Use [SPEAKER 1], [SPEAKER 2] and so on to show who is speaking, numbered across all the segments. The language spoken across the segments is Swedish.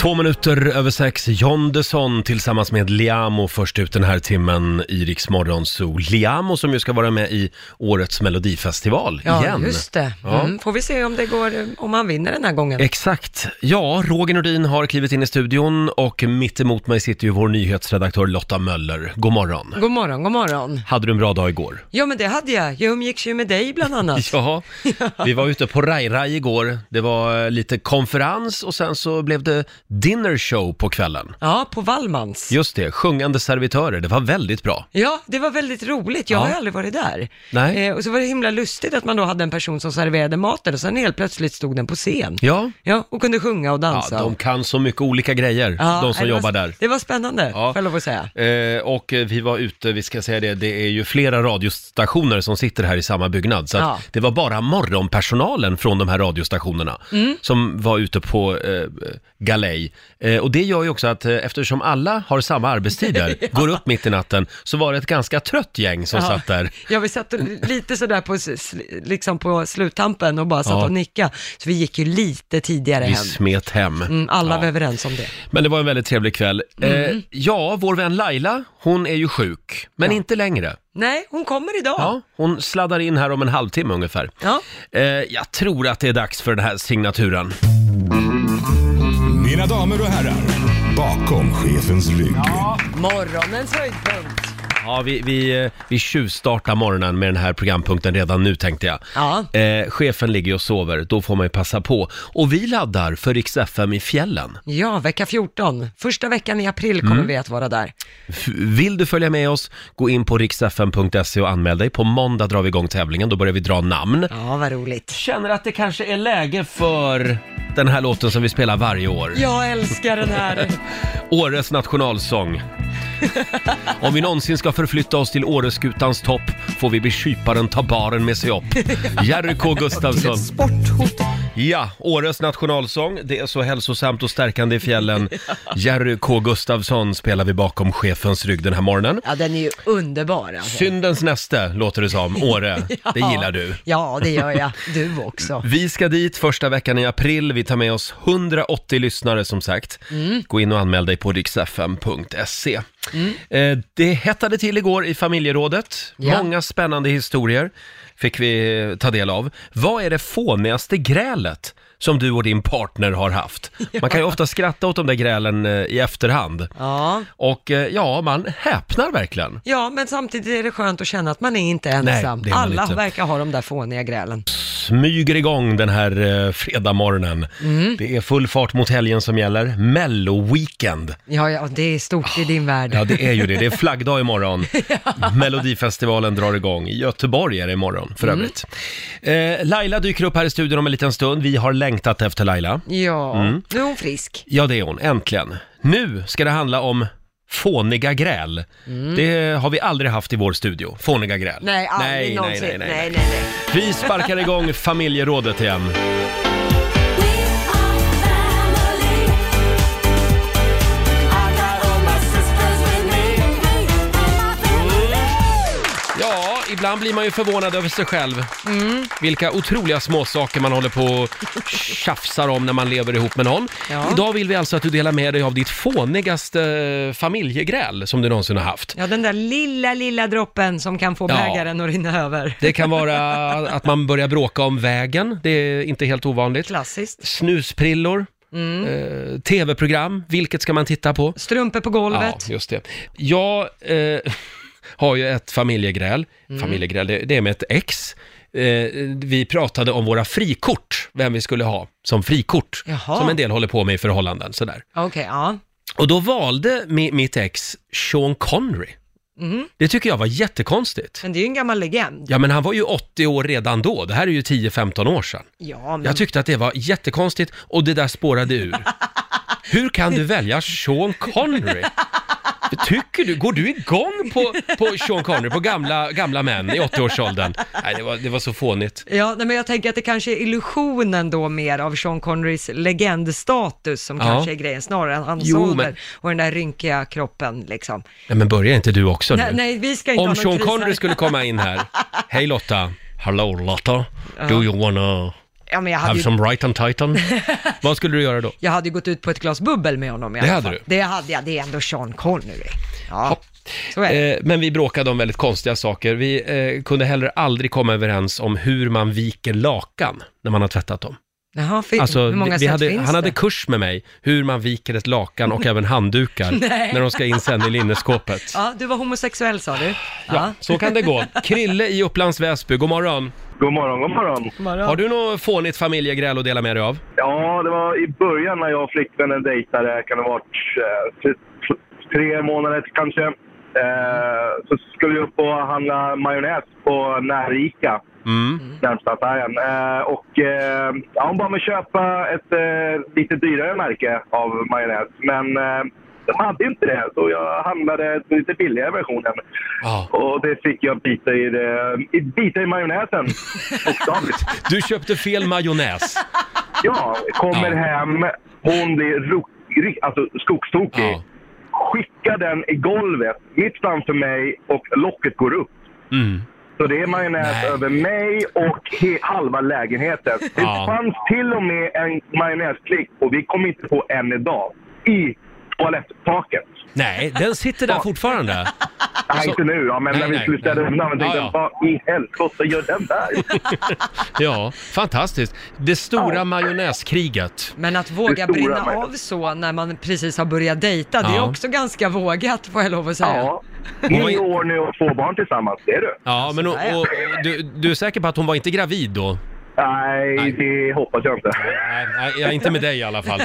[SPEAKER 1] Två minuter över sex, John Desson tillsammans med Liamo först ut den här timmen i Rix Morgon Zoo. Liamo som ju ska vara med i årets melodifestival
[SPEAKER 2] Ja,
[SPEAKER 1] igen.
[SPEAKER 2] just det.
[SPEAKER 1] Ja.
[SPEAKER 2] Mm, får vi se om det går, eh, om han vinner den här gången.
[SPEAKER 1] Exakt. Ja, Roger Nordin har klivit in i studion och mitt emot mig sitter ju vår nyhetsredaktör Lotta Möller. God morgon.
[SPEAKER 2] God morgon, god morgon.
[SPEAKER 1] Hade du en bra dag igår?
[SPEAKER 2] Ja, men det hade jag. Jag umgicks ju med dig bland annat.
[SPEAKER 1] Ja, vi var ute på Rai Rai igår. Det var eh, lite konferens och sen så blev det dinner show på kvällen.
[SPEAKER 2] Ja, på Wallmans.
[SPEAKER 1] Just det, sjungande servitörer. Det var väldigt bra.
[SPEAKER 2] Ja, det var väldigt roligt. Jag har
[SPEAKER 1] Ja.
[SPEAKER 2] ju aldrig varit där.
[SPEAKER 1] Nej.
[SPEAKER 2] Eh, och så var det himla lustigt att man då hade en person som serverade maten och sen helt plötsligt stod den på scen.
[SPEAKER 1] Ja,
[SPEAKER 2] Ja, och kunde sjunga och
[SPEAKER 1] ja
[SPEAKER 2] dansa.
[SPEAKER 1] de kan så mycket olika grejer,
[SPEAKER 2] Ja,
[SPEAKER 1] de som
[SPEAKER 2] det
[SPEAKER 1] jobbar
[SPEAKER 2] var,
[SPEAKER 1] där.
[SPEAKER 2] Det var spännande,
[SPEAKER 1] Ja.
[SPEAKER 2] får jag lov att säga.
[SPEAKER 1] Eh, och eh, vi var ute, vi ska säga det, det är ju flera radiostationer som sitter här i samma byggnad. Så att
[SPEAKER 2] Ja.
[SPEAKER 1] det var bara morgonpersonalen från de här radiostationerna
[SPEAKER 2] Mm.
[SPEAKER 1] som var ute på eh, galej. Eh, och det gör ju också att eh, eftersom alla har samma arbetstider, går upp mitt i natten, så var det ett ganska trött gäng som
[SPEAKER 2] Ja.
[SPEAKER 1] satt där.
[SPEAKER 2] Ja, vi satt lite sådär på, s- s- liksom på sluttampen och bara satt
[SPEAKER 1] Ja.
[SPEAKER 2] och nickade. Så vi gick ju lite tidigare
[SPEAKER 1] Vi
[SPEAKER 2] hem.
[SPEAKER 1] smet hem.
[SPEAKER 2] Mm, alla
[SPEAKER 1] Ja.
[SPEAKER 2] var överens om det.
[SPEAKER 1] Men det var en väldigt trevlig kväll.
[SPEAKER 2] Mm.
[SPEAKER 1] Eh, ja, vår vän Laila, hon är ju sjuk, men inte längre.
[SPEAKER 2] Nej, hon kommer idag.
[SPEAKER 1] Ja, hon sladdar in här om en halvtimme ungefär.
[SPEAKER 2] Ja.
[SPEAKER 1] Eh, jag tror att det är dags för den här signaturen.
[SPEAKER 3] Mina damer och herrar, bakom chefens rygg.
[SPEAKER 2] Morgonens höjdpunkt.
[SPEAKER 1] Ja, vi, vi, eh, vi tjuvstartar morgonen med den här programpunkten redan nu tänkte jag.
[SPEAKER 2] Ja.
[SPEAKER 1] Eh, chefen ligger och sover, då får man ju passa på. Och vi laddar för Rix FM i fjällen.
[SPEAKER 2] Ja, vecka 14. Första veckan i april
[SPEAKER 1] Mm.
[SPEAKER 2] kommer vi att vara där.
[SPEAKER 1] F- vill du följa med oss, gå in på riksfm.se och anmäl dig. På måndag drar vi igång tävlingen, då börjar vi dra namn.
[SPEAKER 2] Ja, vad roligt.
[SPEAKER 1] Känner att det kanske är läge för den här låten som vi spelar varje år.
[SPEAKER 2] Jag älskar den här.
[SPEAKER 1] Åres nationalsång. Om vi någonsin ska förflytta oss till Åreskutans topp får vi be kyparen ta baren med sig upp. Jerry K Gustafsson. Ja, Åres nationalsång. Det är så hälsosamt och stärkande i fjällen. Jerry K Gustafsson spelar vi bakom chefens rygg den här morgonen.
[SPEAKER 2] Ja, den är ju underbar. Alltså.
[SPEAKER 1] Syndens näste låter det som, Åre. Det gillar du.
[SPEAKER 2] Ja, det gör jag. Du också.
[SPEAKER 1] Vi ska dit första veckan i april. Vi tar med oss 180 lyssnare som sagt.
[SPEAKER 2] Mm.
[SPEAKER 1] Gå in och anmäl dig på riksfm.se. Eh, det hettade till igår i familjerådet.
[SPEAKER 2] Ja.
[SPEAKER 1] Många spännande historier fick vi eh, ta del av. Vad är det fånigaste grälet som du och din partner har haft? Man kan ju ofta skratta åt de där grälen eh, i efterhand.
[SPEAKER 2] Ja.
[SPEAKER 1] Och eh, ja, man häpnar verkligen.
[SPEAKER 2] ja, men samtidigt är det skönt att känna att man är inte ensam.
[SPEAKER 1] det är man
[SPEAKER 2] Alla
[SPEAKER 1] inte.
[SPEAKER 2] verkar ha de där fåniga grälen.
[SPEAKER 1] smyger igång den här eh, fredagmorgonen.
[SPEAKER 2] Mm.
[SPEAKER 1] Det är full fart mot helgen som gäller. Mello-weekend.
[SPEAKER 2] Ja, ja, det är stort i din värld.
[SPEAKER 1] Ja, det är ju det. Det är flaggdag imorgon. Melodifestivalen drar igång. I Göteborg är det imorgon, för
[SPEAKER 2] Mm.
[SPEAKER 1] övrigt. Eh, Laila dyker upp här i studion om en liten stund. Vi har längtat efter Laila. Mm.
[SPEAKER 2] Ja, nu är hon frisk.
[SPEAKER 1] Ja, det är hon. Äntligen. Nu ska det handla om fåniga gräl. Det har vi aldrig haft i vår studio. Fåniga gräl.
[SPEAKER 2] Mm. Nej, aldrig någonsin. nej, nej. nej.
[SPEAKER 1] Vi sparkar igång familjerådet igen. Ja, ibland blir man ju förvånad över sig själv. Vilka otroliga småsaker man håller på och tjafsar om när man lever ihop med någon.
[SPEAKER 2] Ja.
[SPEAKER 1] Idag vill vi alltså att du delar med dig av ditt fånigaste eh, familjegräl som du någonsin har haft.
[SPEAKER 2] Ja, den där lilla, lilla droppen som kan få
[SPEAKER 1] Ja.
[SPEAKER 2] bägaren att rinna över.
[SPEAKER 1] Det kan vara att man börjar bråka om vägen, det är inte helt ovanligt.
[SPEAKER 2] Klassiskt.
[SPEAKER 1] Snusprillor,
[SPEAKER 2] Mm.
[SPEAKER 1] eh, tv-program, vilket ska man titta på?
[SPEAKER 2] Strumpor på
[SPEAKER 1] Ja,
[SPEAKER 2] golvet.
[SPEAKER 1] just det. Jag eh, har ju ett familjegräl.
[SPEAKER 2] Mm.
[SPEAKER 1] Familjegräl, det, det är med ett ex. Eh, vi pratade om våra frikort, vem vi skulle ha som frikort.
[SPEAKER 2] Jaha.
[SPEAKER 1] Som en del håller på med i förhållanden. Sådär.
[SPEAKER 2] Okej, ja.
[SPEAKER 1] Och då valde mi, mitt ex Sean Connery. Det tycker jag var jättekonstigt.
[SPEAKER 2] Mm. Men det är ju en gammal legend.
[SPEAKER 1] Ja, men han var ju 80 år redan då. Det här är ju 10-15 år sedan.
[SPEAKER 2] Ja, men...
[SPEAKER 1] Jag tyckte att det var jättekonstigt och det där spårade ur. Hur kan du välja Sean Connery? Tycker du, går du igång på, på Sean Connery, på gamla, gamla män i 80-årsåldern? Nej, det var, det var så fånigt.
[SPEAKER 2] Ja, nej, men jag tänker att det kanske är illusionen då mer av Sean Connerys legendstatus som
[SPEAKER 1] Ja.
[SPEAKER 2] kanske är grejen, snarare än hans
[SPEAKER 1] Jo,
[SPEAKER 2] ålder
[SPEAKER 1] men-
[SPEAKER 2] och den där rynkiga kroppen liksom.
[SPEAKER 1] Nej, men börjar inte du också nu?
[SPEAKER 2] Nej, nej, vi ska inte ha
[SPEAKER 1] Om
[SPEAKER 2] någon
[SPEAKER 1] Sean
[SPEAKER 2] kris här.
[SPEAKER 1] Connery skulle komma in här. Hej Lotta. Hallå Lotta. Do you wanna
[SPEAKER 2] Ja, men jag hade
[SPEAKER 1] Have
[SPEAKER 2] ju
[SPEAKER 1] some right on titan. Vad skulle du göra då?
[SPEAKER 2] Jag hade ju gått ut på ett glas bubbel med honom i
[SPEAKER 1] Det
[SPEAKER 2] alla
[SPEAKER 1] hade
[SPEAKER 2] fall.
[SPEAKER 1] du?
[SPEAKER 2] Det hade jag. Det är ändå Sean Connery. Ja, så är det.
[SPEAKER 1] Eh, men vi bråkade om väldigt konstiga saker. Vi eh, kunde heller aldrig komma överens om hur man viker lakan när man har tvättat dem.
[SPEAKER 2] Jaha, för,
[SPEAKER 1] Alltså,
[SPEAKER 2] hur många
[SPEAKER 1] vi
[SPEAKER 2] sätt
[SPEAKER 1] hade,
[SPEAKER 2] finns
[SPEAKER 1] han hade
[SPEAKER 2] det?
[SPEAKER 1] kurs med mig hur man viker ett lakan och även handdukar
[SPEAKER 2] Nej.
[SPEAKER 1] när de ska in sen i linneskåpet.
[SPEAKER 2] Ja, du var homosexuell sa du.
[SPEAKER 1] Ja, så kan det gå. Krille i Upplands Väsby, god morgon.
[SPEAKER 4] God morgon, god morgon.
[SPEAKER 1] Har du något fånigt familjegräl att dela med dig av?
[SPEAKER 4] Ja, det var i början när jag och flickvännen dejtade, kan det ha varit eh, tre, tre månader kanske. Eh, så skulle vi upp och handla majonnäs på Närika,
[SPEAKER 1] Mm.
[SPEAKER 4] närmsta affären. Eh, och eh, ja, hon bad mig köpa ett eh, lite dyrare märke av majonnäs, men eh, de hade inte det, så jag handlade den lite billigare versionen.
[SPEAKER 1] Ja.
[SPEAKER 4] Och det fick jag bita i, det, i, bita i majonnäsen, bokstavligt.
[SPEAKER 1] Du köpte fel majonnäs.
[SPEAKER 4] Ja, kommer
[SPEAKER 1] Ja.
[SPEAKER 4] hem. Hon blir ro- ri- alltså, skogstokig.
[SPEAKER 1] Ja.
[SPEAKER 4] Skickar den i golvet mitt framför mig och locket går upp.
[SPEAKER 1] Mm.
[SPEAKER 4] Så det är majonnäs
[SPEAKER 1] Nej.
[SPEAKER 4] över mig och he- halva lägenheten. Det
[SPEAKER 1] Ja.
[SPEAKER 4] fanns till och med en majonnäsklick och vi kom inte på en idag. I toalettaket.
[SPEAKER 1] Nej, den sitter där fortfarande.
[SPEAKER 4] Nej,
[SPEAKER 1] Så-
[SPEAKER 4] inte nu, ja, men
[SPEAKER 1] Nej,
[SPEAKER 4] när vi
[SPEAKER 1] nej,
[SPEAKER 4] skulle städa
[SPEAKER 1] nej.
[SPEAKER 4] undan. Jag tänkte,
[SPEAKER 1] Ja, ja.
[SPEAKER 4] vad i helskotta gör den där?
[SPEAKER 1] Ja, fantastiskt. Det stora
[SPEAKER 4] Ja.
[SPEAKER 1] majonnäskriget.
[SPEAKER 2] Men att våga
[SPEAKER 4] Det stora
[SPEAKER 2] brinna
[SPEAKER 4] med-
[SPEAKER 2] av så när man precis har börjat dejta, det är
[SPEAKER 1] Ja.
[SPEAKER 2] också ganska vågat får jag lov att säga.
[SPEAKER 4] Ja.
[SPEAKER 1] Hon var
[SPEAKER 4] Nio
[SPEAKER 1] in-
[SPEAKER 4] år nu och två barn tillsammans, det är du.
[SPEAKER 1] Ja, men och, och, du, du är säker på att hon var inte gravid då? Nej.
[SPEAKER 4] Nej, det hoppas jag inte.
[SPEAKER 1] Nej, nej, jag är inte med dig i alla fall.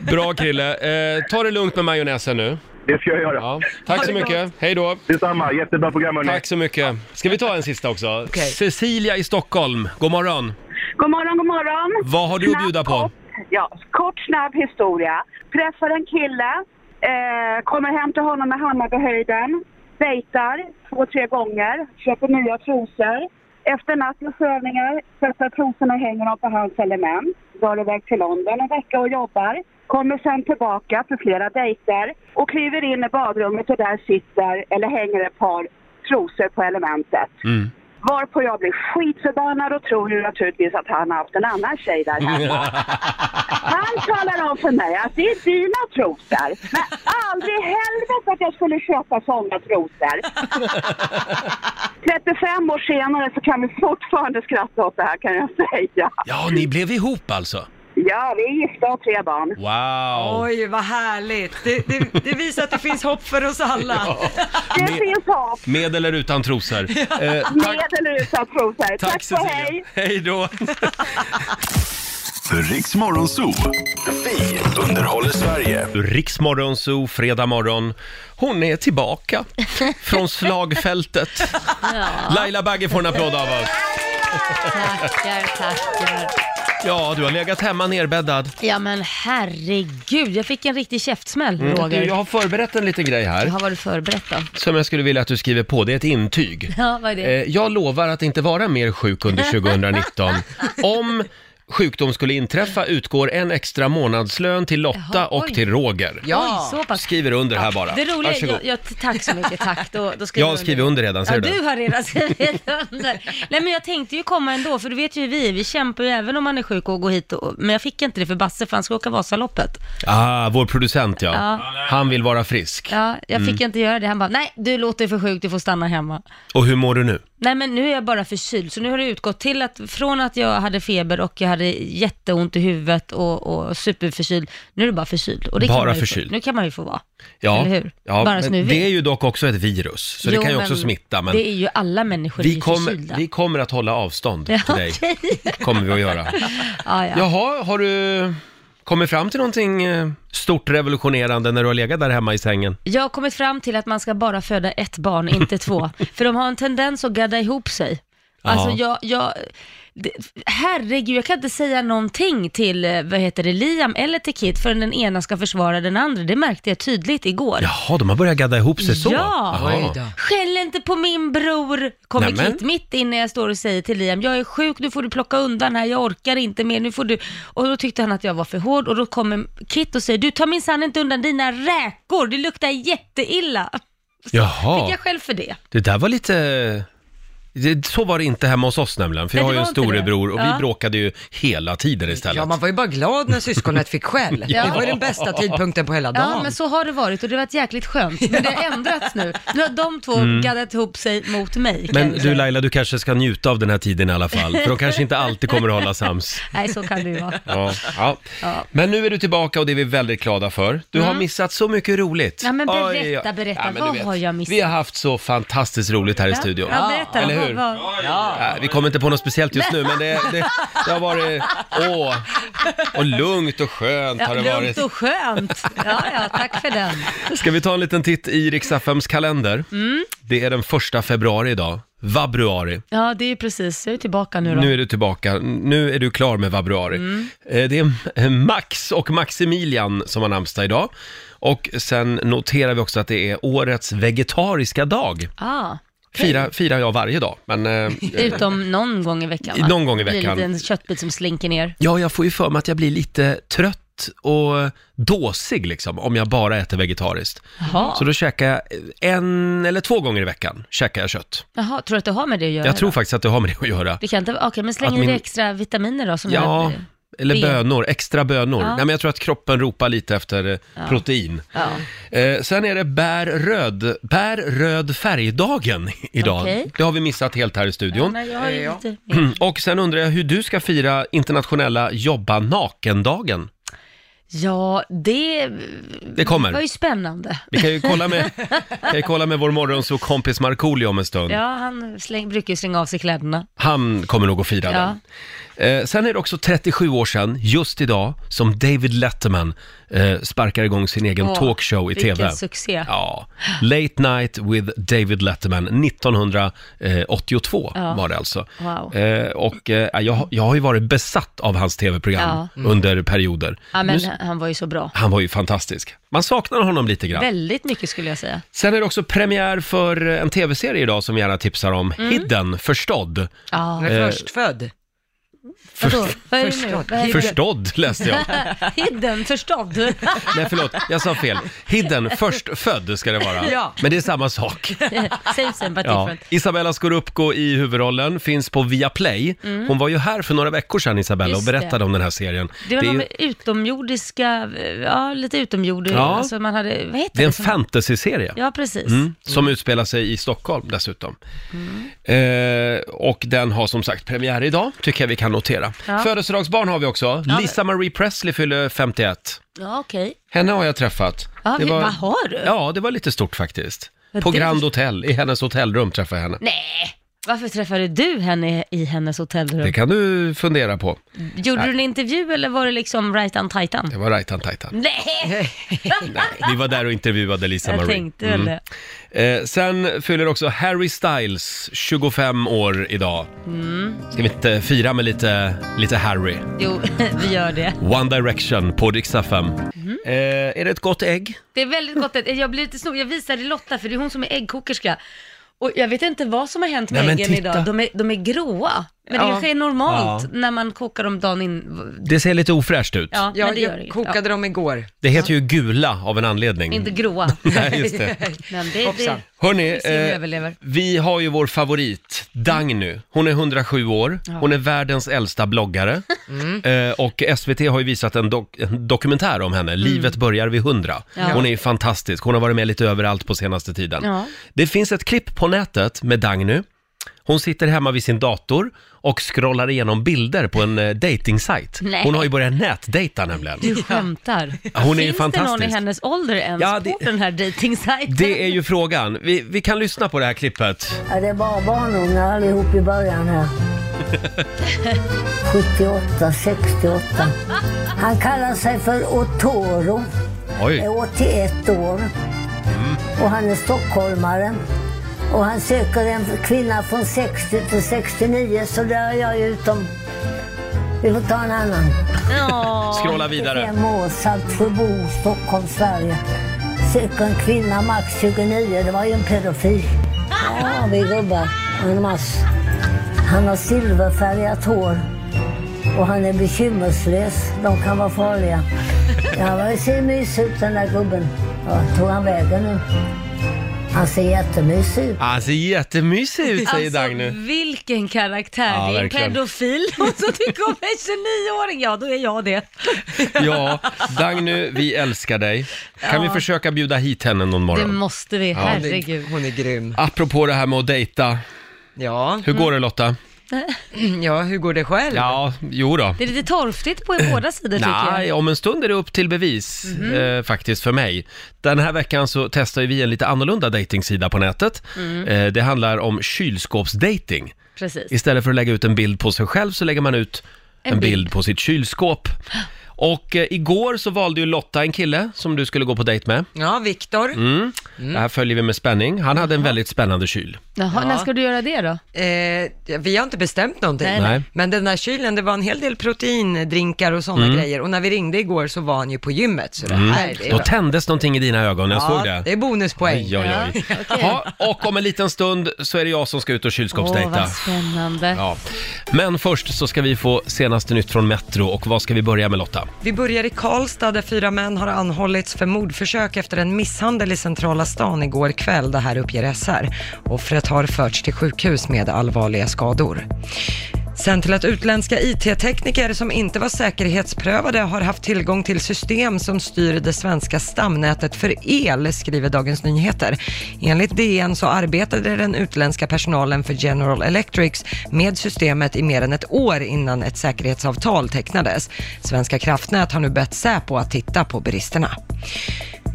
[SPEAKER 1] Bra Krille. Eh, ta det lugnt med majonnäsen nu.
[SPEAKER 4] Det ska jag göra.
[SPEAKER 1] Ja. Tack så mycket. Hej då.
[SPEAKER 4] Detsamma, jättebra program hörni.
[SPEAKER 1] Tack så mycket. Ska vi ta en sista också?
[SPEAKER 2] Okej.
[SPEAKER 1] Cecilia i Stockholm, god morgon.
[SPEAKER 5] God morgon, god morgon.
[SPEAKER 1] Vad har du att
[SPEAKER 5] Snabb,
[SPEAKER 1] bjuda på?
[SPEAKER 5] Kort, ja, kort snabb historia. Träffar en kille, eh, kommer hem till honom med Hammarbyhöjden, dejtar två, tre gånger, köper nya trosor. Efter nattens övningar sätter trosorna och hänger dem på hans element. Drar iväg till London en vecka och jobbar. Kommer sen tillbaka för flera dejter och kliver in i badrummet och där sitter, eller hänger ett par trosor på elementet.
[SPEAKER 1] Mm.
[SPEAKER 5] Varpå jag blir skitförbannad och tror ju naturligtvis att han har haft en annan tjej där hemma. Han talar om för mig att det är dina trosor. Men aldrig i helvete att jag skulle köpa sådana trosor. 35 år senare så kan vi fortfarande skratta åt det här kan jag säga.
[SPEAKER 1] Ja, ni blev ihop alltså?
[SPEAKER 5] Ja, vi är gifta och har tre barn.
[SPEAKER 1] Wow!
[SPEAKER 2] Oj, vad härligt. Det, det, det visar att det finns hopp för oss alla.
[SPEAKER 5] Det
[SPEAKER 1] Med-
[SPEAKER 5] finns hopp.
[SPEAKER 1] Med eller utan trosor? Eh,
[SPEAKER 5] Med eller utan trosor. Tack,
[SPEAKER 1] tack
[SPEAKER 5] Tack och hej!
[SPEAKER 1] Cecilia. Hej då.
[SPEAKER 3] Riks Morgonzoo. Vi underhåller Sverige.
[SPEAKER 1] Riksmorgon Zoo, fredag morgon. Hon är tillbaka från slagfältet. Laila Bagge får en applåd av oss.
[SPEAKER 6] Tackar, tackar.
[SPEAKER 1] Ja, du har legat hemma nerbäddad.
[SPEAKER 6] Ja men herregud, jag fick en riktig käftsmäll
[SPEAKER 1] Mm, Du,
[SPEAKER 6] Roger.
[SPEAKER 1] jag har förberett en liten grej
[SPEAKER 6] Jag
[SPEAKER 1] här
[SPEAKER 6] har varit förberett då.
[SPEAKER 1] som jag skulle vilja att du skriver på. Det är ett intyg.
[SPEAKER 6] Ja, vad är
[SPEAKER 1] Eh,
[SPEAKER 6] det?
[SPEAKER 1] Jag lovar att inte vara mer sjuk under 2019. Om sjukdom skulle inträffa utgår en extra månadslön till Lotta
[SPEAKER 6] Jaha,
[SPEAKER 1] och
[SPEAKER 6] oj.
[SPEAKER 1] till Roger.
[SPEAKER 2] Ja.
[SPEAKER 6] Oj, så pass.
[SPEAKER 1] Skriver under här bara.
[SPEAKER 6] Det roliga är,
[SPEAKER 1] Varsågod.
[SPEAKER 6] jag, jag, tack så mycket, tack. Då, då skriver
[SPEAKER 1] Jag har skrivit under redan, ser
[SPEAKER 6] Ja,
[SPEAKER 1] du det?
[SPEAKER 6] du har redan skrivit under. Nej men jag tänkte ju komma ändå, för du vet ju hur vi är. vi kämpar ju även om man är sjuk och går hit och, men jag fick inte det för Basse för han ska åka Vasaloppet.
[SPEAKER 1] Ah, vår producent ja.
[SPEAKER 6] Ja.
[SPEAKER 1] Han vill vara frisk.
[SPEAKER 6] Ja, jag
[SPEAKER 1] Mm.
[SPEAKER 6] fick inte göra det. Han bara, nej du låter för sjuk, du får stanna hemma.
[SPEAKER 1] Och hur mår du nu?
[SPEAKER 6] Nej men nu är jag bara förkyld, så nu har det utgått till att från att jag hade feber och jag hade jätteont i huvudet och, och superförkyld, nu är det bara förkyld. Och det
[SPEAKER 1] Bara
[SPEAKER 6] kan man ju
[SPEAKER 1] förkyld.
[SPEAKER 6] Få, nu kan man ju få vara.
[SPEAKER 1] Ja,
[SPEAKER 6] Eller hur?
[SPEAKER 1] ja
[SPEAKER 6] Bara
[SPEAKER 1] men
[SPEAKER 6] snuvig.
[SPEAKER 1] det är ju dock också ett virus, så det
[SPEAKER 6] Jo,
[SPEAKER 1] kan ju också
[SPEAKER 6] men
[SPEAKER 1] smitta. Men
[SPEAKER 6] Det är ju alla människor vi
[SPEAKER 1] vi,
[SPEAKER 6] är
[SPEAKER 1] kommer,
[SPEAKER 6] förkylda.
[SPEAKER 1] vi kommer att hålla avstånd
[SPEAKER 6] Ja,
[SPEAKER 1] till dig.
[SPEAKER 6] okej.
[SPEAKER 1] kommer vi att göra.
[SPEAKER 6] ja, ja.
[SPEAKER 1] Jaha, har du kommit fram till någonting eh, stort revolutionerande när du har legat där hemma i sängen?
[SPEAKER 6] Jag har kommit fram till att man ska bara föda ett barn, inte två. För de har en tendens att gadda ihop sig. Alltså jag, jag det, herregud, jag kan inte säga någonting till, eh, vad heter det, Liam eller till Kit förrän den ena ska försvara den andra. Det märkte jag tydligt igår.
[SPEAKER 1] Jaha, de har börjat gadda ihop sig så?
[SPEAKER 6] Ja.
[SPEAKER 1] Jaha.
[SPEAKER 2] Oj då.
[SPEAKER 6] Skäll inte på min bror, kommer
[SPEAKER 1] Nämen.
[SPEAKER 6] Kit mitt in när jag står och säger till Liam, jag är sjuk, nu får du plocka undan här, jag orkar inte mer, nu får du... Och då tyckte han att jag var för hård och då kommer Kit och säger, du tar minsann inte undan dina räkor, det luktar jätteilla.
[SPEAKER 1] Jaha,
[SPEAKER 6] Fick jag själv för det?
[SPEAKER 1] det där var lite, det, så var det inte hemma hos oss nämligen, för jag
[SPEAKER 6] Nej, det
[SPEAKER 1] har ju en
[SPEAKER 6] var inte det.
[SPEAKER 1] storebror och
[SPEAKER 6] Ja.
[SPEAKER 1] vi bråkade ju hela tiden istället.
[SPEAKER 2] Ja, man var ju bara glad när syskonet fick skäll.
[SPEAKER 1] Ja.
[SPEAKER 2] Det var ju den bästa tidpunkten på hela dagen.
[SPEAKER 6] Ja, men så har det varit och det har varit jäkligt skönt. Men det har ändrats nu. Nu har de två gaddat ihop sig mot mig. kan
[SPEAKER 1] Mm. Men
[SPEAKER 6] jag säga.
[SPEAKER 1] du Laila, du kanske ska njuta av den här tiden i alla fall, för de kanske inte alltid kommer att hålla sams.
[SPEAKER 6] Nej, så kan det ju vara.
[SPEAKER 1] Ja, ja.
[SPEAKER 6] Ja.
[SPEAKER 1] Men nu är du tillbaka och det är vi väldigt glada för. Du har missat så mycket roligt.
[SPEAKER 6] Ja, men berätta,
[SPEAKER 1] Oj, oj, oj.
[SPEAKER 6] berätta.
[SPEAKER 1] men du
[SPEAKER 6] Vad
[SPEAKER 1] vet,
[SPEAKER 6] har jag missat?
[SPEAKER 1] Vi har haft så fantastiskt roligt här i studion.
[SPEAKER 6] Ja, berätta
[SPEAKER 1] Eller
[SPEAKER 6] vad-
[SPEAKER 1] hur?
[SPEAKER 6] vad-
[SPEAKER 1] Ja, vi kommer inte på något speciellt just nu, men det, det, det har varit... Åh! Och lugnt och skönt
[SPEAKER 6] Ja,
[SPEAKER 1] har det varit.
[SPEAKER 6] lugnt och skönt. Ja, ja, tack för den.
[SPEAKER 1] Ska vi ta en liten titt i Riksaffems kalender?
[SPEAKER 6] Mm.
[SPEAKER 1] Det är den första februari idag. Vabruari.
[SPEAKER 6] Ja, det är ju precis. Jag är tillbaka nu då. Mm.
[SPEAKER 1] Nu är du tillbaka. Nu är du klar med Vabruari. Eh, Det är eh, Max och Maximilian som har namnsdag idag. Och sen noterar vi också att det är årets vegetariska dag.
[SPEAKER 6] Ah,
[SPEAKER 1] Fira, firar jag varje dag, men... eh,
[SPEAKER 6] utom någon gång i veckan va?
[SPEAKER 1] Någon gång i
[SPEAKER 6] Det
[SPEAKER 1] veckan.
[SPEAKER 6] blir en liten köttbit som slinker ner.
[SPEAKER 1] Ja, jag får ju för mig att jag blir lite trött och dåsig liksom, om jag bara äter vegetariskt.
[SPEAKER 6] Jaha.
[SPEAKER 1] Så då käkar jag en eller två gånger i veckan, käkar jag kött.
[SPEAKER 6] Jaha, tror du att det har med det att göra?
[SPEAKER 1] Jag tror
[SPEAKER 6] då?
[SPEAKER 1] faktiskt att det har med det att göra.
[SPEAKER 6] Det kan inte, okej, men släng
[SPEAKER 1] Att
[SPEAKER 6] i
[SPEAKER 1] min-
[SPEAKER 6] dig extra vitaminer då som
[SPEAKER 1] Ja,
[SPEAKER 6] gör-
[SPEAKER 1] eller
[SPEAKER 6] ben.
[SPEAKER 1] bönor, extra bönor.
[SPEAKER 6] Ja.
[SPEAKER 1] Nej, men jag tror att kroppen ropar lite efter eh, protein.
[SPEAKER 6] Ja.
[SPEAKER 1] Eh, sen är det bär röd, bär röd färgdagen idag.
[SPEAKER 6] Okej.
[SPEAKER 1] Det har vi missat helt här i
[SPEAKER 6] Ja,
[SPEAKER 1] studion. Mm,
[SPEAKER 6] nej, Eh, jag har ju
[SPEAKER 2] Ja.
[SPEAKER 6] lite...
[SPEAKER 1] Och sen undrar jag hur du ska fira internationella jobba nakendagen.
[SPEAKER 6] Ja, det...
[SPEAKER 1] Det kommer.
[SPEAKER 6] var ju spännande.
[SPEAKER 1] Vi kan ju kolla med, kan ju kolla med vår morgonsåkompis Markoolio om en stund.
[SPEAKER 6] Ja, han släng, brukar ju slänga av sig kläderna.
[SPEAKER 1] Han kommer nog att fira
[SPEAKER 6] Ja.
[SPEAKER 1] den. Eh, sen är det också 37 år sedan, just idag, som David Letterman eh, sparkar igång sin egen
[SPEAKER 6] Åh,
[SPEAKER 1] talkshow i
[SPEAKER 6] vilken
[SPEAKER 1] TV.
[SPEAKER 6] succé.
[SPEAKER 1] Ja. Late Night with David Letterman 1982
[SPEAKER 6] Ja.
[SPEAKER 1] var det alltså.
[SPEAKER 6] Wow.
[SPEAKER 1] Eh, och eh, jag, jag har ju varit besatt av hans TV-program
[SPEAKER 6] Mm.
[SPEAKER 1] under perioder.
[SPEAKER 6] Ja, men
[SPEAKER 1] Nu-
[SPEAKER 6] han var ju så bra.
[SPEAKER 1] han var ju fantastisk. Man saknar honom lite grann.
[SPEAKER 6] Väldigt mycket skulle jag säga.
[SPEAKER 1] Sen är det också premiär för en tv-serie idag som vi gärna tipsar om. Hidden, förstådd.
[SPEAKER 6] Mm.
[SPEAKER 1] Eh,
[SPEAKER 6] Ja.
[SPEAKER 2] Han är förstfödd.
[SPEAKER 6] Vadå? Vad är det nu?
[SPEAKER 2] förstådd.
[SPEAKER 6] Vad är det?
[SPEAKER 1] Förstådd läste jag.
[SPEAKER 6] Hidden, förstådd.
[SPEAKER 1] Nej, förlåt. Jag sa fel. Hidden, förstfödd ska det vara.
[SPEAKER 2] Ja.
[SPEAKER 1] Men det är samma sak.
[SPEAKER 6] Same same but
[SPEAKER 1] Ja.
[SPEAKER 6] different.
[SPEAKER 1] Isabella Scorupco i huvudrollen finns på Viaplay. Hon var ju här för några veckor sedan, Isabella, och
[SPEAKER 6] Mm. Just det.
[SPEAKER 1] berättade om den här serien.
[SPEAKER 6] Det var
[SPEAKER 1] är,
[SPEAKER 6] någon
[SPEAKER 1] ju-
[SPEAKER 6] med utomjordiska, ja lite utomjordisk,
[SPEAKER 1] Ja.
[SPEAKER 6] alltså man hade, vad heter
[SPEAKER 1] det är en
[SPEAKER 6] som-
[SPEAKER 1] fantasy-serie.
[SPEAKER 6] Ja, precis.
[SPEAKER 1] Mm, som utspelar sig i Stockholm dessutom.
[SPEAKER 6] Mm.
[SPEAKER 1] Eh, och den har som sagt premiär idag, tycker jag vi kan notera.
[SPEAKER 6] Ja.
[SPEAKER 1] Födelsedagsbarn har vi också. Lisa Marie Presley fyller 51.
[SPEAKER 6] Ja, okej.
[SPEAKER 1] Henne har jag träffat.
[SPEAKER 6] Ja, vi- vad har du?
[SPEAKER 1] Ja, det var lite stort faktiskt.
[SPEAKER 6] Men
[SPEAKER 1] På
[SPEAKER 6] det-
[SPEAKER 1] Grand Hotel, i hennes hotellrum träffade jag henne.
[SPEAKER 6] Nej, varför träffade du henne i hennes
[SPEAKER 1] Det
[SPEAKER 6] hotellrum?
[SPEAKER 1] kan du fundera på.
[SPEAKER 6] Gjorde du en intervju eller var det liksom right on titan?
[SPEAKER 1] Det var Rajtan Tajtan.
[SPEAKER 6] Nej,
[SPEAKER 1] Vi var där och intervjuade Lisa
[SPEAKER 6] jag
[SPEAKER 1] Marie.
[SPEAKER 6] tänkte väl det.
[SPEAKER 1] Eh, sen fyller också Harry Styles 25 år idag. Ska vi inte fira med lite, lite Harry?
[SPEAKER 6] Mm, Jo, vi gör det.
[SPEAKER 1] One Direction på Dix FM.
[SPEAKER 6] Mhm.
[SPEAKER 1] Eh, är det ett gott ägg?
[SPEAKER 6] Det är väldigt gott. att- Jag blir lite snorig. Jag visade Lotta, för det är hon som är äggkokerska. Och jag vet inte vad som har hänt med
[SPEAKER 1] Nej, men
[SPEAKER 6] äggen
[SPEAKER 1] titta.
[SPEAKER 6] idag. De är, de är gråa. Men det
[SPEAKER 2] Ja.
[SPEAKER 6] kanske är normalt
[SPEAKER 1] Ja.
[SPEAKER 6] när man kokar dem dagen in.
[SPEAKER 1] Det ser lite ofräscht ut.
[SPEAKER 6] Ja,
[SPEAKER 2] Ja,
[SPEAKER 6] men det gör
[SPEAKER 2] jag
[SPEAKER 6] inget.
[SPEAKER 2] kokade
[SPEAKER 6] Ja.
[SPEAKER 2] dem igår.
[SPEAKER 1] Det heter ju gula av en anledning.
[SPEAKER 6] Inte gråa.
[SPEAKER 1] Nej, just det. Eh,
[SPEAKER 6] Men det,
[SPEAKER 2] Hoppsan.
[SPEAKER 6] det,
[SPEAKER 1] Hörni,
[SPEAKER 6] Vi ser om jag överlever.
[SPEAKER 1] vi har ju vår favorit, Dagny. Hon är 107 år, hon är världens äldsta bloggare. Eh, och SVT har ju visat en, dok- en dokumentär om henne, Livet börjar vid 100.
[SPEAKER 6] Mm. Ja.
[SPEAKER 1] Hon är ju fantastisk, hon har varit med lite överallt på senaste tiden.
[SPEAKER 6] Ja.
[SPEAKER 1] Det finns ett klipp på nätet med Dagny. Hon sitter hemma vid sin dator och scrollar igenom bilder på en eh, datingsajt.
[SPEAKER 6] Nej.
[SPEAKER 1] Hon har ju börjat nätdejta nämligen.
[SPEAKER 6] du skämtar.
[SPEAKER 1] Ja, hon är ju
[SPEAKER 6] Finns det någon i
[SPEAKER 1] fantastisk.
[SPEAKER 6] hennes ålder ens
[SPEAKER 1] Ja,
[SPEAKER 6] på
[SPEAKER 1] det-
[SPEAKER 6] den här dejtingsajten?
[SPEAKER 1] Det är ju frågan. Vi, vi kan lyssna på det här klippet.
[SPEAKER 7] Ja, det är bara barnungar allihop i början här. 78, 68. Han kallar sig för Otoro,
[SPEAKER 1] Oj.
[SPEAKER 7] är 81 år och han är stockholmare. Och han söker en kvinna från 60 till 69, så där är jag ju utom. Vi får ta en annan.
[SPEAKER 6] Ja.
[SPEAKER 1] Scrolla vidare.
[SPEAKER 7] Fem år, Saltsjöbo, Stockholm, Sverige. Söker en kvinna max 29. Det var ju en pedofil. Ja, vi gubbar. En mass. Han har silverfärgat hår. Och han är bekymmerslös. De kan vara farliga. Ja, han var ju så mysig ut den där gubben. Ja, tog han vägen nu? Han ser jättemysig ut.
[SPEAKER 1] Han ser jättemysig ut säger Dagny.
[SPEAKER 6] Alltså, vilken karaktär!
[SPEAKER 1] Ja,
[SPEAKER 6] det är en
[SPEAKER 1] verkligen.
[SPEAKER 6] pedofil och så tycker om en 29-åring. Ja, då är jag det.
[SPEAKER 1] Ja, Dagny, vi älskar dig. Kan vi
[SPEAKER 6] Ja.
[SPEAKER 1] försöka bjuda hit henne någon
[SPEAKER 6] Det
[SPEAKER 1] morgon?
[SPEAKER 6] måste vi, herregud.
[SPEAKER 2] Hon är grym.
[SPEAKER 1] Apropå det här med att dejta.
[SPEAKER 2] Ja.
[SPEAKER 1] Hur går det
[SPEAKER 6] Mm.
[SPEAKER 1] Lotta?
[SPEAKER 2] ja, hur går det själv?
[SPEAKER 1] Ja, jo då.
[SPEAKER 6] Det är lite torftigt på båda sidor tycker
[SPEAKER 1] Nej,
[SPEAKER 6] jag. Mhm.
[SPEAKER 1] om en stund är det upp till bevis eh, faktiskt för mig. Den här veckan så testar ju vi en lite annorlunda dejtingsida på nätet. Eh, det handlar om kylskåpsdating.
[SPEAKER 6] Mm. Precis.
[SPEAKER 1] Istället för att lägga ut en bild på sig själv så lägger man ut en,
[SPEAKER 6] En
[SPEAKER 1] bild.
[SPEAKER 6] bild.
[SPEAKER 1] på sitt kylskåp. Och eh, igår så valde ju Lotta en kille som du skulle gå på dejt med. Mm.
[SPEAKER 2] Ja, Viktor.
[SPEAKER 6] Mm.
[SPEAKER 1] Det här följer vi med spänning. Han hade en väldigt spännande kyl.
[SPEAKER 6] Jaha,
[SPEAKER 2] Ja.
[SPEAKER 6] när ska du göra det då?
[SPEAKER 2] Eh, vi har inte bestämt någonting.
[SPEAKER 6] Nej,
[SPEAKER 1] nej. Nej.
[SPEAKER 2] Men den där kylen, det var en hel del proteindrinkar och sådana grejer. Och när vi ringde igår så var han ju på gymmet. Så det här, det är
[SPEAKER 1] Då tändes någonting i dina ögon, jag Mm. såg
[SPEAKER 2] Ja,
[SPEAKER 1] det.
[SPEAKER 2] det är bonuspoäng.
[SPEAKER 1] Oj, oj, oj.
[SPEAKER 6] Ja, okej.
[SPEAKER 1] Ja, och om en liten stund så är det jag som ska ut och
[SPEAKER 6] Åh,
[SPEAKER 1] kylskåpsdejta.
[SPEAKER 6] vad spännande.
[SPEAKER 1] Ja. Men först så ska vi få senaste nytt från Metro och vad ska vi börja med Lotta?
[SPEAKER 2] Vi börjar i Karlstad där fyra män har anhållits för mordförsök efter en misshandel i centrala stan igår kväll, det här uppger SR. Offret har förts till sjukhus med allvarliga skador. Sen till att utländska IT-tekniker som inte var säkerhetsprövade har haft tillgång till system som styr det svenska stamnätet för el, skriver Dagens Nyheter. Enligt DN så arbetade den utländska personalen för General Electrics med systemet i mer än ett år innan ett säkerhetsavtal tecknades. Svenska kraftnät har nu bett Säpo att titta på bristerna.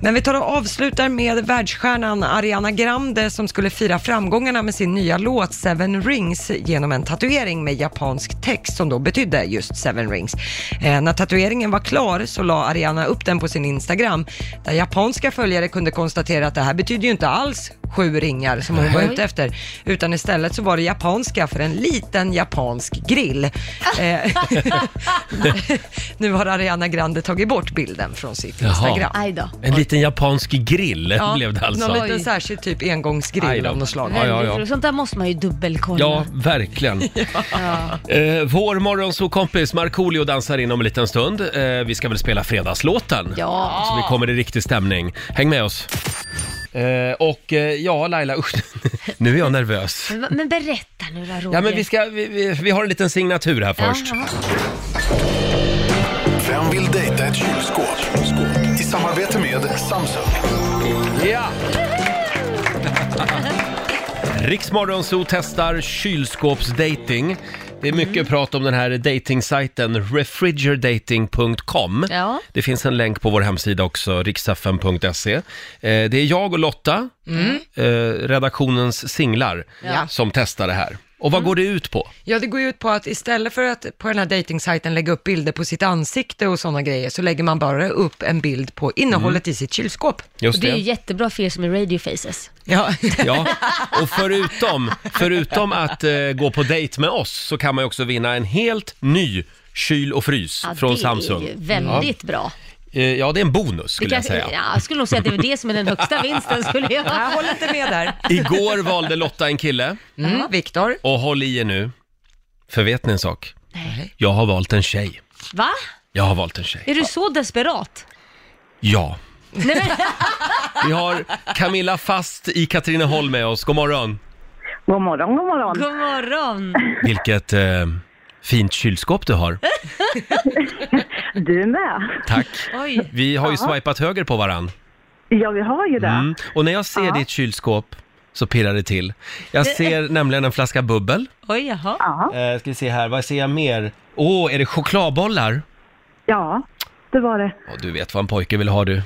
[SPEAKER 2] Men vi tar och avslutar med världsstjärnan Ariana Grande som skulle fira framgångarna med sin nya låt Seven Rings genom en tatuering med japansk text som då betydde just Seven Rings. Eh, när tatueringen var klar så la Ariana upp den på sin Instagram där japanska följare kunde konstatera att det här betyder ju inte alls sju ringar som hon var ute efter utan istället så var det japanska för en liten japansk grill. Eh, nu har Ariana Grande tagit bort bilden från sitt
[SPEAKER 1] Jaha.
[SPEAKER 2] Instagram.
[SPEAKER 6] Aj då.
[SPEAKER 1] En liten japansk grill
[SPEAKER 2] Ja,
[SPEAKER 1] blev det alltså.
[SPEAKER 2] Någon
[SPEAKER 6] Oj.
[SPEAKER 2] liten särskild typ
[SPEAKER 1] Aj
[SPEAKER 2] engångsgrill
[SPEAKER 1] då.
[SPEAKER 2] av något slag.
[SPEAKER 1] Ja, ja, ja.
[SPEAKER 6] Väldigt- Sånt där måste man ju dubbelkolla.
[SPEAKER 1] Ja, verkligen. Eh, vår morgonsokompis Markoolio dansar in om en liten stund. Eh, vi ska väl spela fredagslåten?
[SPEAKER 6] Ja.
[SPEAKER 1] Så vi kommer i riktig stämning. Häng med oss. Eh, och eh, ja, Laila, usch, nu är jag nervös.
[SPEAKER 6] Men, men berätta nu då, Roger.
[SPEAKER 1] Ja, men vi, ska, vi, vi, vi har en liten signatur här först.
[SPEAKER 6] Jaha.
[SPEAKER 3] Vem vill dejta ett kylskåp? I samarbete med Samsung.
[SPEAKER 1] Ja! Riksmorgonzoo testar kylskåpsdating. Det är mycket
[SPEAKER 6] Mm.
[SPEAKER 1] prat om den här datingsajten refrigerating.com.
[SPEAKER 6] Ja.
[SPEAKER 1] Det finns en länk på vår hemsida också, riksfm.se. Eh, Det är jag och Lotta,
[SPEAKER 6] Mm.
[SPEAKER 1] eh, redaktionens singlar,
[SPEAKER 2] Ja.
[SPEAKER 1] som testar det här. Och
[SPEAKER 6] Mm.
[SPEAKER 1] vad går det ut på?
[SPEAKER 2] Ja, det går ju ut på att istället för att på den här dejtingsajten lägga upp bilder på sitt ansikte och sådana grejer, så lägger man bara upp en bild på innehållet i sitt kylskåp.
[SPEAKER 1] Mm. Just
[SPEAKER 6] Och det är ju jättebra för er som är radiofaces.
[SPEAKER 2] Ja.
[SPEAKER 1] Ja, och förutom, förutom att eh, gå på dejt med oss så kan man ju också vinna en helt ny kyl och frys
[SPEAKER 6] Ja,
[SPEAKER 1] från
[SPEAKER 6] det
[SPEAKER 1] Samsung.
[SPEAKER 6] är ju väldigt bra.
[SPEAKER 1] Ja. Eh, ja, det är en bonus
[SPEAKER 6] Det
[SPEAKER 1] skulle jag
[SPEAKER 6] kanske,
[SPEAKER 1] säga.
[SPEAKER 6] ja, jag skulle nog säga att det är det som är den högsta vinsten skulle jag.
[SPEAKER 2] Jag håller inte med där.
[SPEAKER 1] Igår valde Lotta en kille
[SPEAKER 2] Mm, Viktor?
[SPEAKER 1] och håll i er nu, för vet ni en sak? Jag har valt en tjej.
[SPEAKER 6] Va?
[SPEAKER 1] Jag har valt en tjej.
[SPEAKER 6] Är du så desperat?
[SPEAKER 1] Ja. Vi har Camilla Fast i Katrineholm med oss. God morgon.
[SPEAKER 5] God morgon, god morgon.
[SPEAKER 6] God morgon!
[SPEAKER 1] Vilket eh, fint kylskåp du har.
[SPEAKER 5] Du med.
[SPEAKER 1] Tack.
[SPEAKER 6] Oj.
[SPEAKER 1] Vi har ju swipat höger på varann.
[SPEAKER 5] Ja, vi har ju det.
[SPEAKER 1] Mm. Och när jag ser ditt kylskåp så pirrar det till. Jag ser nämligen en flaska bubbel.
[SPEAKER 6] Oj, jaha.
[SPEAKER 1] Eh, ska vi se här, vad ser jag mer? Åh, är det chokladbollar?
[SPEAKER 5] Ja, det var det.
[SPEAKER 1] Ja, du vet vad en pojke vill ha du.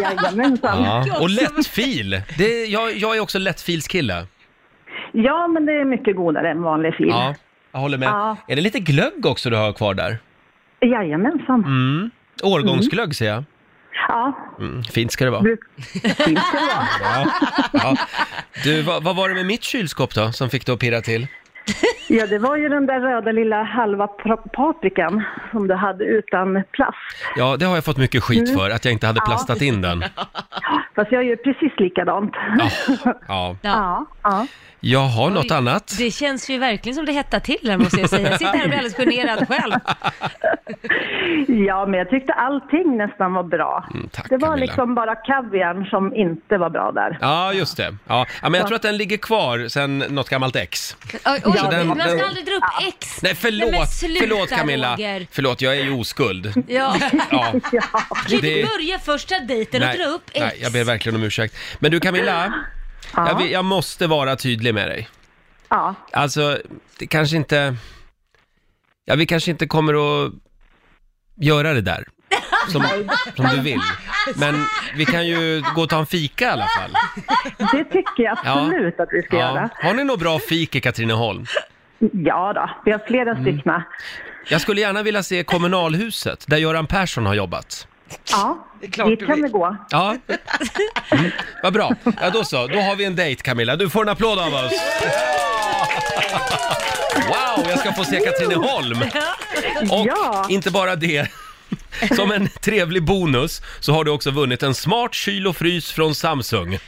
[SPEAKER 5] Jajamensan.
[SPEAKER 1] Ja. Och lättfil! Det, jag, jag är också lättfilskille.
[SPEAKER 5] Ja, men det är mycket godare än vanlig fil.
[SPEAKER 1] Ja, jag håller med.
[SPEAKER 5] Ja.
[SPEAKER 1] Är det lite glögg också du har kvar där?
[SPEAKER 5] Jajamensan.
[SPEAKER 1] Mm. Årgångsglögg ser jag.
[SPEAKER 5] Ja,
[SPEAKER 1] Mm. Fint ska det vara.
[SPEAKER 5] bruk- fint ska det vara.
[SPEAKER 1] Ja. Du, vad, vad var det med mitt kylskåp då som fick dig att pirra till?
[SPEAKER 5] Ja, det var ju den där röda lilla halva pra- paprikan som du hade utan plast.
[SPEAKER 1] Ja, det har jag fått mycket skit
[SPEAKER 5] Mm.
[SPEAKER 1] för, att jag inte hade plastat in den.
[SPEAKER 5] Fast jag gör precis likadant.
[SPEAKER 1] Ja.
[SPEAKER 5] Ja, ja.
[SPEAKER 1] Jaha, något
[SPEAKER 6] Oj,
[SPEAKER 1] annat?
[SPEAKER 6] Det känns ju verkligen som det hettar till här måste jag säga. Jag sitter här och blir alldeles generad själv.
[SPEAKER 8] Ja, men jag tyckte allting nästan var bra.
[SPEAKER 1] Mm, tack,
[SPEAKER 8] det var
[SPEAKER 1] Camilla.
[SPEAKER 8] liksom bara kaviarn som inte var bra där.
[SPEAKER 1] Ja, just det. Ja, ja, men jag tror att den ligger kvar sen något gammalt ex.
[SPEAKER 6] Oj, oj,
[SPEAKER 1] Så den-
[SPEAKER 6] man ska
[SPEAKER 1] den-
[SPEAKER 6] aldrig dra upp ex.
[SPEAKER 1] Nej, förlåt,
[SPEAKER 6] Nej, men sluta,
[SPEAKER 1] förlåt Camilla.
[SPEAKER 6] Roger.
[SPEAKER 1] Förlåt, jag är ju oskuld.
[SPEAKER 6] Ja.
[SPEAKER 1] Ja.
[SPEAKER 6] Kan du inte börja första dejten och
[SPEAKER 1] nej,
[SPEAKER 6] dra upp ex?
[SPEAKER 1] nej, jag ber verkligen om ursäkt. Men du Camilla, jag, vill- jag måste vara tydlig med dig.
[SPEAKER 8] Ja,
[SPEAKER 1] Alltså, det kanske inte... Ja, vi kanske inte kommer att göra det där. Som, som du vill. Men vi kan ju gå och ta en fika i alla fall.
[SPEAKER 8] det tycker jag absolut att vi ska göra.
[SPEAKER 1] Har ni något bra fik i Katrineholm?
[SPEAKER 8] Ja då, vi har flera
[SPEAKER 1] Mm.
[SPEAKER 8] stycken.
[SPEAKER 1] Jag skulle gärna vilja se kommunalhuset, där Göran Persson har jobbat.
[SPEAKER 8] Ja,
[SPEAKER 2] Det är klart
[SPEAKER 8] dit
[SPEAKER 2] du
[SPEAKER 8] kan
[SPEAKER 2] vill.
[SPEAKER 8] vi gå.
[SPEAKER 1] Ja, mm, vad bra. Ja, då så, då har vi en dejt Camilla. Du får en applåd av oss. Wow, jag ska få se Katrineholm! Och
[SPEAKER 8] Ja.
[SPEAKER 1] inte bara det. Som en trevlig bonus så har du också vunnit en smart kyl och frys från Samsung.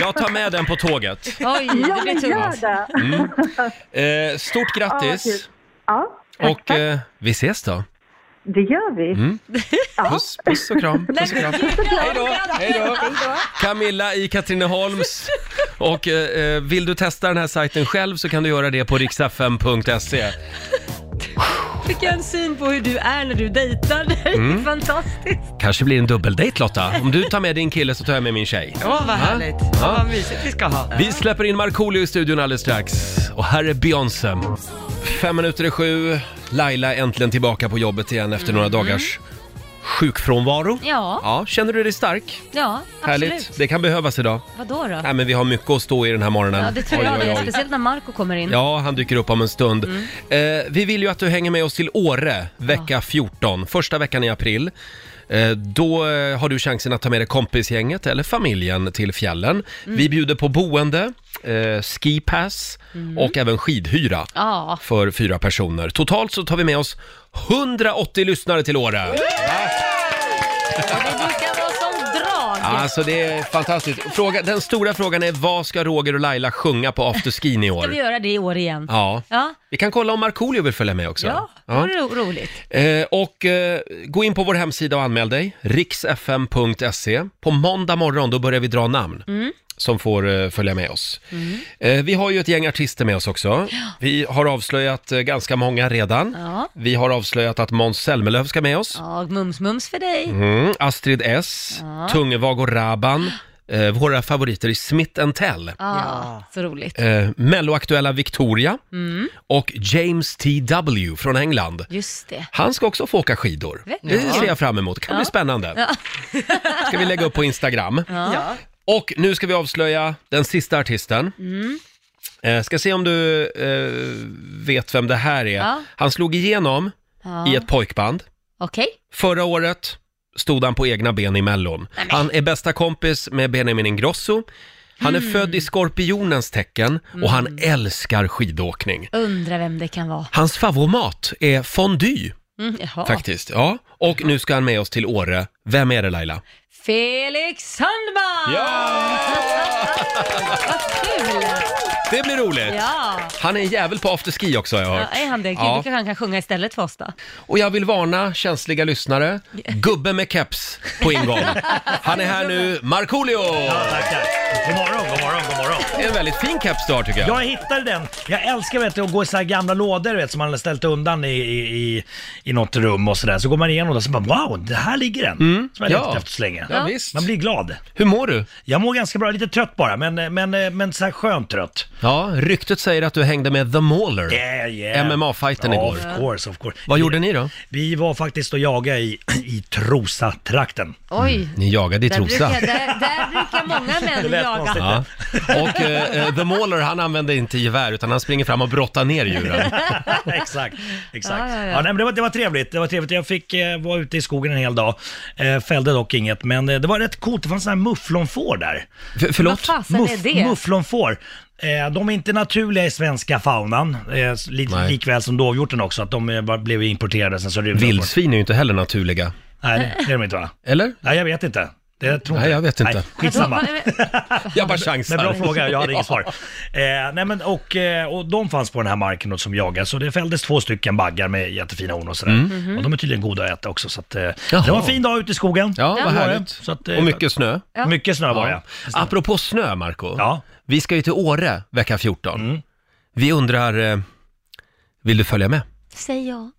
[SPEAKER 1] Jag tar med den på tåget.
[SPEAKER 6] Oj, det
[SPEAKER 8] Ja,
[SPEAKER 6] blir
[SPEAKER 8] men
[SPEAKER 6] tungt.
[SPEAKER 8] gör det.
[SPEAKER 1] Eh, stort
[SPEAKER 8] kul.
[SPEAKER 1] grattis!
[SPEAKER 8] Ja,
[SPEAKER 1] Och eh, vi ses då.
[SPEAKER 8] det gör vi.
[SPEAKER 1] Puss, puss och kram. Puss och kram. Hej då, hej då. Camilla i Katrineholms. Och eh, eh, vill du testa den här sajten själv så kan du göra det på riksfm.se.
[SPEAKER 6] Fick jag en syn på hur du är när du dejtar. Det är
[SPEAKER 1] Mm.
[SPEAKER 6] fantastiskt.
[SPEAKER 1] Kanske blir en dubbeldejt Lotta. Om du tar med din kille så tar jag med min tjej.
[SPEAKER 2] Åh, vad härligt. Ja.
[SPEAKER 1] Ja.
[SPEAKER 2] vad mysigt vi ska ha.
[SPEAKER 1] Vi släpper in Markoolio i studion alldeles strax. Och här är Beyoncé. Fem minuter i sju. Laila är äntligen tillbaka på jobbet igen efter några dagars sjukfrånvaro.
[SPEAKER 6] Mm. Ja,
[SPEAKER 1] Ja, känner du dig stark?
[SPEAKER 6] ja, absolut.
[SPEAKER 1] Härligt. Det kan behövas idag.
[SPEAKER 6] Vadå då?
[SPEAKER 1] Nej, men vi har mycket att stå i den här morgonen.
[SPEAKER 6] Ja, det tror
[SPEAKER 1] Oj,
[SPEAKER 6] jag
[SPEAKER 1] oj,
[SPEAKER 6] det.
[SPEAKER 1] oj.
[SPEAKER 6] Speciellt när Marco kommer in.
[SPEAKER 1] Ja, han dyker upp om en stund. Eh, vi vill ju att du hänger med oss till Åre vecka 14, första veckan i april. Eh, Då eh, har du chansen att ta med dig kompisgänget eller familjen till fjällen. Vi bjuder på boende, eh, skipass och även skidhyra
[SPEAKER 6] Ja.
[SPEAKER 1] för fyra personer. Totalt så tar vi med oss 180 lyssnare till Åre.
[SPEAKER 6] Det brukar vara som drag.
[SPEAKER 1] Alltså det är fantastiskt. Fråga, den stora frågan är vad ska Roger och Laila sjunga på afterskin i
[SPEAKER 6] Ska vi
[SPEAKER 1] år?
[SPEAKER 6] göra det i år igen?
[SPEAKER 1] Ja.
[SPEAKER 6] Ja,
[SPEAKER 1] Vi kan kolla om Markoolio vill följa med också.
[SPEAKER 6] ja. det
[SPEAKER 1] Ja.
[SPEAKER 6] vore ro- roligt.
[SPEAKER 1] Eh, och eh, gå in på vår hemsida och anmäl dig, riksfm.se. På måndag morgon då börjar vi dra namn
[SPEAKER 6] Mm.
[SPEAKER 1] som får eh, följa med oss. Eh, vi har ju ett gäng artister med oss också. Vi har avslöjat eh, ganska många redan.
[SPEAKER 6] Ja.
[SPEAKER 1] Vi har avslöjat att Måns Zelmerlöw ska med oss.
[SPEAKER 6] Ja, mums-mums för dig.
[SPEAKER 1] Mm, Astrid S, Tungevag och Raban. Eh, våra favoriter i Smith Tell.
[SPEAKER 6] Ja, Mm. så roligt.
[SPEAKER 1] Eh, Melloaktuella Victoria och James T.W. från England.
[SPEAKER 6] Just det.
[SPEAKER 1] Han ska också få åka skidor. Det ser jag fram emot. Det kan bli spännande. ska vi lägga upp på Instagram.
[SPEAKER 2] Ja.
[SPEAKER 1] Och nu ska vi avslöja den sista artisten.
[SPEAKER 6] Mm.
[SPEAKER 1] Eh, ska se om du eh, vet vem det här är.
[SPEAKER 6] Ja.
[SPEAKER 1] Han slog igenom
[SPEAKER 6] Ja.
[SPEAKER 1] i ett pojkband.
[SPEAKER 6] Okej.
[SPEAKER 1] Förra året stod han på egna ben i Mellon. Han är bästa kompis med Benjamin Ingrosso. Han är
[SPEAKER 6] Mm.
[SPEAKER 1] född i skorpionens tecken och han älskar skidåkning.
[SPEAKER 6] Undrar vem det kan vara.
[SPEAKER 1] Hans favoritmat är fondue.
[SPEAKER 6] Mm, jaha.
[SPEAKER 1] Faktiskt, ja. Och nu ska han med oss till Åre. Vem är det Laila?
[SPEAKER 6] Felix Sandman! Vad kul!
[SPEAKER 1] Det blir roligt!
[SPEAKER 6] Ja.
[SPEAKER 1] Han är en jävel på afterski också har jag
[SPEAKER 6] ja,
[SPEAKER 1] hört.
[SPEAKER 6] är han det? Gud,
[SPEAKER 1] Ja.
[SPEAKER 6] då kanske han kan sjunga istället för oss då.
[SPEAKER 1] Och jag vill varna känsliga lyssnare. Gubbe med keps på ingång. Han är här nu, Markoolio!
[SPEAKER 9] Tackar. God morgon, god morgon, god morgon.
[SPEAKER 1] Det är en väldigt fin keps du har tycker jag.
[SPEAKER 9] Jag hittade den. Jag älskar vet du, att gå i så här gamla lådor vet, som man har ställt undan i, i, i, i något rum och sådär. Så går man igenom det och så bara wow, det här ligger den. Som jag
[SPEAKER 1] Mm. Ja.
[SPEAKER 9] letat efter så länge.
[SPEAKER 1] Ja, visst.
[SPEAKER 9] Man blir glad.
[SPEAKER 1] Hur mår du?
[SPEAKER 9] Jag mår ganska bra, lite trött bara, men, men, men så här skönt trött.
[SPEAKER 1] Ja, ryktet säger att du hängde med The Mauler.
[SPEAKER 9] Yeah, yeah.
[SPEAKER 1] MMA-fighten
[SPEAKER 9] Ja,
[SPEAKER 1] igår.
[SPEAKER 9] Of course, of course.
[SPEAKER 1] Vad gjorde ni då?
[SPEAKER 9] Vi var faktiskt och jagade i, i Trosa-trakten.
[SPEAKER 6] Oj.
[SPEAKER 1] Ni jagade i
[SPEAKER 6] Där brukar,
[SPEAKER 1] Trosa.
[SPEAKER 6] där, där brukar många män
[SPEAKER 9] lät
[SPEAKER 6] jaga.
[SPEAKER 9] konstigt.
[SPEAKER 1] Ja. Och eh, eh, The Mauler, han använder inte gevär utan han springer fram och brottar ner djuren.
[SPEAKER 9] exakt, exakt.
[SPEAKER 6] Ja,
[SPEAKER 9] Ja,
[SPEAKER 6] ja, ja.
[SPEAKER 9] nej, men det, var, det var trevligt. Det var trevligt. Jag fick eh, vara ute i skogen en hel dag. Eh, fällde dock inget, men eh, det var rätt coolt. Det fanns sådana här mufflonfår där.
[SPEAKER 1] För,
[SPEAKER 6] Vad
[SPEAKER 1] förlåt?
[SPEAKER 6] fasen är det?
[SPEAKER 9] Mufflonfår. Eh, de är inte naturliga i svenska faunan, eh, li,
[SPEAKER 1] Nej.
[SPEAKER 9] likväl som dovhjorten också, att de eh, bara blev importerade sen så rymde de bort.
[SPEAKER 1] Vildsvin är ju inte heller naturliga.
[SPEAKER 9] Nej, det är de inte va?
[SPEAKER 1] Eller?
[SPEAKER 9] Nej, jag vet inte. Det tror
[SPEAKER 1] Nej, jag vet inte.
[SPEAKER 9] skitsamma.
[SPEAKER 6] Alltså,
[SPEAKER 1] Jag bara chansar.
[SPEAKER 9] Men bra fråga, jag hade inget svar. Eh, nej men, och, eh, och de fanns på den här marken då som jagas så det fälldes två stycken baggar med jättefina horn och sådär.
[SPEAKER 1] Mm.
[SPEAKER 9] Och de är tydligen goda att äta också. Så att, eh, det var en fin dag ute i skogen. Det
[SPEAKER 1] Ja, vad
[SPEAKER 9] var det.
[SPEAKER 1] härligt.
[SPEAKER 9] Så att, eh,
[SPEAKER 1] Och mycket snö.
[SPEAKER 6] Ja.
[SPEAKER 9] Mycket snö var det.
[SPEAKER 1] Ja. Apropå snö, Marco.
[SPEAKER 9] Ja. Mm.
[SPEAKER 1] Vi ska ju till Åre vecka 14. Vi undrar, eh, vill du följa med?
[SPEAKER 6] Säg ja.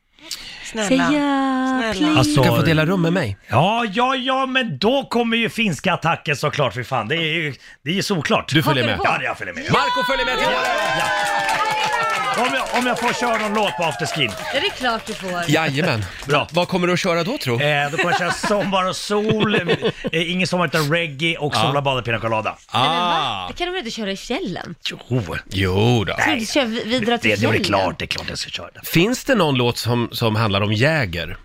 [SPEAKER 6] Säg ja,
[SPEAKER 2] Snälla.
[SPEAKER 6] please.
[SPEAKER 1] Du kan
[SPEAKER 9] Alltså,
[SPEAKER 1] få dela rum med mig.
[SPEAKER 9] ja, ja, ja, men då kommer ju finska attacken såklart för fan. Det är ju det är ju såklart.
[SPEAKER 1] Du följer med.
[SPEAKER 6] Hakar du
[SPEAKER 9] Ja, jag följer med.
[SPEAKER 1] Marco följer med till Åre!
[SPEAKER 9] Om jag, om jag får köra någon låt på afterskin.
[SPEAKER 6] Är det klart du får?
[SPEAKER 1] Jajamän.
[SPEAKER 9] Bra.
[SPEAKER 1] Vad kommer du att köra då, tro?
[SPEAKER 9] Eh, då kommer jag köra Sommar och sol, eh, Ingen sommar utan reggae och Sola bada pina colada.
[SPEAKER 6] Men va? Det kan de väl inte köra i fjällen?
[SPEAKER 9] Jo,
[SPEAKER 1] Ah. Jo då.
[SPEAKER 6] Ska du inte köra vid- vidare till
[SPEAKER 9] det, det
[SPEAKER 6] fjällen?
[SPEAKER 9] är klart, det är klart jag ska köra den.
[SPEAKER 1] Finns det någon låt som, som handlar om jäger?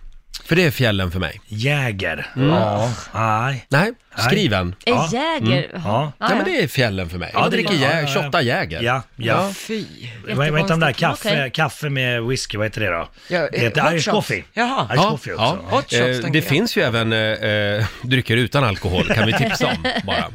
[SPEAKER 1] För det är fjällen för mig. Mm.
[SPEAKER 9] Jäger. Ja. Nej.
[SPEAKER 1] Nej,
[SPEAKER 9] Nej.
[SPEAKER 1] skriv en.
[SPEAKER 6] En
[SPEAKER 9] Ja. Mm.
[SPEAKER 6] jäger?
[SPEAKER 9] Ja.
[SPEAKER 1] Ja, men det är fjällen för mig.
[SPEAKER 9] Ja,
[SPEAKER 1] Jag
[SPEAKER 9] det är
[SPEAKER 1] dricker
[SPEAKER 9] klart. Ja,
[SPEAKER 1] jä-
[SPEAKER 9] ja, ja.
[SPEAKER 1] shotta jäger.
[SPEAKER 9] Ja, ja.
[SPEAKER 2] Fy.
[SPEAKER 9] Vad vad heter de där?
[SPEAKER 6] Jättekonstigt,
[SPEAKER 9] Kaffe,
[SPEAKER 6] men okej.
[SPEAKER 9] kaffe med whisky, vad heter det då?
[SPEAKER 2] Ja,
[SPEAKER 9] det
[SPEAKER 2] eh,
[SPEAKER 9] heter
[SPEAKER 2] hot
[SPEAKER 9] Irish
[SPEAKER 2] shots.
[SPEAKER 9] coffee.
[SPEAKER 2] Jaha.
[SPEAKER 9] Irish coffee också.
[SPEAKER 1] ja.
[SPEAKER 2] Hot shots,
[SPEAKER 1] Eh,
[SPEAKER 2] tänker
[SPEAKER 1] det
[SPEAKER 2] jag.
[SPEAKER 1] finns ju även eh, eh, drycker utan alkohol, kan vi tipsa om bara.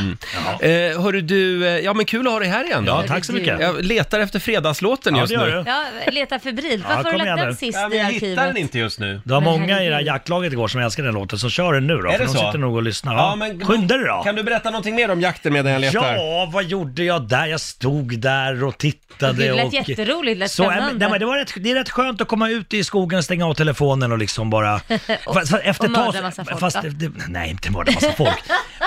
[SPEAKER 1] Mm. Eh, hörru du, eh, ja men kul att ha dig här igen då.
[SPEAKER 9] Ja, tack så mycket.
[SPEAKER 1] Jag letar efter fredagslåten
[SPEAKER 9] Ja,
[SPEAKER 1] just
[SPEAKER 9] det gör
[SPEAKER 1] nu.
[SPEAKER 9] du.
[SPEAKER 6] Ja, leta febrilt. Varför har
[SPEAKER 9] kom
[SPEAKER 6] du
[SPEAKER 9] igen
[SPEAKER 6] lagt
[SPEAKER 9] nu.
[SPEAKER 6] den sist
[SPEAKER 1] Ja,
[SPEAKER 6] i
[SPEAKER 1] men jag hittar den
[SPEAKER 6] arkivet?
[SPEAKER 1] inte just nu.
[SPEAKER 9] Det var
[SPEAKER 6] Men
[SPEAKER 9] många i det här
[SPEAKER 6] herregud.
[SPEAKER 9] jaktlaget igår som älskade den låten, så kör den nu då.
[SPEAKER 1] Är
[SPEAKER 9] för
[SPEAKER 1] det
[SPEAKER 9] de
[SPEAKER 1] så?
[SPEAKER 9] sitter nog och lyssnar. Ja,
[SPEAKER 1] men-
[SPEAKER 9] Skynda dig då!
[SPEAKER 1] Kan du berätta någonting mer om jakten medan jag letar?
[SPEAKER 9] Ja, vad gjorde jag där? Jag stod där och tittade
[SPEAKER 6] Det lät
[SPEAKER 9] och...
[SPEAKER 6] jätteroligt, det lät
[SPEAKER 9] så, nej, men-
[SPEAKER 6] spännande.
[SPEAKER 9] nej, men det, var rätt, det är rätt skönt att komma ut i skogen, stänga av telefonen och liksom bara...
[SPEAKER 6] Och-
[SPEAKER 9] fast, fast efter
[SPEAKER 6] och
[SPEAKER 9] ett tag-
[SPEAKER 6] mörda massa folk,
[SPEAKER 9] fast,
[SPEAKER 6] va?
[SPEAKER 9] det, Nej, inte mörda massa folk.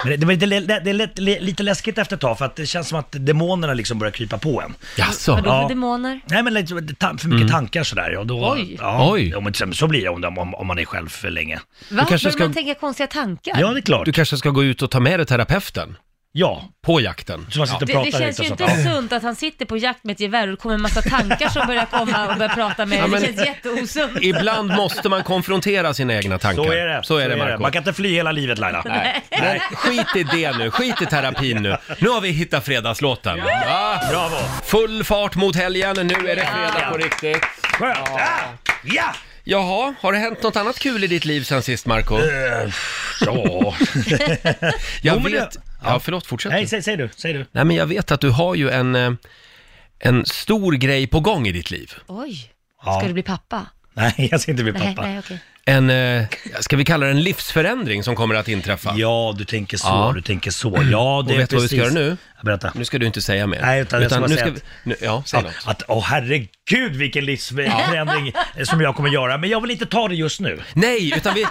[SPEAKER 9] Men det, det, var lite- det, det är lite, lite läskigt efter ett tag för att det känns som att demonerna liksom börjar krypa på en.
[SPEAKER 1] Jaså? Mm.
[SPEAKER 6] Vadå
[SPEAKER 9] Ja.
[SPEAKER 6] för demoner?
[SPEAKER 9] Nej men lite, ta- för mycket tankar sådär. Och då,
[SPEAKER 6] Oj.
[SPEAKER 9] Ja,
[SPEAKER 1] Oj.
[SPEAKER 9] Ja, men så- så blir det om, om, om man är själv för länge.
[SPEAKER 6] Va?
[SPEAKER 1] kanske
[SPEAKER 6] Börjar
[SPEAKER 1] ska-
[SPEAKER 6] man tänka konstiga tankar?
[SPEAKER 9] Ja, det är klart.
[SPEAKER 1] Du kanske ska gå ut och ta med dig terapeuten
[SPEAKER 9] Ja,
[SPEAKER 1] på jakten?
[SPEAKER 9] så man sitter och
[SPEAKER 6] Det,
[SPEAKER 9] pratar
[SPEAKER 6] det
[SPEAKER 9] lite
[SPEAKER 6] känns
[SPEAKER 9] och
[SPEAKER 6] ju
[SPEAKER 9] sånt.
[SPEAKER 6] inte sunt att han sitter på jakt med ett gevär och det kommer en massa tankar som börjar komma och börjar prata med
[SPEAKER 1] Ja, men-
[SPEAKER 6] Det känns jätteosunt.
[SPEAKER 1] Ibland måste man konfrontera sina egna tankar.
[SPEAKER 9] Så är det.
[SPEAKER 1] Så är det, Marco.
[SPEAKER 9] Man kan inte fly hela livet Laila. Nej.
[SPEAKER 1] Men skit i det nu, skit i terapin nu. Nu har vi hittat fredagslåten. Ja.
[SPEAKER 9] Bravo.
[SPEAKER 1] Full fart mot helgen, nu är det fredag på riktigt.
[SPEAKER 9] Skönt. Ah! Ja. ja.
[SPEAKER 1] Jaha, har det hänt något annat kul i ditt liv sen sist, Marco?
[SPEAKER 9] Eh, Ja.
[SPEAKER 1] Jag
[SPEAKER 9] Jo, men det-
[SPEAKER 1] vet... Ja, förlåt, fortsätt
[SPEAKER 9] Nej,
[SPEAKER 1] du.
[SPEAKER 9] säg, säg du. Säg du.
[SPEAKER 1] Nej, men jag vet att du har ju en, eh, en stor grej på gång i ditt liv.
[SPEAKER 6] Oj,
[SPEAKER 9] Ja.
[SPEAKER 6] ska du bli pappa?
[SPEAKER 9] Nej, jag ska inte bli
[SPEAKER 6] Nej,
[SPEAKER 9] pappa.
[SPEAKER 6] nej, okej.
[SPEAKER 1] En, eh, ska vi kalla det en livsförändring som kommer att inträffa?
[SPEAKER 9] Ja, du tänker så.
[SPEAKER 1] Ja.
[SPEAKER 9] Du tänker så. Ja, det
[SPEAKER 1] Och
[SPEAKER 9] är
[SPEAKER 1] vet du vad vi ska
[SPEAKER 9] precis.
[SPEAKER 1] göra nu?
[SPEAKER 9] Berätta.
[SPEAKER 1] Nu ska du inte säga mer.
[SPEAKER 9] Nej, utan jag ska bara
[SPEAKER 1] nu
[SPEAKER 9] säga
[SPEAKER 1] vi,
[SPEAKER 9] att-
[SPEAKER 1] nu, Ja, säg
[SPEAKER 9] Att,
[SPEAKER 1] något.
[SPEAKER 9] att, åh oh, herregud vilken livsförändring som jag kommer göra. Men jag vill inte ta det just nu.
[SPEAKER 1] Nej, utan vi,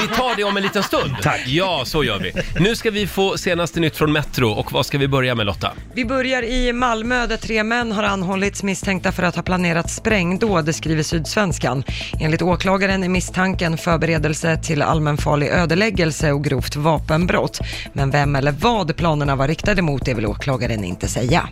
[SPEAKER 1] vi tar det om en liten stund.
[SPEAKER 9] Tack.
[SPEAKER 1] Ja, så gör vi. Nu ska vi få senaste nytt från Metro och vad ska vi börja med Lotta?
[SPEAKER 2] Vi börjar i Malmö där tre män har anhållits misstänkta för att ha planerat sprängdåd, skriver Sydsvenskan. Enligt åklagaren är misstanken förberedelse till allmänfarlig ödeläggelse och grovt vapenbrott. Men vem eller vad planerna var riktade mot det vill åklagaren inte säga.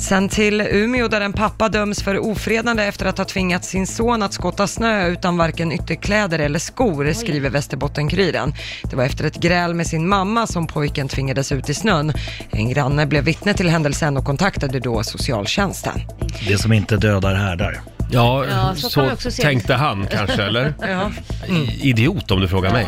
[SPEAKER 2] Sen till Umeå där en pappa döms för ofredande efter att ha tvingat sin son att skotta snö utan varken ytterkläder eller skor, skriver Västerbottenkuriren. Det var efter ett gräl med sin mamma som pojken tvingades ut i snön. En granne blev vittne till händelsen och kontaktade då socialtjänsten.
[SPEAKER 9] Det som inte dödar härdar.
[SPEAKER 1] Ja,
[SPEAKER 6] Ja, så
[SPEAKER 1] så,
[SPEAKER 6] kan man också se
[SPEAKER 1] tänkte han kanske, eller?
[SPEAKER 9] Mm.
[SPEAKER 1] I- Idiot om du frågar mig.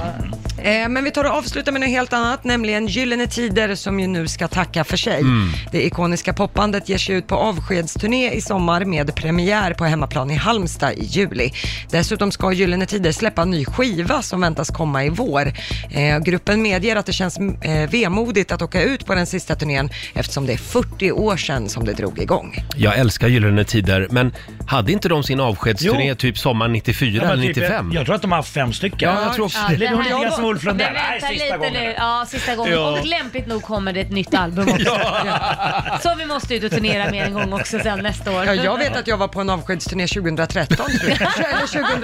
[SPEAKER 2] Eh, men vi tar och avslutar med något helt annat, nämligen Gyllene Tider som ju nu ska tacka för sig.
[SPEAKER 1] Mm.
[SPEAKER 2] Det ikoniska popbandet ger sig ut på avskedsturné i sommar med premiär på hemmaplan i Halmstad i juli. Dessutom ska Gyllene Tider släppa en ny skiva som väntas komma i vår. Eh, gruppen medger att det känns eh, vemodigt att åka ut på den sista turnén eftersom det är 40 år sedan som det drog igång.
[SPEAKER 1] Jag älskar Gyllene Tider, men hade inte de sin avskedsturné
[SPEAKER 9] Jo.
[SPEAKER 1] typ sommaren 94
[SPEAKER 9] Ja, men
[SPEAKER 1] eller
[SPEAKER 9] typ,
[SPEAKER 1] 95?
[SPEAKER 9] Jag, jag tror att de har haft fem stycken.
[SPEAKER 1] Ja, jag tror också det.
[SPEAKER 9] Det är nog lite grann som Ulf Lundell.
[SPEAKER 6] Men vänta
[SPEAKER 9] Nej, sista
[SPEAKER 6] lite
[SPEAKER 9] gången.
[SPEAKER 6] nu. Ja, sista gången.
[SPEAKER 1] Ja.
[SPEAKER 6] Och lämpligt nog kommer det ett nytt album också. ja. Som vi måste ut och turnera med en gång också sen nästa år.
[SPEAKER 2] Ja, jag vet att jag var på en avskedsturné 2013 tror jag. Eller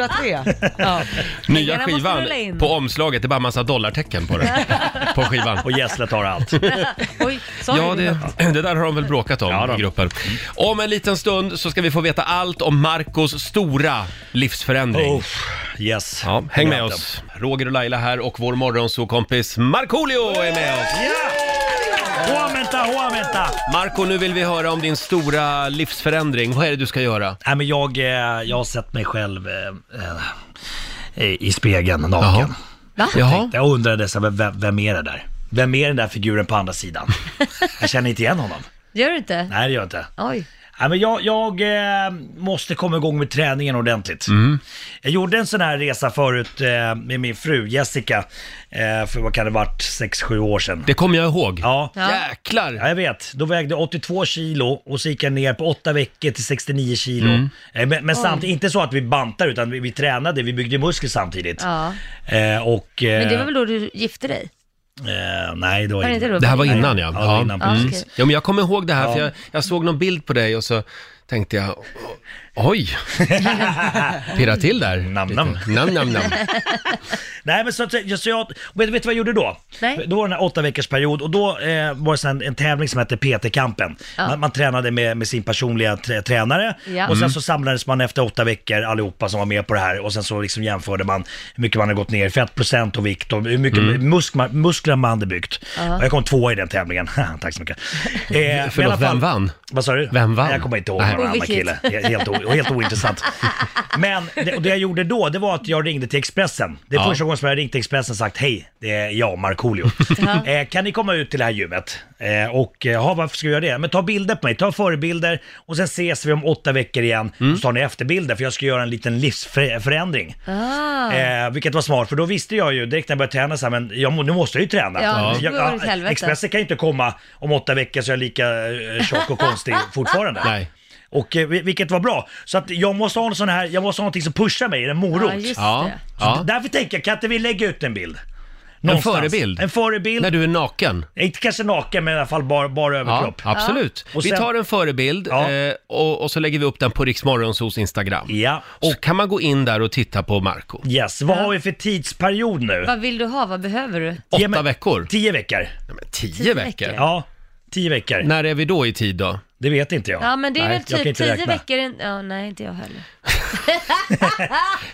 [SPEAKER 2] 2003. Ja.
[SPEAKER 1] Nya
[SPEAKER 6] Pengarna måste
[SPEAKER 1] skivan
[SPEAKER 6] rulla in.
[SPEAKER 1] på omslaget, det är bara massa dollartecken på den. på skivan.
[SPEAKER 9] Och Gessle tar allt.
[SPEAKER 6] Oj, sorry.
[SPEAKER 1] Ja, det, det där har de väl bråkat om
[SPEAKER 9] Ja, då.
[SPEAKER 1] i gruppen. Om en liten stund så ska vi få veta allt om Marcos stora livsförändring.
[SPEAKER 9] Oh, yes.
[SPEAKER 1] Ja, häng med oss. Roger och Laila här och vår morgonsåkompis Markoolio är med oss.
[SPEAKER 9] Ja! Huamenta, huamenta!
[SPEAKER 1] Marco, nu vill vi höra om din stora livsförändring. Vad är det du ska göra?
[SPEAKER 9] Nej men jag, eh, jag har sett mig själv eh, eh, i i spegeln naken. Tänkte, jag undrade så här, vem, vem är det där? Vem är den där figuren på andra sidan? Jag känner inte igen honom.
[SPEAKER 6] Gör du inte?
[SPEAKER 9] Nej, det gör jag inte.
[SPEAKER 6] Oj.
[SPEAKER 9] Nej, men jag jag eh, måste komma igång med träningen ordentligt.
[SPEAKER 1] Mm.
[SPEAKER 9] Jag gjorde en sån här resa förut eh, med min fru Jessica, eh, för vad kan det varit, 6-7 år sedan.
[SPEAKER 1] Det kommer jag ihåg.
[SPEAKER 9] Ja.
[SPEAKER 6] Ja.
[SPEAKER 1] Jäklar!
[SPEAKER 9] Ja, jag vet. Då vägde jag 82 kilo och så gick jag ner på 8 veckor till 69 kilo.
[SPEAKER 1] Mm.
[SPEAKER 9] Eh, Men, men samtidigt, inte så att vi bantar utan vi, vi tränade, vi byggde muskler samtidigt.
[SPEAKER 6] Ja.
[SPEAKER 9] Eh, och... Eh,
[SPEAKER 6] Men det var väl då du gifte dig?
[SPEAKER 9] eh, nej, det var
[SPEAKER 6] Var det
[SPEAKER 9] innan.
[SPEAKER 6] inte då?
[SPEAKER 1] Det här var innan ja.
[SPEAKER 9] Ja, det var innan,
[SPEAKER 6] precis.
[SPEAKER 1] mm.
[SPEAKER 6] Ja, okej.
[SPEAKER 1] ja men jag kommer ihåg det här för
[SPEAKER 9] Ja.
[SPEAKER 1] jag, jag såg någon bild på dig och så tänkte jag, o- oj, pirra till där.
[SPEAKER 9] Nam,
[SPEAKER 1] lite.
[SPEAKER 9] nam.
[SPEAKER 1] nam, nam, nam.
[SPEAKER 9] Nej men så att jag, så jag vet, vet du vad jag gjorde då?
[SPEAKER 6] Nej.
[SPEAKER 9] Då var det den här åtta veckors period och då eh, var det så här en, en tävling som hette PT-kampen.
[SPEAKER 6] Ja.
[SPEAKER 9] Man, man tränade med, med sin personliga trä, tränare
[SPEAKER 6] Ja.
[SPEAKER 9] och sen
[SPEAKER 1] Mm.
[SPEAKER 9] så samlades man efter åtta veckor allihopa som var med på det här och sen så liksom jämförde man hur mycket man hade gått ner i fettprocent och vikt och hur mycket
[SPEAKER 1] Mm.
[SPEAKER 9] musk, muskler man hade byggt. Och jag kom tvåa i den tävlingen. Tack så mycket. Eh, men i alla
[SPEAKER 1] Förlåt, vem vann?
[SPEAKER 9] Vad sa du?
[SPEAKER 1] Vem vann?
[SPEAKER 9] Jag kommer inte ihåg
[SPEAKER 1] Nej.
[SPEAKER 9] någon annan kille.
[SPEAKER 6] Oviktigt.
[SPEAKER 9] Helt, o- helt ointressant. Men det, och det jag gjorde då, det var att jag ringde till Expressen. Det är
[SPEAKER 1] Ja.
[SPEAKER 9] första gången som jag ringt till Expressen och sagt hej, det är jag, Markoolio. eh, kan ni komma ut till det här gymmet? Eh, och eh, "Jaha, varför ska vi göra det? Men ta bilder på mig, ta förebilder och sen ses vi om åtta veckor igen och så tar ni efterbilder för jag ska göra en liten livsförändring.
[SPEAKER 6] Ah.
[SPEAKER 9] Eh, vilket var smart, för då visste jag ju direkt när jag började träna så här, men jag, må- nu måste jag ju träna.
[SPEAKER 6] Ja,
[SPEAKER 9] Jag-
[SPEAKER 6] det går åt helvete.
[SPEAKER 9] Expressen kan ju inte komma om åtta veckor så jag är lika eh, tjock och konstig fortfarande.
[SPEAKER 1] Nej.
[SPEAKER 9] Och eh, vil- vilket var bra. Så att jag måste ha en sån här, jag måste ha någonting som pushar mig, en morot.
[SPEAKER 6] Ja, just
[SPEAKER 1] Ja,
[SPEAKER 6] det.
[SPEAKER 1] ja.
[SPEAKER 9] Därför tänker jag, kan inte vi lägga ut en bild?
[SPEAKER 1] förebild?
[SPEAKER 9] En förebild.
[SPEAKER 1] När du är naken.
[SPEAKER 9] Inte kanske naken men i alla fall bara, bara
[SPEAKER 1] Ja,
[SPEAKER 9] överkropp. Ja.
[SPEAKER 1] absolut.
[SPEAKER 9] Och
[SPEAKER 1] Vi
[SPEAKER 9] sen-
[SPEAKER 1] tar en förebild
[SPEAKER 9] Ja.
[SPEAKER 1] eh, och, och så lägger vi upp den på Riksmorgonsos Instagram.
[SPEAKER 9] Ja.
[SPEAKER 1] Och så kan man gå in där och titta på Marco
[SPEAKER 9] Yes, vad har vi för tidsperiod nu?
[SPEAKER 6] Vad vill du ha? Vad behöver du?
[SPEAKER 9] Ge
[SPEAKER 1] Åtta
[SPEAKER 9] mig-
[SPEAKER 1] veckor?
[SPEAKER 9] Tio veckor.
[SPEAKER 1] Nej, men tio
[SPEAKER 6] tio
[SPEAKER 1] veckor?
[SPEAKER 6] veckor.
[SPEAKER 9] Ja, tio veckor.
[SPEAKER 1] När är vi då i tid då?
[SPEAKER 9] Det vet inte jag.
[SPEAKER 6] Ja men det är
[SPEAKER 9] Nej,
[SPEAKER 6] väl
[SPEAKER 9] jag kan
[SPEAKER 6] typ
[SPEAKER 9] inte
[SPEAKER 6] tio
[SPEAKER 9] räkna.
[SPEAKER 6] veckor. in- Ja, nej inte jag heller.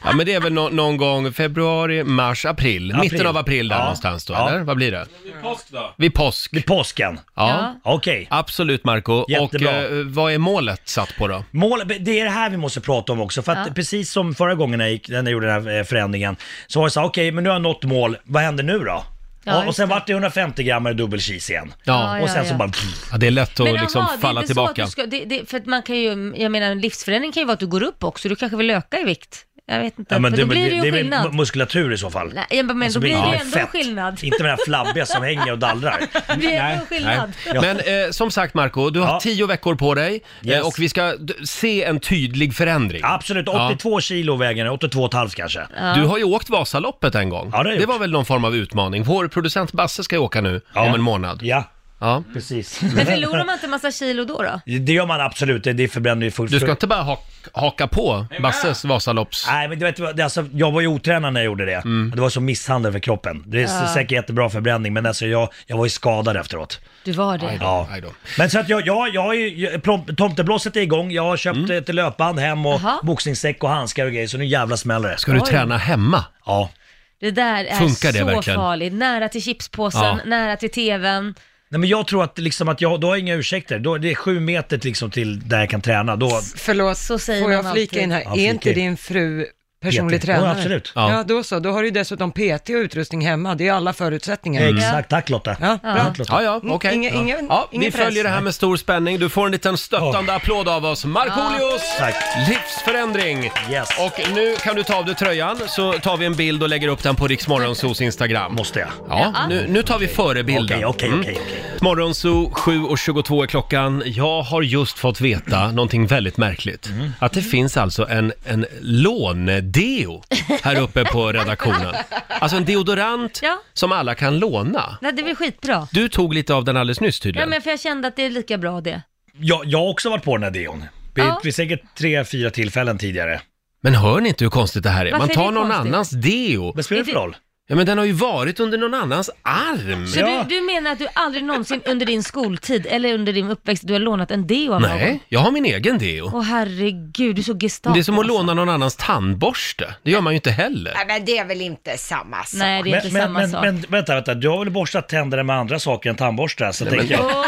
[SPEAKER 1] Ja men det är väl nå- någon gång februari, mars, april.
[SPEAKER 9] April.
[SPEAKER 1] Mitten av april där
[SPEAKER 9] Ja.
[SPEAKER 1] någonstans då,
[SPEAKER 9] Ja.
[SPEAKER 1] eller? Vad blir det? Vid påsk då? Vid påsk.
[SPEAKER 9] Vid påsken?
[SPEAKER 1] Ja.
[SPEAKER 9] Okej.
[SPEAKER 1] Absolut Marco Och
[SPEAKER 9] Jättebra.
[SPEAKER 1] eh, vad är målet satt på då?
[SPEAKER 9] Mål, det är det här vi måste prata om också, för att
[SPEAKER 6] Ja.
[SPEAKER 9] precis som förra gången jag, gick, när jag gjorde den här eh, förändringen, så var det så här, okej, men nu har jag nått mål, vad händer nu då?
[SPEAKER 6] Ja,
[SPEAKER 9] och, och sen
[SPEAKER 6] just det.
[SPEAKER 9] vart det 150 gram dubbel cheese igen.
[SPEAKER 1] Ja.
[SPEAKER 6] Ja,
[SPEAKER 9] och sen så
[SPEAKER 6] ja.
[SPEAKER 9] bara...
[SPEAKER 1] Ja, det är lätt att
[SPEAKER 6] aha,
[SPEAKER 1] liksom
[SPEAKER 6] det är
[SPEAKER 1] falla
[SPEAKER 6] inte Så
[SPEAKER 1] tillbaka.
[SPEAKER 6] att du ska, det, det, för att man kan ju, jag menar en livsförändring kan ju vara att du går upp också, du kanske vill öka i vikt. Jag vet inte,
[SPEAKER 9] Ja,
[SPEAKER 6] men, då blir det,
[SPEAKER 9] är
[SPEAKER 6] ju en
[SPEAKER 9] väl
[SPEAKER 6] skillnad.
[SPEAKER 9] mu- muskulatur i så fall.
[SPEAKER 6] Nej, ja, men
[SPEAKER 9] Alltså,
[SPEAKER 6] då blir det ju
[SPEAKER 9] med
[SPEAKER 6] ändå en
[SPEAKER 9] fett.
[SPEAKER 6] skillnad.
[SPEAKER 9] Inte med den här flabbiga som hänger och dallrar.
[SPEAKER 6] Det blir ändå en skillnad.
[SPEAKER 9] Ja.
[SPEAKER 1] Men eh, som sagt Marco du har
[SPEAKER 9] Ja.
[SPEAKER 1] tio veckor på dig
[SPEAKER 9] Yes.
[SPEAKER 1] eh, och vi ska d- se en tydlig förändring.
[SPEAKER 9] Absolut, 82 kilo väger den, 82,5 kanske.
[SPEAKER 1] Du har ju åkt Vasaloppet en gång.
[SPEAKER 9] Ja, det har jag
[SPEAKER 1] det
[SPEAKER 9] gjort.
[SPEAKER 1] var väl någon form av utmaning. Vår producent Basse ska ju åka nu om en månad.
[SPEAKER 9] Ja,
[SPEAKER 1] Ja.
[SPEAKER 9] precis.
[SPEAKER 6] Men förlorar man inte en massa kilo då? då?
[SPEAKER 9] Det gör man absolut, det, det förbränner ju fullt.
[SPEAKER 1] Du ska inte bara ha- haka på Basses Vasalopps...
[SPEAKER 9] Nej men du vet, vad, det, alltså, jag var ju otränad när jag gjorde det.
[SPEAKER 1] Mm.
[SPEAKER 9] Det var som misshandel för kroppen. Det är s- säkert jättebra förbränning men alltså jag, jag var ju skadad efteråt.
[SPEAKER 6] Du var det.
[SPEAKER 9] Ja.
[SPEAKER 1] Aj då.
[SPEAKER 9] Men så att jag, jag, jag, är ju- jag prom- tomteblåset är igång, jag har köpt
[SPEAKER 1] Mm.
[SPEAKER 9] ett löpband hem och
[SPEAKER 6] Jaha.
[SPEAKER 9] boxningssäck och handskar och grejer så nu jävla smäller det.
[SPEAKER 1] Ska du träna hemma?
[SPEAKER 9] Ja.
[SPEAKER 6] Det där är
[SPEAKER 1] Funkar det
[SPEAKER 6] så
[SPEAKER 1] verkligen?
[SPEAKER 6] farligt. Nära till chipspåsen,
[SPEAKER 1] Ja.
[SPEAKER 6] nära till tvn.
[SPEAKER 9] Nej men jag tror att liksom att jag, då har jag inga ursäkter. Då, det är sju meter liksom till där jag kan träna. Då,
[SPEAKER 2] Förlåt,
[SPEAKER 6] Så säger
[SPEAKER 2] får jag
[SPEAKER 6] man
[SPEAKER 2] flika
[SPEAKER 6] alltid.
[SPEAKER 2] in här?
[SPEAKER 9] Ja, flika
[SPEAKER 2] är inte
[SPEAKER 9] in.
[SPEAKER 2] din fru personlig
[SPEAKER 9] Peter.
[SPEAKER 2] tränare?
[SPEAKER 9] Ja, absolut.
[SPEAKER 1] Ja.
[SPEAKER 2] Ja. då så. Då har du ju dessutom PT och utrustning hemma. Det är alla förutsättningar.
[SPEAKER 9] Exakt, tack Lotta.
[SPEAKER 2] Ja, bra.
[SPEAKER 9] Tack, Lotta.
[SPEAKER 1] Ja, ja,
[SPEAKER 2] Mm,
[SPEAKER 1] okej.
[SPEAKER 2] inga-
[SPEAKER 1] ja.
[SPEAKER 2] ingen-
[SPEAKER 1] ja, vi
[SPEAKER 2] ingen press.
[SPEAKER 1] följer det här med stor spänning. Du får en liten stöttande applåd av oss. Markoolios
[SPEAKER 9] Tack.
[SPEAKER 1] livsförändring!
[SPEAKER 9] Yes.
[SPEAKER 1] Och nu kan du ta av dig tröjan så tar vi en bild och lägger upp den på Riksmorgonsos Instagram.
[SPEAKER 9] Måste jag?
[SPEAKER 1] Ja, nu, nu tar vi förebilden.
[SPEAKER 9] Okej, okej,
[SPEAKER 1] Mm.
[SPEAKER 9] okej, okej.
[SPEAKER 1] Morgonzoo 7.22 är klockan. Jag har just fått
[SPEAKER 9] Mm.
[SPEAKER 1] veta någonting väldigt märkligt. Att det finns alltså en, en lånedeo här uppe på redaktionen. Alltså en deodorant
[SPEAKER 6] Ja.
[SPEAKER 1] som alla kan låna.
[SPEAKER 6] Nej, det blir skitbra.
[SPEAKER 1] Du tog lite av den alldeles nyss
[SPEAKER 6] Ja,
[SPEAKER 1] tydligen.
[SPEAKER 6] men för jag kände att det är lika bra det.
[SPEAKER 9] Jag, jag har också varit på den här deon. Vid,
[SPEAKER 6] Ja.
[SPEAKER 9] vid säkert tre, fyra tillfällen tidigare.
[SPEAKER 1] Men hör ni inte hur konstigt det här är? Man
[SPEAKER 6] Varför är
[SPEAKER 1] tar
[SPEAKER 6] det
[SPEAKER 1] någon
[SPEAKER 6] konstigt?
[SPEAKER 1] annans deo.
[SPEAKER 9] Vad spelar det för
[SPEAKER 6] Är det-
[SPEAKER 9] roll?
[SPEAKER 1] Ja, men den har ju varit under någon annans arm.
[SPEAKER 6] Så
[SPEAKER 9] Ja.
[SPEAKER 6] du, du menar att du aldrig någonsin under din skoltid eller under din uppväxt, du har lånat en deo av någon?
[SPEAKER 1] Nej, jag har min egen deo.
[SPEAKER 6] Åh herregud, du är så gestapo.
[SPEAKER 1] Det är som att
[SPEAKER 6] alltså.
[SPEAKER 1] låna någon annans tandborste. Det gör man ju inte heller.
[SPEAKER 10] Nej, men det är väl inte
[SPEAKER 2] Mm.
[SPEAKER 10] samma sak?
[SPEAKER 6] Nej, det är inte samma
[SPEAKER 9] men,
[SPEAKER 6] sak.
[SPEAKER 9] Men vänta, vänta, du har väl borstat tänderna med andra saker än tandborstar? Så tänker jag,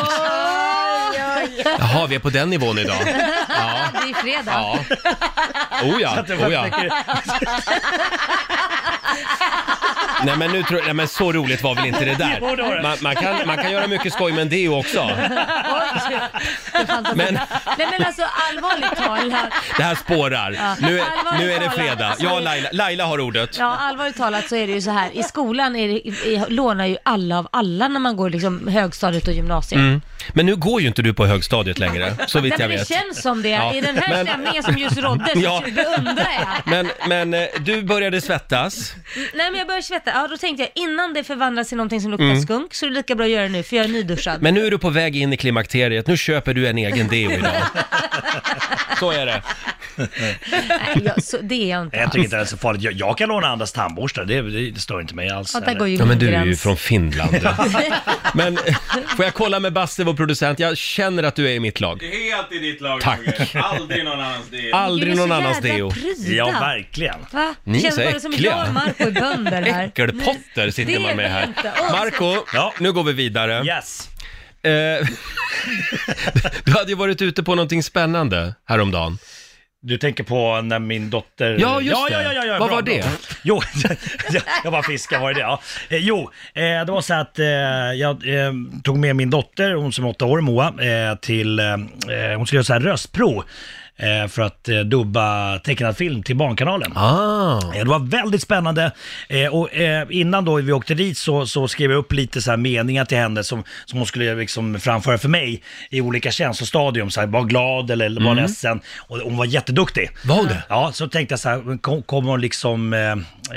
[SPEAKER 1] Jaha, vi är på den nivån idag. Ja.
[SPEAKER 6] Det är fredag.
[SPEAKER 1] Ja. Oh ja,
[SPEAKER 9] jag
[SPEAKER 1] oh ja.
[SPEAKER 9] tänker-
[SPEAKER 1] Nej men, nu tror, nej men så roligt var väl inte det där?
[SPEAKER 6] Jo, det var det.
[SPEAKER 1] Man, man, kan, man kan göra mycket skoj med det också. Men-
[SPEAKER 6] men... Nej men alltså allvarligt talat.
[SPEAKER 1] Det här spårar.
[SPEAKER 6] Ja.
[SPEAKER 1] Nu, är-
[SPEAKER 6] Allvarligt
[SPEAKER 1] nu är det
[SPEAKER 6] talat,
[SPEAKER 1] fredag.
[SPEAKER 6] alltså-
[SPEAKER 1] Ja, Laila, Laila har ordet.
[SPEAKER 6] Ja, allvarligt talat så är det ju så här. I skolan är det, i, lånar ju alla av alla när man går liksom högstadiet och gymnasiet.
[SPEAKER 1] Mm. Men nu går ju inte du på högstadiet längre, så vitt
[SPEAKER 6] Nej,
[SPEAKER 1] jag
[SPEAKER 6] men det
[SPEAKER 1] vet.
[SPEAKER 6] känns som det.
[SPEAKER 1] Ja.
[SPEAKER 6] I den här
[SPEAKER 1] Men-
[SPEAKER 6] stämningen som just rådde så
[SPEAKER 1] Ja.
[SPEAKER 6] undrar jag.
[SPEAKER 1] Men, men eh, du började svettas.
[SPEAKER 6] Nej men jag börjar svettas. Ja, då tänkte jag innan det förvandlas till någonting som luktar
[SPEAKER 1] Mm.
[SPEAKER 6] skunk så är det lika bra att göra det nu för jag är nyduschad.
[SPEAKER 1] Men nu är du på väg in i klimakteriet. Nu köper du en egen deo idag. Så är det.
[SPEAKER 6] Nej, jag, så, det är jag inte
[SPEAKER 9] Jag tycker inte
[SPEAKER 6] alls.
[SPEAKER 9] det är så farligt. Jag, jag kan låna andras tandborstar, det, det, det stör inte mig alls.
[SPEAKER 6] Ja, där går ju
[SPEAKER 1] Ja, men du är ju
[SPEAKER 6] gräns.
[SPEAKER 1] från Finland. Men eh, får jag kolla med Basse, vår producent? Jag känner att du är i mitt lag.
[SPEAKER 11] Helt i ditt lag
[SPEAKER 1] Tack.
[SPEAKER 11] Roger. Aldrig någon annans del.
[SPEAKER 1] Aldrig någon annans deo.
[SPEAKER 9] verkligen.
[SPEAKER 6] Va?
[SPEAKER 1] Ni är
[SPEAKER 6] Känns
[SPEAKER 1] så
[SPEAKER 6] bara som
[SPEAKER 1] äckliga.
[SPEAKER 6] jag och Marco är bönder här.
[SPEAKER 1] Äckelpotter sitter
[SPEAKER 6] Det
[SPEAKER 1] man med
[SPEAKER 6] är vi
[SPEAKER 1] här.
[SPEAKER 6] inte. Åh,
[SPEAKER 1] Marco, nu går vi vidare. Eh,
[SPEAKER 9] Yes.
[SPEAKER 1] du hade ju varit ute på någonting spännande häromdagen.
[SPEAKER 9] Du tänker på när min dotter...
[SPEAKER 1] Ja, just
[SPEAKER 9] ja,
[SPEAKER 1] det.
[SPEAKER 9] ja, ja, ja,
[SPEAKER 1] Vad
[SPEAKER 9] bra,
[SPEAKER 1] var
[SPEAKER 9] bra.
[SPEAKER 1] det?
[SPEAKER 9] Jo, jag, jag bara fiskar, vad är det? Ja. Eh, jo, eh, det var så att eh, jag eh, tog med min dotter, hon som är åtta år, Moa, eh, till... Eh, hon skulle göra så här röstprov. eh, För att eh, dubba tecknad film till Barnkanalen.
[SPEAKER 1] Ah.
[SPEAKER 9] Eh, Det var väldigt spännande. Eh, Och eh, innan då vi åkte dit så, så skrev jag upp lite så här meningar till henne som, som hon skulle liksom framföra för mig i olika känslostadium. Så här, var glad eller var
[SPEAKER 11] Mm.
[SPEAKER 9] ledsen. Och hon var jätteduktig.
[SPEAKER 1] Var hon det?
[SPEAKER 9] Ja, så tänkte jag så här, men kom- kommer hon liksom eh,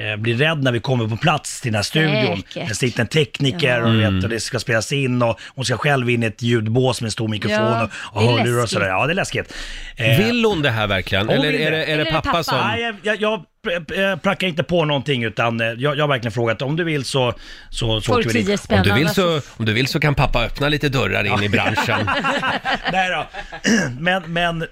[SPEAKER 9] eh, bli rädd när vi kommer på plats till den här studion?
[SPEAKER 11] Säkert.
[SPEAKER 9] Det sitter en tekniker och,
[SPEAKER 11] Ja.
[SPEAKER 9] vet, och det ska spelas in och hon ska själv in i ett ljudbås med en stor mikrofon
[SPEAKER 11] Ja,
[SPEAKER 9] och,
[SPEAKER 11] det
[SPEAKER 9] och
[SPEAKER 11] är
[SPEAKER 9] hörlurar och
[SPEAKER 11] läskigt.
[SPEAKER 9] sådär. Ja, det är läskigt. Eh,
[SPEAKER 1] Vill hon det här verkligen?
[SPEAKER 9] Hon
[SPEAKER 1] Eller
[SPEAKER 9] vill
[SPEAKER 1] är det, är det pappa
[SPEAKER 9] Nej,
[SPEAKER 1] som...
[SPEAKER 9] jag, jag, jag pr- pr- prackar inte på någonting utan eh, jag, jag har verkligen frågat om du vill så... så, så åker vi dit.
[SPEAKER 1] om, du vill så, om du vill så kan pappa öppna lite dörrar in i branschen.
[SPEAKER 9] Nej då. Men, men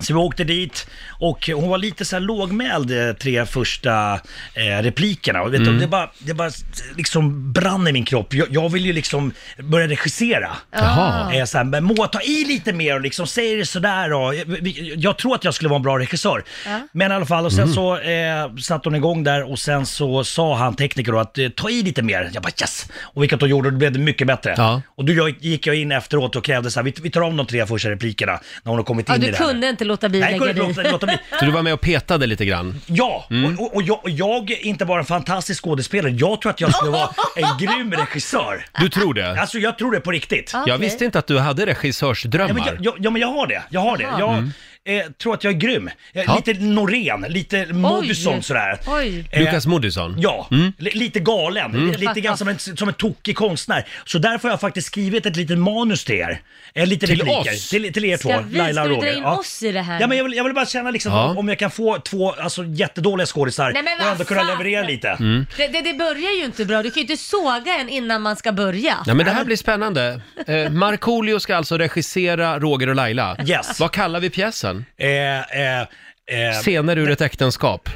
[SPEAKER 9] så vi åkte dit och hon var lite så här lågmäld eh, tre första eh, replikerna. Och vet
[SPEAKER 11] Mm.
[SPEAKER 9] du, det bara, det bara liksom brann i min kropp. Jag, jag vill ju liksom börja regissera.
[SPEAKER 11] Jaha.
[SPEAKER 9] Eh, så här, men Moa, ta i lite mer och liksom säg det sådär. Och, jag, vi- jag tror att jag skulle vara en bra regissör. Men i alla fall, och sen
[SPEAKER 1] Mhm.
[SPEAKER 11] Mm.
[SPEAKER 9] så eh, satte hon igång där och sen så sa han tekniker då att eh, ta i lite mer. Jag bara yes! Och vilket hon gjorde, då blev det mycket bättre. Och då jag, gick jag in efteråt och krävde så här, vi, vi tar om de tre första replikerna när hon har kommit in
[SPEAKER 6] Ja,
[SPEAKER 9] i
[SPEAKER 6] du
[SPEAKER 9] det här.
[SPEAKER 6] kunde inte låta bli
[SPEAKER 9] Nej, jag
[SPEAKER 6] lägga
[SPEAKER 9] kunde
[SPEAKER 6] dig
[SPEAKER 9] inte låta- låta bli.
[SPEAKER 1] Så du var med och petade lite grann? Mm.
[SPEAKER 9] Ja, och, och, och, jag, och jag är inte bara en fantastisk skådespelare, jag tror att jag skulle vara en grym regissör.
[SPEAKER 1] Du tror det?
[SPEAKER 9] Alltså jag tror det på riktigt.
[SPEAKER 1] Jag visste inte att du hade regissörsdrömmar.
[SPEAKER 9] Ja men jag, jag, ja, men jag har det, jag har det.
[SPEAKER 1] Jaha.
[SPEAKER 9] Jag
[SPEAKER 1] Mm.
[SPEAKER 9] eh, tror att jag är grym. Eh,
[SPEAKER 1] Ja.
[SPEAKER 9] Lite Norén, lite Moodysson sådär.
[SPEAKER 6] Oj.
[SPEAKER 9] Eh,
[SPEAKER 1] Lukas Moodysson?
[SPEAKER 9] Ja, li- lite galen.
[SPEAKER 1] Mm.
[SPEAKER 9] Lite grann som en, som en tokig konstnär. Så därför har jag faktiskt skrivit ett litet manus till er. Eh, Lite
[SPEAKER 1] Till
[SPEAKER 9] repliker.
[SPEAKER 1] oss?
[SPEAKER 9] Till, till er två,
[SPEAKER 6] Ska vi,
[SPEAKER 9] Laila
[SPEAKER 6] ska
[SPEAKER 9] och
[SPEAKER 6] du dra
[SPEAKER 9] Roger.
[SPEAKER 6] in
[SPEAKER 9] Ja.
[SPEAKER 6] oss i det här?
[SPEAKER 9] Ja, men jag, vill, jag vill bara känna liksom
[SPEAKER 1] Ja.
[SPEAKER 9] om- om jag kan få två alltså, jättedåliga skådisar
[SPEAKER 6] Nej, men
[SPEAKER 9] och
[SPEAKER 6] vad
[SPEAKER 9] ändå kunna
[SPEAKER 6] fan.
[SPEAKER 9] leverera lite.
[SPEAKER 1] Mm.
[SPEAKER 6] det, det, det börjar ju inte bra. Du kan ju inte såga en innan man ska börja.
[SPEAKER 1] Nej men det här blir spännande. Eh, Markoolio ska alltså regissera Roger och Laila.
[SPEAKER 9] Yes.
[SPEAKER 1] Vad kallar vi pjäsen?
[SPEAKER 9] Eh, eh, eh,
[SPEAKER 1] Scener ur ett äktenskap.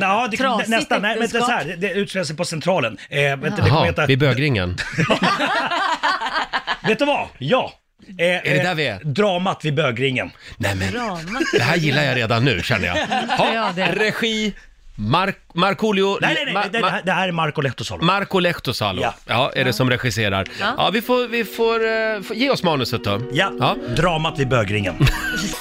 [SPEAKER 9] Nå, Eh, det,
[SPEAKER 11] Trasigt
[SPEAKER 9] nästan, nej, men det, är så
[SPEAKER 11] äktenskap.
[SPEAKER 9] här, det utspelar sig på Centralen. Eh, vet, du, det kommer
[SPEAKER 1] Jaha,
[SPEAKER 9] heta,
[SPEAKER 1] vid bögringen.
[SPEAKER 9] vet du vad? Ja! Eh,
[SPEAKER 1] Är det där vi är?
[SPEAKER 9] Dramat vid bögringen.
[SPEAKER 1] Nej, men,
[SPEAKER 6] Drama.
[SPEAKER 1] det här gillar jag redan nu känner jag.
[SPEAKER 6] Ja,
[SPEAKER 1] Ha,
[SPEAKER 6] det.
[SPEAKER 1] regi, Mark, Markoolio...
[SPEAKER 9] Nej, nej, nej, det- det här- det här är Marco Lehtosalo.
[SPEAKER 1] Marco Lehtosalo, ja. är det som regisserar. Ja,
[SPEAKER 9] Ja.
[SPEAKER 1] vi, får, vi får, eh, få- ge oss manuset då.
[SPEAKER 9] Ja, dramat vid bögringen.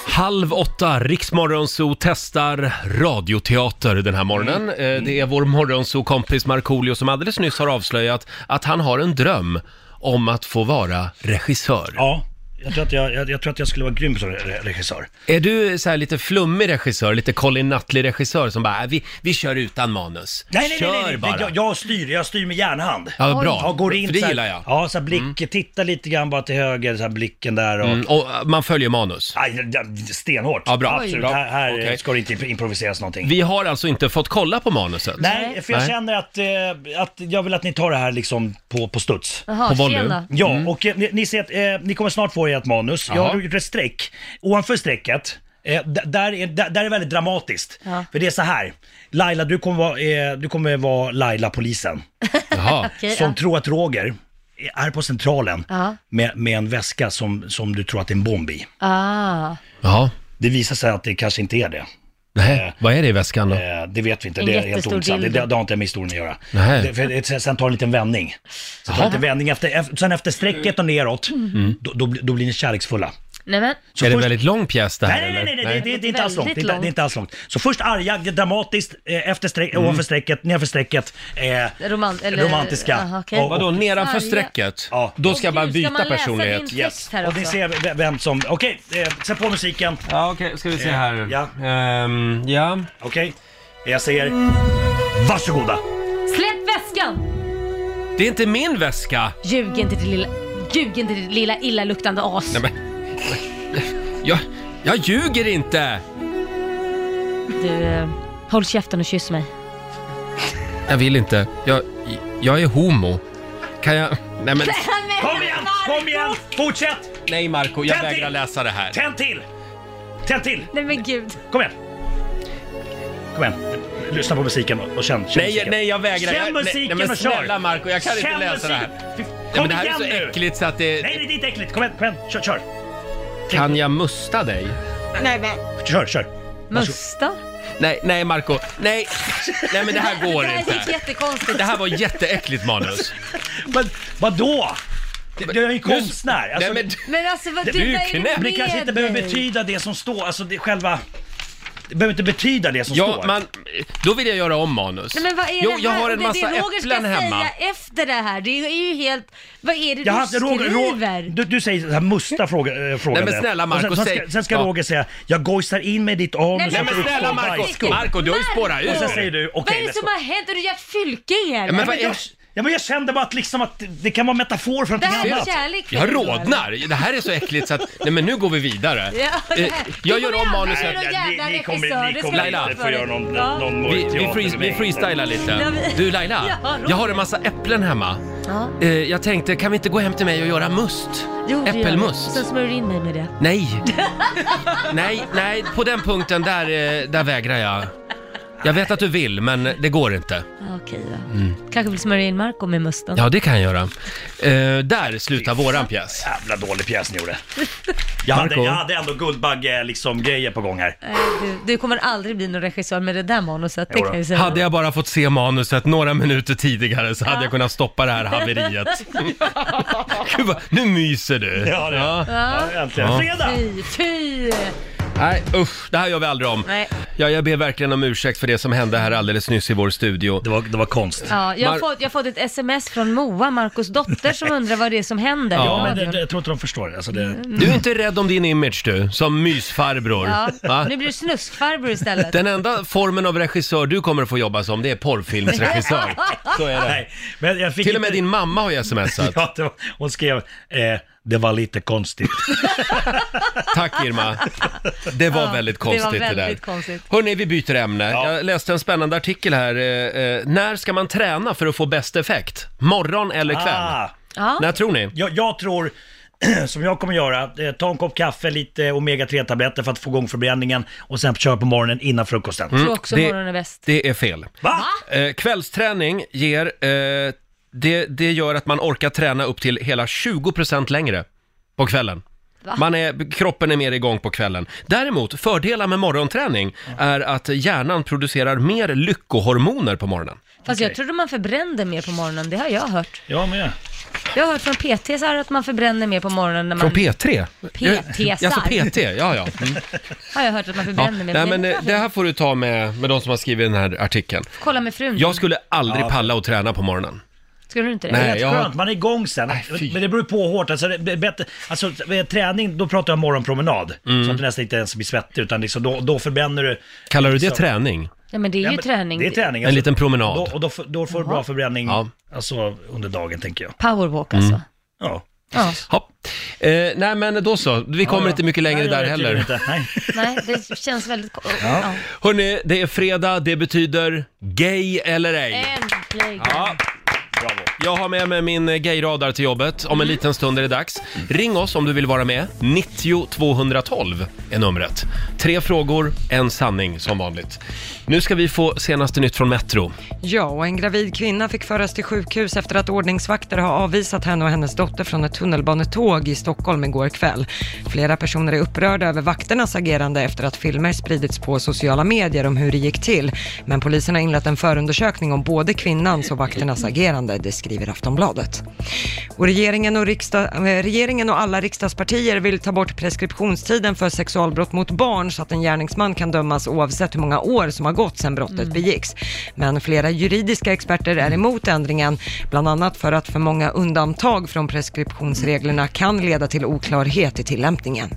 [SPEAKER 1] Halv åtta, Riksmorgonzoo testar radioteater den här morgonen.
[SPEAKER 9] Mm.
[SPEAKER 1] Eh, Det är vår morgonzoo-kompis Markoolio som alldeles nyss har avslöjat att han har en dröm om att få vara regissör.
[SPEAKER 9] Ja. Jag tror, att jag, jag, jag tror att jag skulle vara grym som re- regissör.
[SPEAKER 1] Är du så här lite flummig regissör, lite Colin Nutley-regissör som bara, "Äh, vi, vi kör utan manus.
[SPEAKER 9] Nej, nej,
[SPEAKER 1] kör
[SPEAKER 9] nej, nej, nej.
[SPEAKER 1] bara.
[SPEAKER 9] Jag, jag styr, jag styr med järnhand.
[SPEAKER 1] Ja, vad bra.
[SPEAKER 9] Ja, går in
[SPEAKER 1] För det
[SPEAKER 9] så här-
[SPEAKER 1] gillar jag.
[SPEAKER 9] Ja, så här blick, titta lite grann bara till höger, så här blicken där och...
[SPEAKER 1] Mm, och eh, man följer manus.
[SPEAKER 9] Aj, ja, stenhårt.
[SPEAKER 1] Ja, bra.
[SPEAKER 9] Absolut.
[SPEAKER 1] Bra.
[SPEAKER 9] Här, här
[SPEAKER 1] Okej.
[SPEAKER 9] ska det inte improviseras någonting.
[SPEAKER 1] Vi har alltså inte fått kolla på manuset.
[SPEAKER 9] Nej, för jag känner att, eh, att jag vill att ni tar det här liksom på, på studs.
[SPEAKER 1] Jaha, På volley. tjena.
[SPEAKER 9] Ja, och eh, ni, ni ser att eh, ni kommer snart få ert manus. Jag
[SPEAKER 1] Jaha.
[SPEAKER 9] har gjort ett streck. Ovanför strecket, eh, d- där, är, där, där är väldigt dramatiskt.
[SPEAKER 11] Ja.
[SPEAKER 9] För det är så här. Laila, du kommer vara, eh, du kommer vara Laila, polisen.
[SPEAKER 11] Okej,
[SPEAKER 9] som
[SPEAKER 11] ja.
[SPEAKER 9] tror att Roger är på centralen
[SPEAKER 6] Ja.
[SPEAKER 9] med, med en väska som, som du tror att det är en bomb i.
[SPEAKER 6] Ah.
[SPEAKER 1] Ja.
[SPEAKER 9] Det visar sig att det kanske inte är det.
[SPEAKER 1] Nej, vad är det i väskan då?
[SPEAKER 9] Det vet vi inte,
[SPEAKER 1] En
[SPEAKER 9] det är helt
[SPEAKER 1] jättestor
[SPEAKER 9] ointressant. Det,
[SPEAKER 1] dildo.
[SPEAKER 9] det, det har inte med historien att göra.
[SPEAKER 1] Nej.
[SPEAKER 9] Det, för, det, sen tar det en liten vändning. Sen, tar det
[SPEAKER 1] Jaha.
[SPEAKER 9] en liten vändning efter, efter, sen efter strecket och neråt,
[SPEAKER 1] Mm.
[SPEAKER 9] då, då, blir- då blir ni kärleksfulla.
[SPEAKER 6] Nej men.
[SPEAKER 9] Så
[SPEAKER 1] är det en
[SPEAKER 9] först-
[SPEAKER 1] väldigt lång pjäs det här
[SPEAKER 9] Nej, nej, nej, nej,
[SPEAKER 1] eller?
[SPEAKER 9] Det, det, det är inte alls långt. Det är, inte-
[SPEAKER 6] Väldigt
[SPEAKER 9] det är inte alls långt. Så först arga, dramatiskt, eh, efter streck,
[SPEAKER 1] Mm.
[SPEAKER 9] ovanför strecket, nerför strecket. Eh,
[SPEAKER 6] Roman- eller-
[SPEAKER 9] romantiska.
[SPEAKER 6] Aha, okej.
[SPEAKER 1] Vadå, nedanför Arga. strecket?
[SPEAKER 9] Ja.
[SPEAKER 1] Då ska jag bara Gud, ska byta man läsa personlighet. din text
[SPEAKER 9] Yes.
[SPEAKER 6] här
[SPEAKER 9] Och ni
[SPEAKER 6] också?
[SPEAKER 9] ser v- vem som... Okej, eh, sätt på musiken. Eh,
[SPEAKER 1] Ja, okej. Ska vi se här. Ehm,
[SPEAKER 9] Ja.
[SPEAKER 1] ja.
[SPEAKER 9] Okej. Jag säger... Varsågoda!
[SPEAKER 6] Släpp väskan!
[SPEAKER 1] Det är inte min väska!
[SPEAKER 6] Ljug inte till lilla, ljug inte till lilla illaluktande as.
[SPEAKER 1] Nej, men... Jag, jag ljuger inte!
[SPEAKER 6] Du, eh, håll käften och kyss mig.
[SPEAKER 1] Jag vill inte. Jag, jag är homo. Kan jag... Nej men...
[SPEAKER 9] Kom igen! Kom igen! Fortsätt!
[SPEAKER 1] Nej Marco, jag
[SPEAKER 9] Tänd till!
[SPEAKER 1] vägrar läsa det här.
[SPEAKER 9] Tänd till! Tänd till!
[SPEAKER 6] Nej men gud.
[SPEAKER 9] Kom igen! Kom igen. Lyssna på musiken och och känn, känn
[SPEAKER 1] Nej,
[SPEAKER 9] musiken.
[SPEAKER 1] nej jag vägrar.
[SPEAKER 9] Känn
[SPEAKER 1] Jag, nej,
[SPEAKER 9] musiken
[SPEAKER 1] nej, men
[SPEAKER 9] och kör!
[SPEAKER 1] snälla Marco, jag kan
[SPEAKER 9] Känn
[SPEAKER 1] inte läsa det här.
[SPEAKER 9] musik-
[SPEAKER 1] Nej,
[SPEAKER 9] Kom
[SPEAKER 1] men det här är
[SPEAKER 9] igen
[SPEAKER 1] så
[SPEAKER 9] nu!
[SPEAKER 1] äckligt så att
[SPEAKER 9] Nej,
[SPEAKER 1] det...
[SPEAKER 9] nej, det är inte äckligt. Kom igen, kom igen. Kör, kör.
[SPEAKER 1] Kan jag musta dig?
[SPEAKER 10] Nej men.
[SPEAKER 9] Kör, kör.
[SPEAKER 6] Musta?
[SPEAKER 1] Nej, nej Marco. Nej, nej men det här går
[SPEAKER 6] Det här gick
[SPEAKER 1] inte.
[SPEAKER 6] jättekonstigt.
[SPEAKER 1] Det här var jätteäckligt manus.
[SPEAKER 9] Men vadå? Du du är ju konstnär. Alltså,
[SPEAKER 1] Nej, men-
[SPEAKER 6] Men alltså vad
[SPEAKER 9] Det-
[SPEAKER 6] du,
[SPEAKER 9] du är ju
[SPEAKER 6] vad är det
[SPEAKER 1] knäpp.
[SPEAKER 6] med
[SPEAKER 9] Men det kanske inte behöver
[SPEAKER 6] dig?
[SPEAKER 9] betyda det som står, alltså det själva... Det behöver inte betyda det som
[SPEAKER 1] Ja,
[SPEAKER 9] står.
[SPEAKER 1] man, då vill jag göra om manus.
[SPEAKER 6] Nej men vad är
[SPEAKER 1] jo,
[SPEAKER 6] det här?
[SPEAKER 1] jag har
[SPEAKER 6] Det-
[SPEAKER 1] en massa
[SPEAKER 6] det Roger
[SPEAKER 1] äpplen
[SPEAKER 6] ska
[SPEAKER 1] hemma.
[SPEAKER 6] säga efter det här, det är ju helt... Vad är det
[SPEAKER 9] Jag har
[SPEAKER 6] du
[SPEAKER 9] haft
[SPEAKER 6] skriver?
[SPEAKER 9] Roger, Roger, du, du säger så här musta fråga, eh, frågan.
[SPEAKER 1] men
[SPEAKER 9] där.
[SPEAKER 1] snälla, Marco,
[SPEAKER 9] Och sen, sen
[SPEAKER 1] säg-
[SPEAKER 9] ska, sen ska
[SPEAKER 1] Ja.
[SPEAKER 9] Roger säga, jag gojsar in mig i ditt arm.
[SPEAKER 6] Nej,
[SPEAKER 9] och
[SPEAKER 6] men
[SPEAKER 9] så tar du
[SPEAKER 1] snälla,
[SPEAKER 9] upp
[SPEAKER 1] Marco,
[SPEAKER 9] bajskorv."
[SPEAKER 1] Marco, du har ju spårat ur.
[SPEAKER 9] Och sen säger du,
[SPEAKER 6] Vad
[SPEAKER 9] okej
[SPEAKER 6] är det
[SPEAKER 9] let's
[SPEAKER 6] som
[SPEAKER 9] go.
[SPEAKER 6] har hänt? Har du gjort fylkingar?
[SPEAKER 1] Ja,
[SPEAKER 9] Ja,
[SPEAKER 1] men vad
[SPEAKER 9] men
[SPEAKER 1] är-
[SPEAKER 9] jag, ja, men jag kände bara att, liksom att det kan vara metafor för något
[SPEAKER 6] Det här är
[SPEAKER 9] annat.
[SPEAKER 6] kärlek för
[SPEAKER 1] Jag
[SPEAKER 6] dig,
[SPEAKER 1] rodnar. Det här är så äckligt så att, nej men nu går vi vidare.
[SPEAKER 6] Ja, det
[SPEAKER 1] Eh,
[SPEAKER 6] här-
[SPEAKER 1] Jag
[SPEAKER 6] det
[SPEAKER 1] gör
[SPEAKER 6] kommer
[SPEAKER 1] om
[SPEAKER 6] aldrig
[SPEAKER 1] manuset.
[SPEAKER 6] bli någon jävla
[SPEAKER 9] Ni- ni kommer- ni
[SPEAKER 6] regissör, det
[SPEAKER 9] kommer
[SPEAKER 6] ska
[SPEAKER 1] inte
[SPEAKER 6] vi
[SPEAKER 1] få
[SPEAKER 6] för
[SPEAKER 9] göra
[SPEAKER 6] dig.
[SPEAKER 9] någon-
[SPEAKER 6] Ja.
[SPEAKER 9] någon-
[SPEAKER 1] Vi, vi,
[SPEAKER 9] teater
[SPEAKER 1] frees,
[SPEAKER 9] med
[SPEAKER 1] vi
[SPEAKER 9] mig.
[SPEAKER 1] freestylar
[SPEAKER 6] Ja,
[SPEAKER 1] lite.
[SPEAKER 6] vi-
[SPEAKER 1] Du Laila,
[SPEAKER 6] Ja, Roger.
[SPEAKER 1] jag har en massa äpplen hemma.
[SPEAKER 6] Ja.
[SPEAKER 1] Eh, Jag tänkte, kan vi inte gå hem till mig och göra must?
[SPEAKER 6] Jo, det gör
[SPEAKER 1] Äppelmust?
[SPEAKER 6] du. Sen smörjer du in mig med det.
[SPEAKER 1] Nej. Nej, nej, på den punkten där, eh, där vägrar jag. Jag vet att du vill, men det går inte.
[SPEAKER 6] Ja, Okej då.
[SPEAKER 1] Mm.
[SPEAKER 6] Kanske vill smörja in Marco med musten.
[SPEAKER 1] Ja, det kan jag göra. Eh, där slutar våran pjäs.
[SPEAKER 9] Jävla dålig pjäs ni gjorde. Jag hade,
[SPEAKER 1] Marco.
[SPEAKER 9] jag hade ändå Guldbagge liksom grejer på gång här.
[SPEAKER 6] Nej, Du, du kommer aldrig bli någon regissör med det där manuset, det
[SPEAKER 1] Jo
[SPEAKER 6] kan jag
[SPEAKER 1] då.
[SPEAKER 6] säga.
[SPEAKER 1] Hade jag bara fått se manuset några minuter tidigare så hade jag kunnat stoppa det här haveriet. Gud, vad- nu myser du.
[SPEAKER 9] Ja, det gör jag. Ja, äntligen.
[SPEAKER 1] Ja.
[SPEAKER 9] Fredag!
[SPEAKER 6] Fy, fy!
[SPEAKER 1] Nej, usch, det här gör vi aldrig om.
[SPEAKER 6] Nej.
[SPEAKER 1] Ja, jag ber verkligen om ursäkt för det som hände här alldeles nyss i vår studio. Det
[SPEAKER 9] var, det var konst.
[SPEAKER 6] Ja, jag, har
[SPEAKER 1] Mar-
[SPEAKER 6] fått, jag har fått ett sms från Moa, Marcos dotter, som undrar vad det är som händer. i
[SPEAKER 9] Ja, men det,
[SPEAKER 6] radion.
[SPEAKER 9] det, jag tror inte de förstår det. Alltså det
[SPEAKER 1] Du är inte rädd om din image du, som mysfarbror.
[SPEAKER 6] ja.
[SPEAKER 1] Va?
[SPEAKER 6] Nu blir du snuskfarbror istället.
[SPEAKER 1] Den enda formen av regissör du kommer att få jobba som, det är porrfilmsregissör. Så är det.
[SPEAKER 9] Nej, men jag fick
[SPEAKER 1] Till och med
[SPEAKER 9] inte-
[SPEAKER 1] din mamma har ju smsat.
[SPEAKER 9] Ja, det var, hon skrev, eh, det var lite konstigt.
[SPEAKER 1] Tack Irma. Det var
[SPEAKER 6] Ja,
[SPEAKER 1] väldigt konstigt det,
[SPEAKER 6] det var
[SPEAKER 1] där.
[SPEAKER 6] väldigt konstigt.
[SPEAKER 1] Hörni, vi byter ämne. Jag läste en spännande artikel här. Eh, eh, när ska man träna för att få bäst effekt? Morgon eller kväll?
[SPEAKER 9] Ah.
[SPEAKER 6] Ja.
[SPEAKER 1] När tror ni?
[SPEAKER 9] Jag, jag tror, som jag kommer göra, eh, ta en kopp kaffe, lite omega-3-tabletter för att få igång förbränningen och sen köra på morgonen innan frukosten.
[SPEAKER 6] Jag tror också
[SPEAKER 1] Mm. det-
[SPEAKER 6] morgonen är bäst.
[SPEAKER 1] Det är fel.
[SPEAKER 9] Va?
[SPEAKER 1] Eh, kvällsträning ger... Eh, det, det gör att man orkar träna upp till hela 20% längre på kvällen.
[SPEAKER 6] Va?
[SPEAKER 1] Man är, kroppen är mer igång på kvällen. Däremot, fördelar med morgonträning är att hjärnan producerar mer lyckohormoner på morgonen.
[SPEAKER 6] Fast jag trodde man förbrände mer på morgonen, det har jag hört.
[SPEAKER 9] Ja, men
[SPEAKER 6] Jag har hört från PT så här att man förbränner mer på morgonen när man...
[SPEAKER 1] Från P3?
[SPEAKER 6] PT-sar.
[SPEAKER 1] Alltså PT, ja ja. Mm.
[SPEAKER 6] Har jag hört att man
[SPEAKER 1] ja.
[SPEAKER 6] förbränner mer.
[SPEAKER 1] Nej men eh, det här får du ta med, med de som har skrivit den här artikeln.
[SPEAKER 6] Kolla med frun.
[SPEAKER 1] Jag skulle aldrig palla och träna på morgonen.
[SPEAKER 6] Skulle du inte det?
[SPEAKER 1] Nej,
[SPEAKER 9] Rätt
[SPEAKER 1] jag har-
[SPEAKER 9] skönt, man är igång sen.
[SPEAKER 1] fy.
[SPEAKER 9] men det beror på hur hårt. Alltså, det är bättre, alltså, träning, då pratar jag om morgonpromenad.
[SPEAKER 1] Mm.
[SPEAKER 9] Så att du nästan inte ens blir svettig, utan liksom, då, då förbränner du...
[SPEAKER 1] Kallar du det
[SPEAKER 9] liksom-
[SPEAKER 1] träning?
[SPEAKER 6] Ja, men det är ju
[SPEAKER 9] Ja, men
[SPEAKER 6] träning.
[SPEAKER 9] Det är träning.
[SPEAKER 1] En liten promenad.
[SPEAKER 9] Då, och då, får- då får du bra förbränning
[SPEAKER 1] Ja.
[SPEAKER 9] alltså, under dagen, tänker jag.
[SPEAKER 6] Powerwalk alltså.
[SPEAKER 1] Mm.
[SPEAKER 9] Ja.
[SPEAKER 6] Ja.
[SPEAKER 1] Ja. Eh, nej men då så, vi kommer
[SPEAKER 9] Ja,
[SPEAKER 1] inte mycket längre
[SPEAKER 9] Nej, jag
[SPEAKER 1] där
[SPEAKER 9] vet tydligen
[SPEAKER 1] heller.
[SPEAKER 9] inte. Nej.
[SPEAKER 6] Nej, det känns väldigt... ko- Ja. Eh.
[SPEAKER 1] Hörni, det är fredag, det betyder gay eller ej.
[SPEAKER 6] Äntligen!
[SPEAKER 1] Ja. Jag har med mig min eh, gayradar till jobbet. Om en liten stund är det dags. Ring oss om du vill vara med. 90 212 är numret. Tre frågor, en sanning som vanligt. Nu ska vi få senaste nytt från Metro.
[SPEAKER 2] Ja, och en gravid kvinna fick föras till sjukhus efter att ordningsvakter har avvisat henne och hennes dotter från ett tunnelbanetåg i Stockholm igår kväll. Flera personer är upprörda över vakternas agerande efter att filmer spridits på sociala medier om hur det gick till. Men polisen har inlett en förundersökning om både kvinnans och vakternas agerande, det skriver Aftonbladet. Och regeringen, och riksdag, eh, regeringen och alla riksdagspartier vill ta bort preskriptionstiden för sexualbrott mot barn så att en gärningsman kan dömas oavsett hur många år som har gått sedan brottet
[SPEAKER 12] Mm.
[SPEAKER 2] begicks. Men flera juridiska experter är emot ändringen, bland annat för att för många undantag från preskriptionsreglerna kan leda till oklarhet i tillämpningen.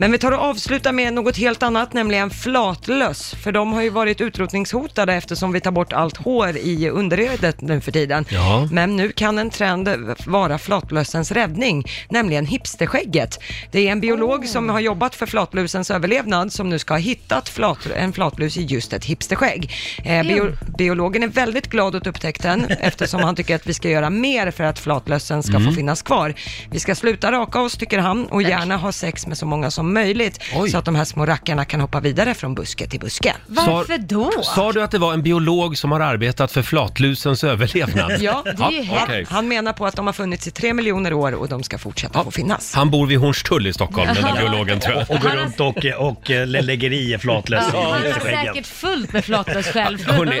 [SPEAKER 2] Men vi tar och avslutar med något helt annat, nämligen flatlöss. För de har ju varit utrotningshotade eftersom vi tar bort allt hår i underredet nu för tiden.
[SPEAKER 1] Ja.
[SPEAKER 2] Men nu kan en trend vara flatlössens räddning, nämligen hipsterskägget. Det är en biolog som har jobbat för flatlusens överlevnad som nu ska ha hittat flat, en flatlus i just ett hipsterskägg. Eh, bio, biologen är väldigt glad åt upptäckten eftersom han tycker att vi ska göra mer för att flatlössen ska få
[SPEAKER 12] Mm.
[SPEAKER 2] finnas kvar. Vi ska sluta raka oss, tycker han, och gärna ha sex med så många som möjligt så att de här små rackarna kan hoppa vidare från buske till buske.
[SPEAKER 6] Varför då?
[SPEAKER 1] Sa du att det var en biolog som har arbetat för flatlusens överlevnad?
[SPEAKER 2] Ja, det är ju helt-
[SPEAKER 1] okej.
[SPEAKER 2] Han menar på att de har funnits i tre miljoner år och de ska fortsätta få finnas.
[SPEAKER 1] Han bor vid Hornstull i Stockholm, den där biologen tror jag.
[SPEAKER 9] Och går runt och, och eh, lägger i flatlös
[SPEAKER 6] Ja, han
[SPEAKER 9] i
[SPEAKER 6] är
[SPEAKER 9] skäggen.
[SPEAKER 6] säkert fullt med flatlöss själv.
[SPEAKER 1] Hörrni,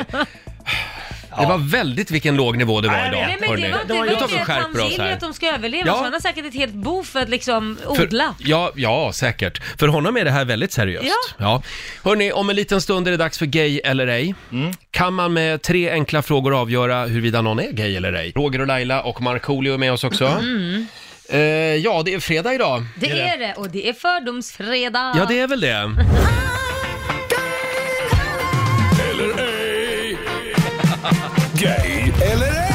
[SPEAKER 1] Det var väldigt vilken låg nivå det var idag.
[SPEAKER 6] Nej, men det
[SPEAKER 1] hörni.
[SPEAKER 6] var inte
[SPEAKER 1] Nu tar
[SPEAKER 6] det
[SPEAKER 1] vi och
[SPEAKER 6] att han
[SPEAKER 1] skärper oss
[SPEAKER 6] vill ju
[SPEAKER 1] här.
[SPEAKER 6] att de ska överleva,
[SPEAKER 1] Ja.
[SPEAKER 6] så han har säkert ett helt bo för att liksom odla.
[SPEAKER 1] För, ja, ja, säkert. För honom är det här väldigt seriöst.
[SPEAKER 6] Ja.
[SPEAKER 1] Hörni, om en liten stund är det dags för Gay eller ej.
[SPEAKER 9] Mm.
[SPEAKER 1] Kan man med tre enkla frågor avgöra huruvida någon är gay eller ej? Roger och Laila och Markoolio är med oss också.
[SPEAKER 6] Mm.
[SPEAKER 1] Eh, ja, det är fredag idag.
[SPEAKER 6] Det är det, och det är fördomsfredag.
[SPEAKER 1] Ja, det är väl det.
[SPEAKER 3] Gay eller ej?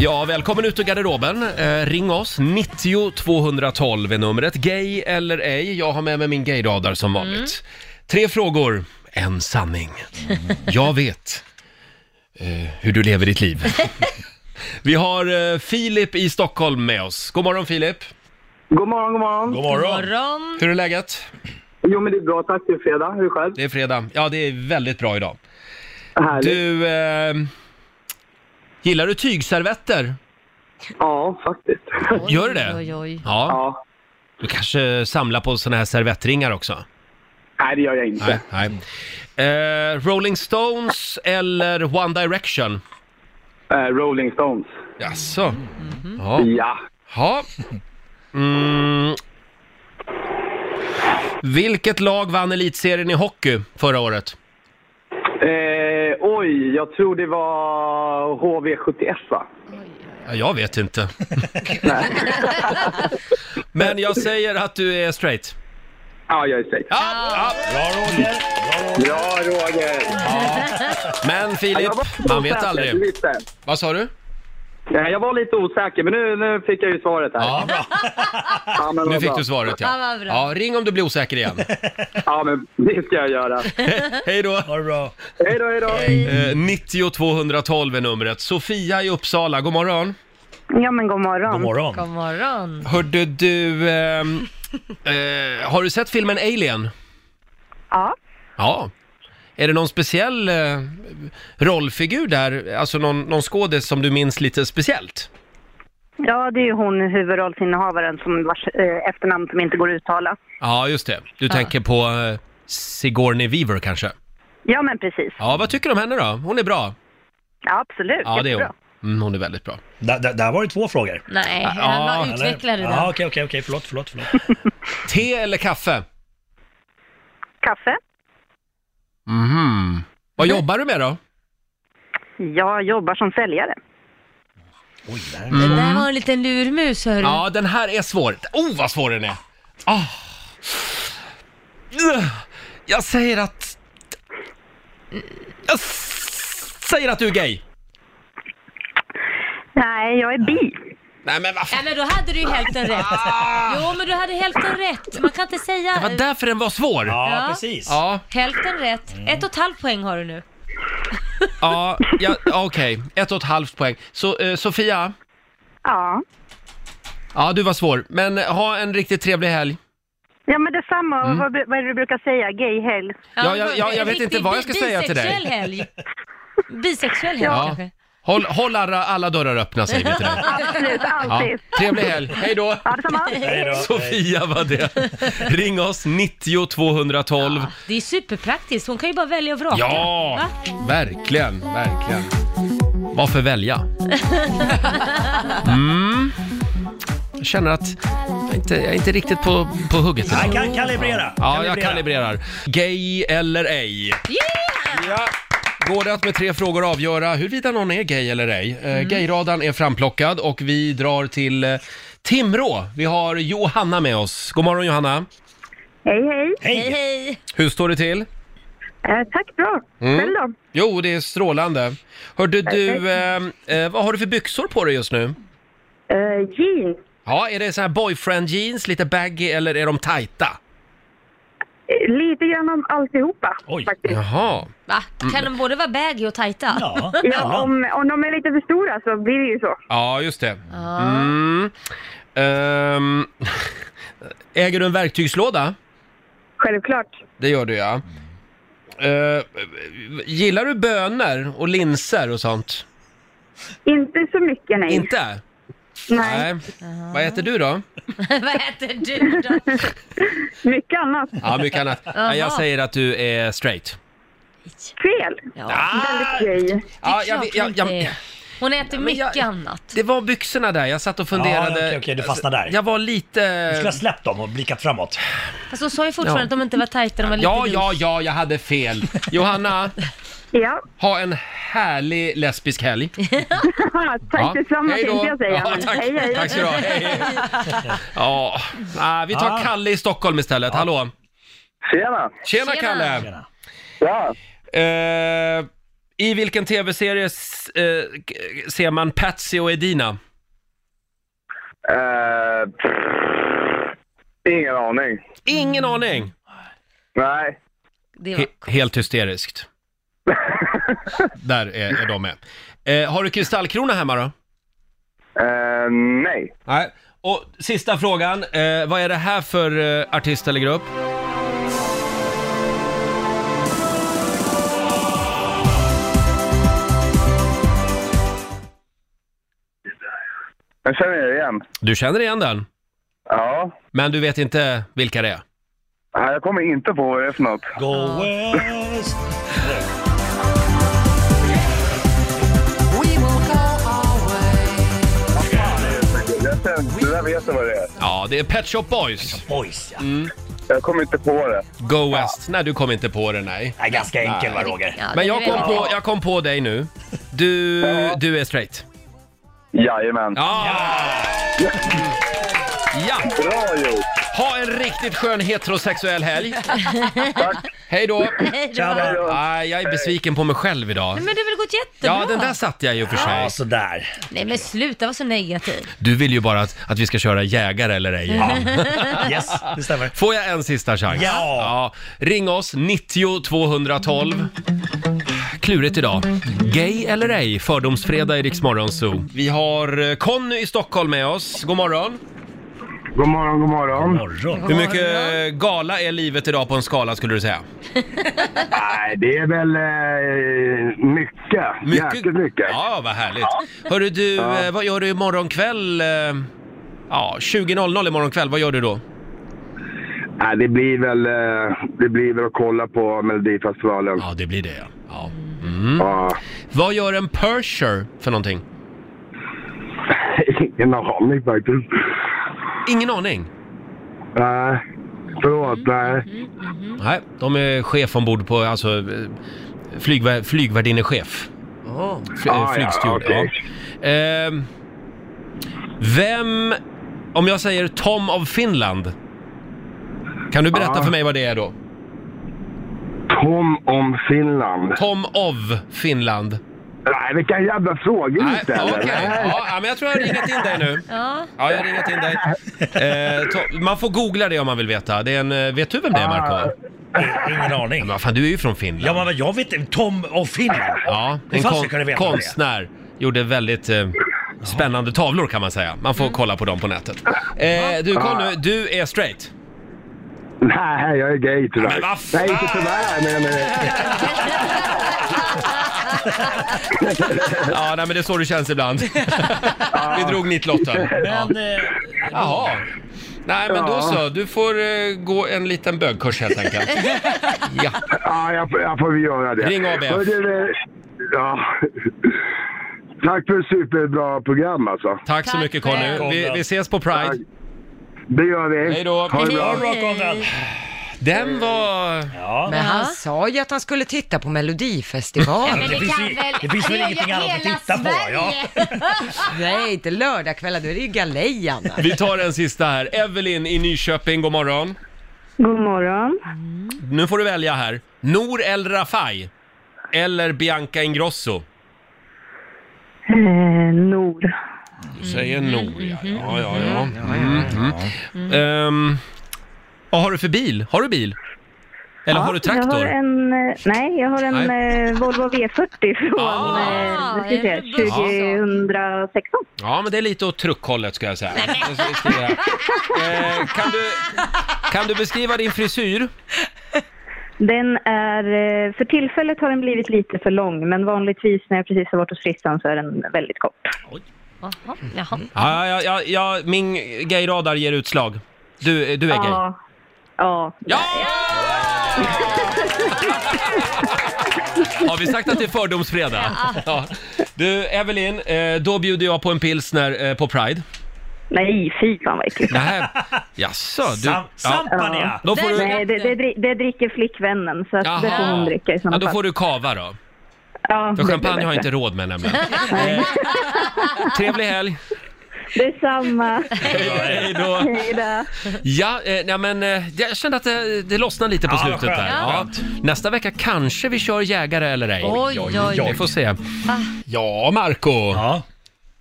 [SPEAKER 1] Ja, välkommen ut ur garderoben. Eh, ring oss, 90 212 är numret. Gay eller ej, jag har med mig min gayradar som
[SPEAKER 6] Mm.
[SPEAKER 1] vanligt. Tre frågor, en sanning. Jag vet eh, hur du lever ditt liv. Vi har eh, Filip i Stockholm med oss. God morgon Filip!
[SPEAKER 13] God morgon, god morgon.
[SPEAKER 1] God
[SPEAKER 6] morgon. God morgon.
[SPEAKER 1] Hur är läget?
[SPEAKER 13] Jo, men det är bra. Tack. Det är fredag. Hur är det själv?
[SPEAKER 1] Det är fredag. Ja, det är väldigt bra idag.
[SPEAKER 13] Härligt.
[SPEAKER 1] Du, eh, gillar du tygservetter?
[SPEAKER 13] Ja, faktiskt.
[SPEAKER 1] Gör du det?
[SPEAKER 6] Oj, oj.
[SPEAKER 1] Ja. Du kanske samlar på såna här servettringar också?
[SPEAKER 13] Nej, det gör jag inte.
[SPEAKER 1] Nej. nej. Eh, Rolling Stones eller One Direction?
[SPEAKER 13] Eh, Rolling Stones.
[SPEAKER 1] Jaså?
[SPEAKER 6] Mm,
[SPEAKER 1] Ja.
[SPEAKER 13] Ja.
[SPEAKER 1] Ja. Mm. Vilket lag vann elitserien i hockey förra året?
[SPEAKER 13] Eh, oj, jag tror det var HV71, va?
[SPEAKER 1] Ja, Jag vet inte. Men jag säger att du är straight.
[SPEAKER 13] Ja, jag är straight.
[SPEAKER 1] Ja,
[SPEAKER 6] Ah.
[SPEAKER 1] ja. Bra Roger!
[SPEAKER 13] Bra Roger!
[SPEAKER 1] Men Filip, man vet aldrig. Vad sa du?
[SPEAKER 13] Nej, jag var lite osäker, men nu, nu fick jag ju svaret här. Ja,
[SPEAKER 1] bra.
[SPEAKER 13] ja, men
[SPEAKER 1] Nu
[SPEAKER 13] vad
[SPEAKER 1] fick
[SPEAKER 13] bra.
[SPEAKER 1] du svaret
[SPEAKER 6] Ja,
[SPEAKER 1] ja.
[SPEAKER 6] vad bra.
[SPEAKER 1] ja. Ring om du blir osäker igen.
[SPEAKER 13] Ja, men det ska jag göra.
[SPEAKER 1] Hej då! Ha det bra!
[SPEAKER 13] Hej då, hej då!
[SPEAKER 1] Eh, 90 212 är numret. Sofia i Uppsala, god morgon.
[SPEAKER 8] Ja, men god morgon.
[SPEAKER 1] God morgon.
[SPEAKER 6] God morgon.
[SPEAKER 1] Hörde du, ehm, eh, har du sett filmen Alien?
[SPEAKER 8] Ja.
[SPEAKER 1] Ja. Är det någon speciell eh, rollfigur där, alltså någon, någon skådis som du minns lite speciellt?
[SPEAKER 8] Ja, det är ju hon huvudrollsinnehavaren som vars eh, efternamn som inte går att uttala.
[SPEAKER 1] Ja, just det. Du tänker på eh, Sigourney Weaver kanske?
[SPEAKER 8] Ja, men precis.
[SPEAKER 1] Ja, vad tycker du om henne då? Hon är bra.
[SPEAKER 8] Ja, absolut.
[SPEAKER 1] Ja, det är
[SPEAKER 8] Jättebra.
[SPEAKER 1] hon. Mm, hon är väldigt bra.
[SPEAKER 9] Där, där, där var det två frågor.
[SPEAKER 6] Nej,
[SPEAKER 1] Ja,
[SPEAKER 6] han
[SPEAKER 1] eller?
[SPEAKER 6] var utvecklare
[SPEAKER 9] Ja,
[SPEAKER 6] där.
[SPEAKER 9] okej, okej, okej, förlåt, förlåt, förlåt.
[SPEAKER 1] Te eller kaffe?
[SPEAKER 8] Kaffe?
[SPEAKER 1] Mhm. Vad jobbar du med då?
[SPEAKER 8] Jag jobbar som säljare.
[SPEAKER 6] Det där var en liten lurmus hörru.
[SPEAKER 1] Mm. Ja, den här är svår. Oh, vad svår den är! Ah. Ugh. Jag säger att... Jag s- säger att du är gay.
[SPEAKER 8] Nej, jag är bi.
[SPEAKER 1] Nej men vad
[SPEAKER 6] Nej men då hade du ju hälften rätt. Jo men du hade hälften rätt. Man kan inte säga...
[SPEAKER 1] Ah. Det var därför den var svår!
[SPEAKER 6] Ja.
[SPEAKER 1] Ja,
[SPEAKER 6] Hälften rätt.
[SPEAKER 1] Mm.
[SPEAKER 6] Ett och ett halvt poäng har du nu.
[SPEAKER 1] ja, ja okej. Ett och ett halvt poäng. Så eh, Sofia,
[SPEAKER 8] Ja.
[SPEAKER 1] ja du var svår. Men eh, ha en riktigt trevlig helg.
[SPEAKER 8] Ja men detsamma,
[SPEAKER 1] Mm.
[SPEAKER 8] vad, vad är det du brukar säga? Gayhelg?
[SPEAKER 1] Ja, jag- jag- jag vet inte vad jag ska säga till dig.
[SPEAKER 6] Bisexuell helg. Bisexuell helg kanske.
[SPEAKER 1] Håll, håll alla, alla dörrar öppna säger vi till dig.
[SPEAKER 8] Absolut,
[SPEAKER 1] Ja.
[SPEAKER 8] alltid.
[SPEAKER 1] Trevlig helg, hej då!
[SPEAKER 8] Ja, detsamma.
[SPEAKER 1] Sofia var det. Ring oss, 90 212.
[SPEAKER 6] Det är superpraktiskt. Hon kan ju bara välja och vraka.
[SPEAKER 1] Ja,
[SPEAKER 6] Va?
[SPEAKER 1] verkligen, verkligen. Varför välja? Mm. Jag känner att jag inte, jag är inte riktigt på, på hugget idag.
[SPEAKER 9] Jag kan kalibrera.
[SPEAKER 1] Ja, jag
[SPEAKER 9] Kalibrera.
[SPEAKER 1] kalibrerar. Gay eller ej. Ja. Går det att med tre frågor avgöra huruvida någon är gay eller ej? Eh, Gayradan är framplockad och vi drar till eh, Timrå. Vi har Johanna med oss. God morgon Johanna.
[SPEAKER 8] Hej hej.
[SPEAKER 1] Hej. Hur står det till?
[SPEAKER 8] Eh, tack bra.
[SPEAKER 1] Mm.
[SPEAKER 8] Själv då?
[SPEAKER 1] Jo, det är strålande. Hörde du,
[SPEAKER 8] Perfekt.
[SPEAKER 1] eh, eh, vad har du för byxor på dig just nu?
[SPEAKER 8] Eh, jeans.
[SPEAKER 1] Ja, är det så här boyfriend jeans, lite baggy eller är de tajta?
[SPEAKER 8] Eh, Lite grann om alltihopa faktiskt.
[SPEAKER 1] Jaha.
[SPEAKER 6] Va? Kan de både vara baggy och tajta?
[SPEAKER 8] Ja, om, om de är lite för stora så blir det ju så.
[SPEAKER 1] Ja, just det.
[SPEAKER 6] Ja.
[SPEAKER 1] Mm. Ehm, äger du en verktygslåda?
[SPEAKER 8] Självklart.
[SPEAKER 1] Det gör du ja. Eh, gillar du bönor och linser och sånt?
[SPEAKER 8] Inte så mycket nej.
[SPEAKER 1] Inte?
[SPEAKER 8] Nej.
[SPEAKER 1] Vad äter du då?
[SPEAKER 6] Vad äter du då?
[SPEAKER 8] Mycket annat.
[SPEAKER 1] Ja, mycket annat.
[SPEAKER 8] Jaha.
[SPEAKER 1] Jag säger att du är straight. Ah,
[SPEAKER 8] Fel. Väldigt gay.
[SPEAKER 1] Ja,
[SPEAKER 6] Det är klart hon inte är. Hon äter mycket annat.
[SPEAKER 1] Det var byxorna där, jag satt och
[SPEAKER 9] Ja,
[SPEAKER 1] funderade.
[SPEAKER 9] okej, okej, du fastnade där.
[SPEAKER 1] Jag var lite...
[SPEAKER 9] Du skulle ha släppt dem och blickat framåt.
[SPEAKER 6] Fast hon sa ju fortfarande
[SPEAKER 1] Ja.
[SPEAKER 6] att de inte var tajta, de var lite
[SPEAKER 1] Ja,
[SPEAKER 6] loose.
[SPEAKER 1] ja, ja, jag hade fel. Johanna,
[SPEAKER 8] ja.
[SPEAKER 1] ha en härlig lesbisk helg.
[SPEAKER 8] tack
[SPEAKER 1] Ja,
[SPEAKER 8] detsamma
[SPEAKER 1] hej då.
[SPEAKER 8] tänkte jag säga.
[SPEAKER 1] Ja,
[SPEAKER 8] men
[SPEAKER 1] tack.
[SPEAKER 8] Hej, hej.
[SPEAKER 1] Tack ska du ha. Hej, Ja, ah, vi tar
[SPEAKER 8] Ja.
[SPEAKER 1] Kalle i Stockholm istället. Hallå!
[SPEAKER 13] Tjena!
[SPEAKER 1] Tjena,
[SPEAKER 13] Tjena.
[SPEAKER 1] Kalle!
[SPEAKER 13] Tjena. Ja.
[SPEAKER 1] Eh, I vilken tv-serie s- eh, k- ser man Patsy och Edina?
[SPEAKER 4] Eh, pff, ingen aning.
[SPEAKER 1] Ingen aning?
[SPEAKER 4] Nej.
[SPEAKER 1] He- helt hysteriskt. Där är, är de med. Eh, har du kristallkrona hemma då?
[SPEAKER 4] Eh, nej.
[SPEAKER 1] Nej. Och sista frågan, eh, vad är det här för eh, artist eller grupp?
[SPEAKER 4] Jag känner er igen.
[SPEAKER 1] Du känner igen den?
[SPEAKER 4] Ja.
[SPEAKER 1] Men du vet inte vilka det är?
[SPEAKER 4] Nej, jag kommer inte på vad det är för något.
[SPEAKER 9] Go west.
[SPEAKER 4] Jag känner, det där vet jag vad det är.
[SPEAKER 1] Ja, det är Pet Shop Boys. Mm.
[SPEAKER 9] Boys, ja.
[SPEAKER 4] Jag kommer inte på det.
[SPEAKER 1] Go West. Nej, du kom inte på det, nej.
[SPEAKER 9] Nej, ganska enkel va, Roger?
[SPEAKER 1] Ja, Men jag kom, på, jag kom på dig nu. Du, du är straight.
[SPEAKER 4] Jajamän.
[SPEAKER 1] Ja! Ja!
[SPEAKER 4] Bra gjort!
[SPEAKER 1] Ha en riktigt skön heterosexuell helg. Hej då!
[SPEAKER 6] Hej då. Hej då.
[SPEAKER 1] Nej, jag är besviken på mig själv idag.
[SPEAKER 6] Nej, men det har väl gått jättebra?
[SPEAKER 1] Ja, den där satt jag ju och för sig.
[SPEAKER 9] Ja, sådär.
[SPEAKER 6] Nej men sluta vara så negativ.
[SPEAKER 1] Du vill ju bara att, att vi ska köra jägare eller ej.
[SPEAKER 6] Ja.
[SPEAKER 9] Yes, det stämmer.
[SPEAKER 1] Får jag en sista chans?
[SPEAKER 9] Ja.
[SPEAKER 1] Ring oss, 90 212. Klurigt idag. Gay eller ej, fördomsfredag i Rix Morgon Zoo. Vi har eh, Conny i Stockholm med oss. God morgon.
[SPEAKER 4] God morgon, god morgon.
[SPEAKER 1] Hur mycket eh, gala är livet idag på en skala skulle du säga?
[SPEAKER 4] Nej, det är väl eh, mycket. Jäkligt mycket.
[SPEAKER 1] Ja, vad härligt. Hörru du,
[SPEAKER 4] Ja.
[SPEAKER 1] eh, vad gör du imorgon kväll? eh, Ja, 20.00 imorgon kväll, vad gör du då?
[SPEAKER 4] Nej, det blir väl, eh, det blir väl att kolla på Melodifestivalen.
[SPEAKER 1] Ja, det blir det ja. ja. Mm. Vad gör en Persher för någonting?
[SPEAKER 4] Ingen aning faktiskt.
[SPEAKER 1] Ingen aning?
[SPEAKER 4] Nej, förlåt. Nej.
[SPEAKER 1] Nej, de är chef ombord på, alltså eh, flygvär, flygvärdinneschef.
[SPEAKER 6] Oh.
[SPEAKER 4] Ah,
[SPEAKER 1] Fl- eh, flygsteward, ja. Ehm, vem, om jag säger Tom av Finland, kan du berätta
[SPEAKER 4] Ja.
[SPEAKER 1] för mig vad det är då?
[SPEAKER 4] Tom om Finland.
[SPEAKER 1] Tom av Finland.
[SPEAKER 12] Nej, vilka jävla frågor du ställer.
[SPEAKER 1] okej. Ja, ja, men jag tror jag har ringat in dig nu.
[SPEAKER 6] Ja.
[SPEAKER 1] Ja, jag har ringat in dig. Eh, to- man får googla det om man vill veta. Det är en, eh, vet du vem det är, Marco?
[SPEAKER 9] Ah, Ingen aning.
[SPEAKER 1] Men vad fan, du är ju från Finland.
[SPEAKER 9] Ja, men jag vet inte. Tom och Finland.
[SPEAKER 1] Ja,
[SPEAKER 9] Hur
[SPEAKER 1] en
[SPEAKER 9] fan ska
[SPEAKER 1] kon
[SPEAKER 9] jag kunna veta vad det är?
[SPEAKER 1] konstnär gjorde väldigt eh, spännande tavlor kan man säga. Man får
[SPEAKER 9] Mm.
[SPEAKER 1] kolla på dem på nätet. Eh, du, kom nu. Du är straight.
[SPEAKER 12] Nej, jag är gay tyvärr.
[SPEAKER 1] Men vad
[SPEAKER 12] Nej, inte tyvärr, men...
[SPEAKER 1] Ja, nej, men det är så det känns ibland. Vi drog nittlotten.
[SPEAKER 9] Men, eh,
[SPEAKER 1] Jaha. Nej, men då
[SPEAKER 12] Ja.
[SPEAKER 1] så. Du får eh, gå en liten bögkurs helt enkelt. Ja.
[SPEAKER 12] Ja, jag, får- jag får väl göra det.
[SPEAKER 1] Ring ABF.
[SPEAKER 12] Hör du, eh, Ja. Tack för ett superbra program alltså. Tack,
[SPEAKER 1] så mycket Conny. Vi, vi ses på Pride.
[SPEAKER 12] Det gör vi.
[SPEAKER 1] Hej då.
[SPEAKER 12] Ha det bra.
[SPEAKER 1] Den var...
[SPEAKER 2] Men han sa ju att han skulle titta på Melodifestivalen.
[SPEAKER 9] Ja, men det Det finns kan ju- väl- det finns väl det gör ingenting annat att hela titta på, ja.
[SPEAKER 2] Nej, inte lördagskvällar, då är det ju galej Anna.
[SPEAKER 1] Vi tar en sista här. Evelyn i Nyköping, god morgon.
[SPEAKER 14] God morgon.
[SPEAKER 1] Nu får du välja här. Nor El Rafai eller Bianca Ingrosso?
[SPEAKER 14] Eh, Nor.
[SPEAKER 1] Du säger Nor, ja. Ja, ja, ja. Mm, mm. Ehm, vad har du för bil? Har du bil? Eller har du
[SPEAKER 14] Jag har
[SPEAKER 1] traktor?
[SPEAKER 14] en, eh, nej, jag har en
[SPEAKER 1] Nej.
[SPEAKER 14] eh, Volvo V40 från ah,
[SPEAKER 6] är det
[SPEAKER 1] bra?
[SPEAKER 14] 2016.
[SPEAKER 1] Ja, men det är lite åt truckhållet ska jag säga. Jag ska skriva här. Eh, kan, du, kan du beskriva din frisyr?
[SPEAKER 14] Den är, eh, för tillfället har den blivit lite för lång, men vanligtvis när jag precis har varit hos frissan så är den väldigt kort.
[SPEAKER 6] Jaha, jaha.
[SPEAKER 1] Ja, ja, ja, ja, min gayradar ger utslag. Du, du är gay.
[SPEAKER 14] Ja. Ja.
[SPEAKER 1] Har vi sagt att det är fördomsfredag? Ja. Du, Evelyn, eh, då bjuder jag på en pilsner eh, på Pride.
[SPEAKER 14] Nej, fy fan vad äckligt.
[SPEAKER 1] Nähä. Jaså, du...
[SPEAKER 14] Sam-
[SPEAKER 1] ja. Då får du,
[SPEAKER 14] Nej, det, det, dri- det dricker flickvännen, så att det får hon dricka i
[SPEAKER 1] ja,
[SPEAKER 14] sådana
[SPEAKER 1] då får
[SPEAKER 14] fall.
[SPEAKER 1] du kava då.
[SPEAKER 14] Ja, det blir
[SPEAKER 1] För champagne har jag
[SPEAKER 14] bättre.
[SPEAKER 1] inte råd med nämligen. Eh, trevlig helg!
[SPEAKER 14] Detsamma.
[SPEAKER 1] Hej då!
[SPEAKER 14] Hej då.
[SPEAKER 1] Ja, eh, nej, men eh, jag kände att det, det lossnade lite på
[SPEAKER 9] Ja,
[SPEAKER 1] slutet
[SPEAKER 9] skönt,
[SPEAKER 1] där. Ja.
[SPEAKER 9] skönt.
[SPEAKER 1] Nästa vecka kanske vi kör jägare eller ej.
[SPEAKER 6] Oj, oj, Ah. oj.
[SPEAKER 1] Vi får se. Ja, Marco.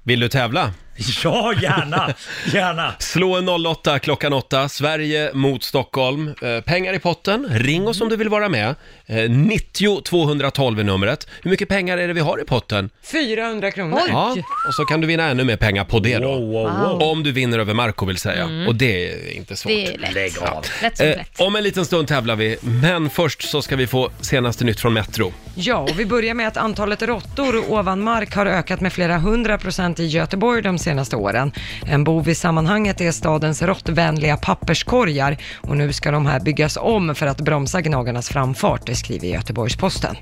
[SPEAKER 1] Vill du tävla?
[SPEAKER 9] Ja, gärna. Gärna.
[SPEAKER 1] Slå en 08 klockan 8, Sverige mot Stockholm. Eh, pengar i potten, ring oss om du vill vara med. Eh, 90 212 är numret. Hur mycket pengar är det vi har i potten?
[SPEAKER 2] 400 kronor.
[SPEAKER 1] Ja, och så kan du vinna ännu mer pengar på det då.
[SPEAKER 2] wow.
[SPEAKER 1] Om du vinner över Marco vill säga.
[SPEAKER 6] Mm.
[SPEAKER 1] Och det är inte svårt.
[SPEAKER 6] Det är lätt. Lägg av. Lätt som
[SPEAKER 1] Eh,
[SPEAKER 6] lätt.
[SPEAKER 1] om en liten stund tävlar vi, men först så ska vi få senaste nytt från Metro.
[SPEAKER 2] Ja, och vi börjar med att antalet råttor ovan mark har ökat med flera hundra procent i Göteborg de senaste åren. En bov i sammanhanget är stadens råttvänliga papperskorgar och nu ska de här byggas om för att bromsa gnagarnas framfart, det skriver Göteborgs-Posten.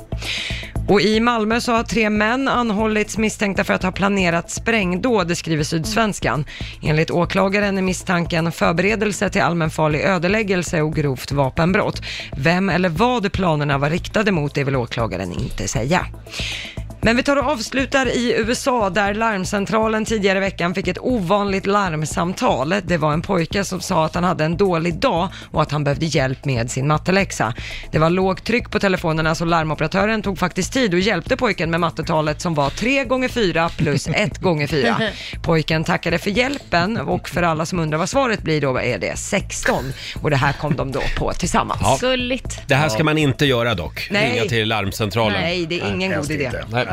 [SPEAKER 2] Och i Malmö så har tre män anhållits misstänkta för att ha planerat sprängdåd, det skriver Sydsvenskan. Enligt åklagaren är misstanken förberedelse till allmänfarlig ödeläggelse och grovt vapenbrott. Vem eller vad planerna var riktade mot det vill åklagaren inte säga. Men vi tar och avslutar i USA där larmcentralen tidigare i veckan fick ett ovanligt larmsamtal. Det var en pojke som sa att han hade en dålig dag och att han behövde hjälp med sin matteläxa. Det var lågt tryck på telefonerna så larmoperatören tog faktiskt tid och hjälpte pojken med mattetalet som var 3 gånger 4 plus 1 gånger 4. Pojken tackade för hjälpen och för alla som undrar vad svaret blir då är det 16 och det här kom de då på tillsammans.
[SPEAKER 1] Ja.
[SPEAKER 6] Gulligt.
[SPEAKER 1] Det här ska man inte göra dock,
[SPEAKER 2] Nej.
[SPEAKER 1] ringa till larmcentralen.
[SPEAKER 2] Nej, det är ingen
[SPEAKER 1] helst
[SPEAKER 2] god idé.
[SPEAKER 1] inte. Nej.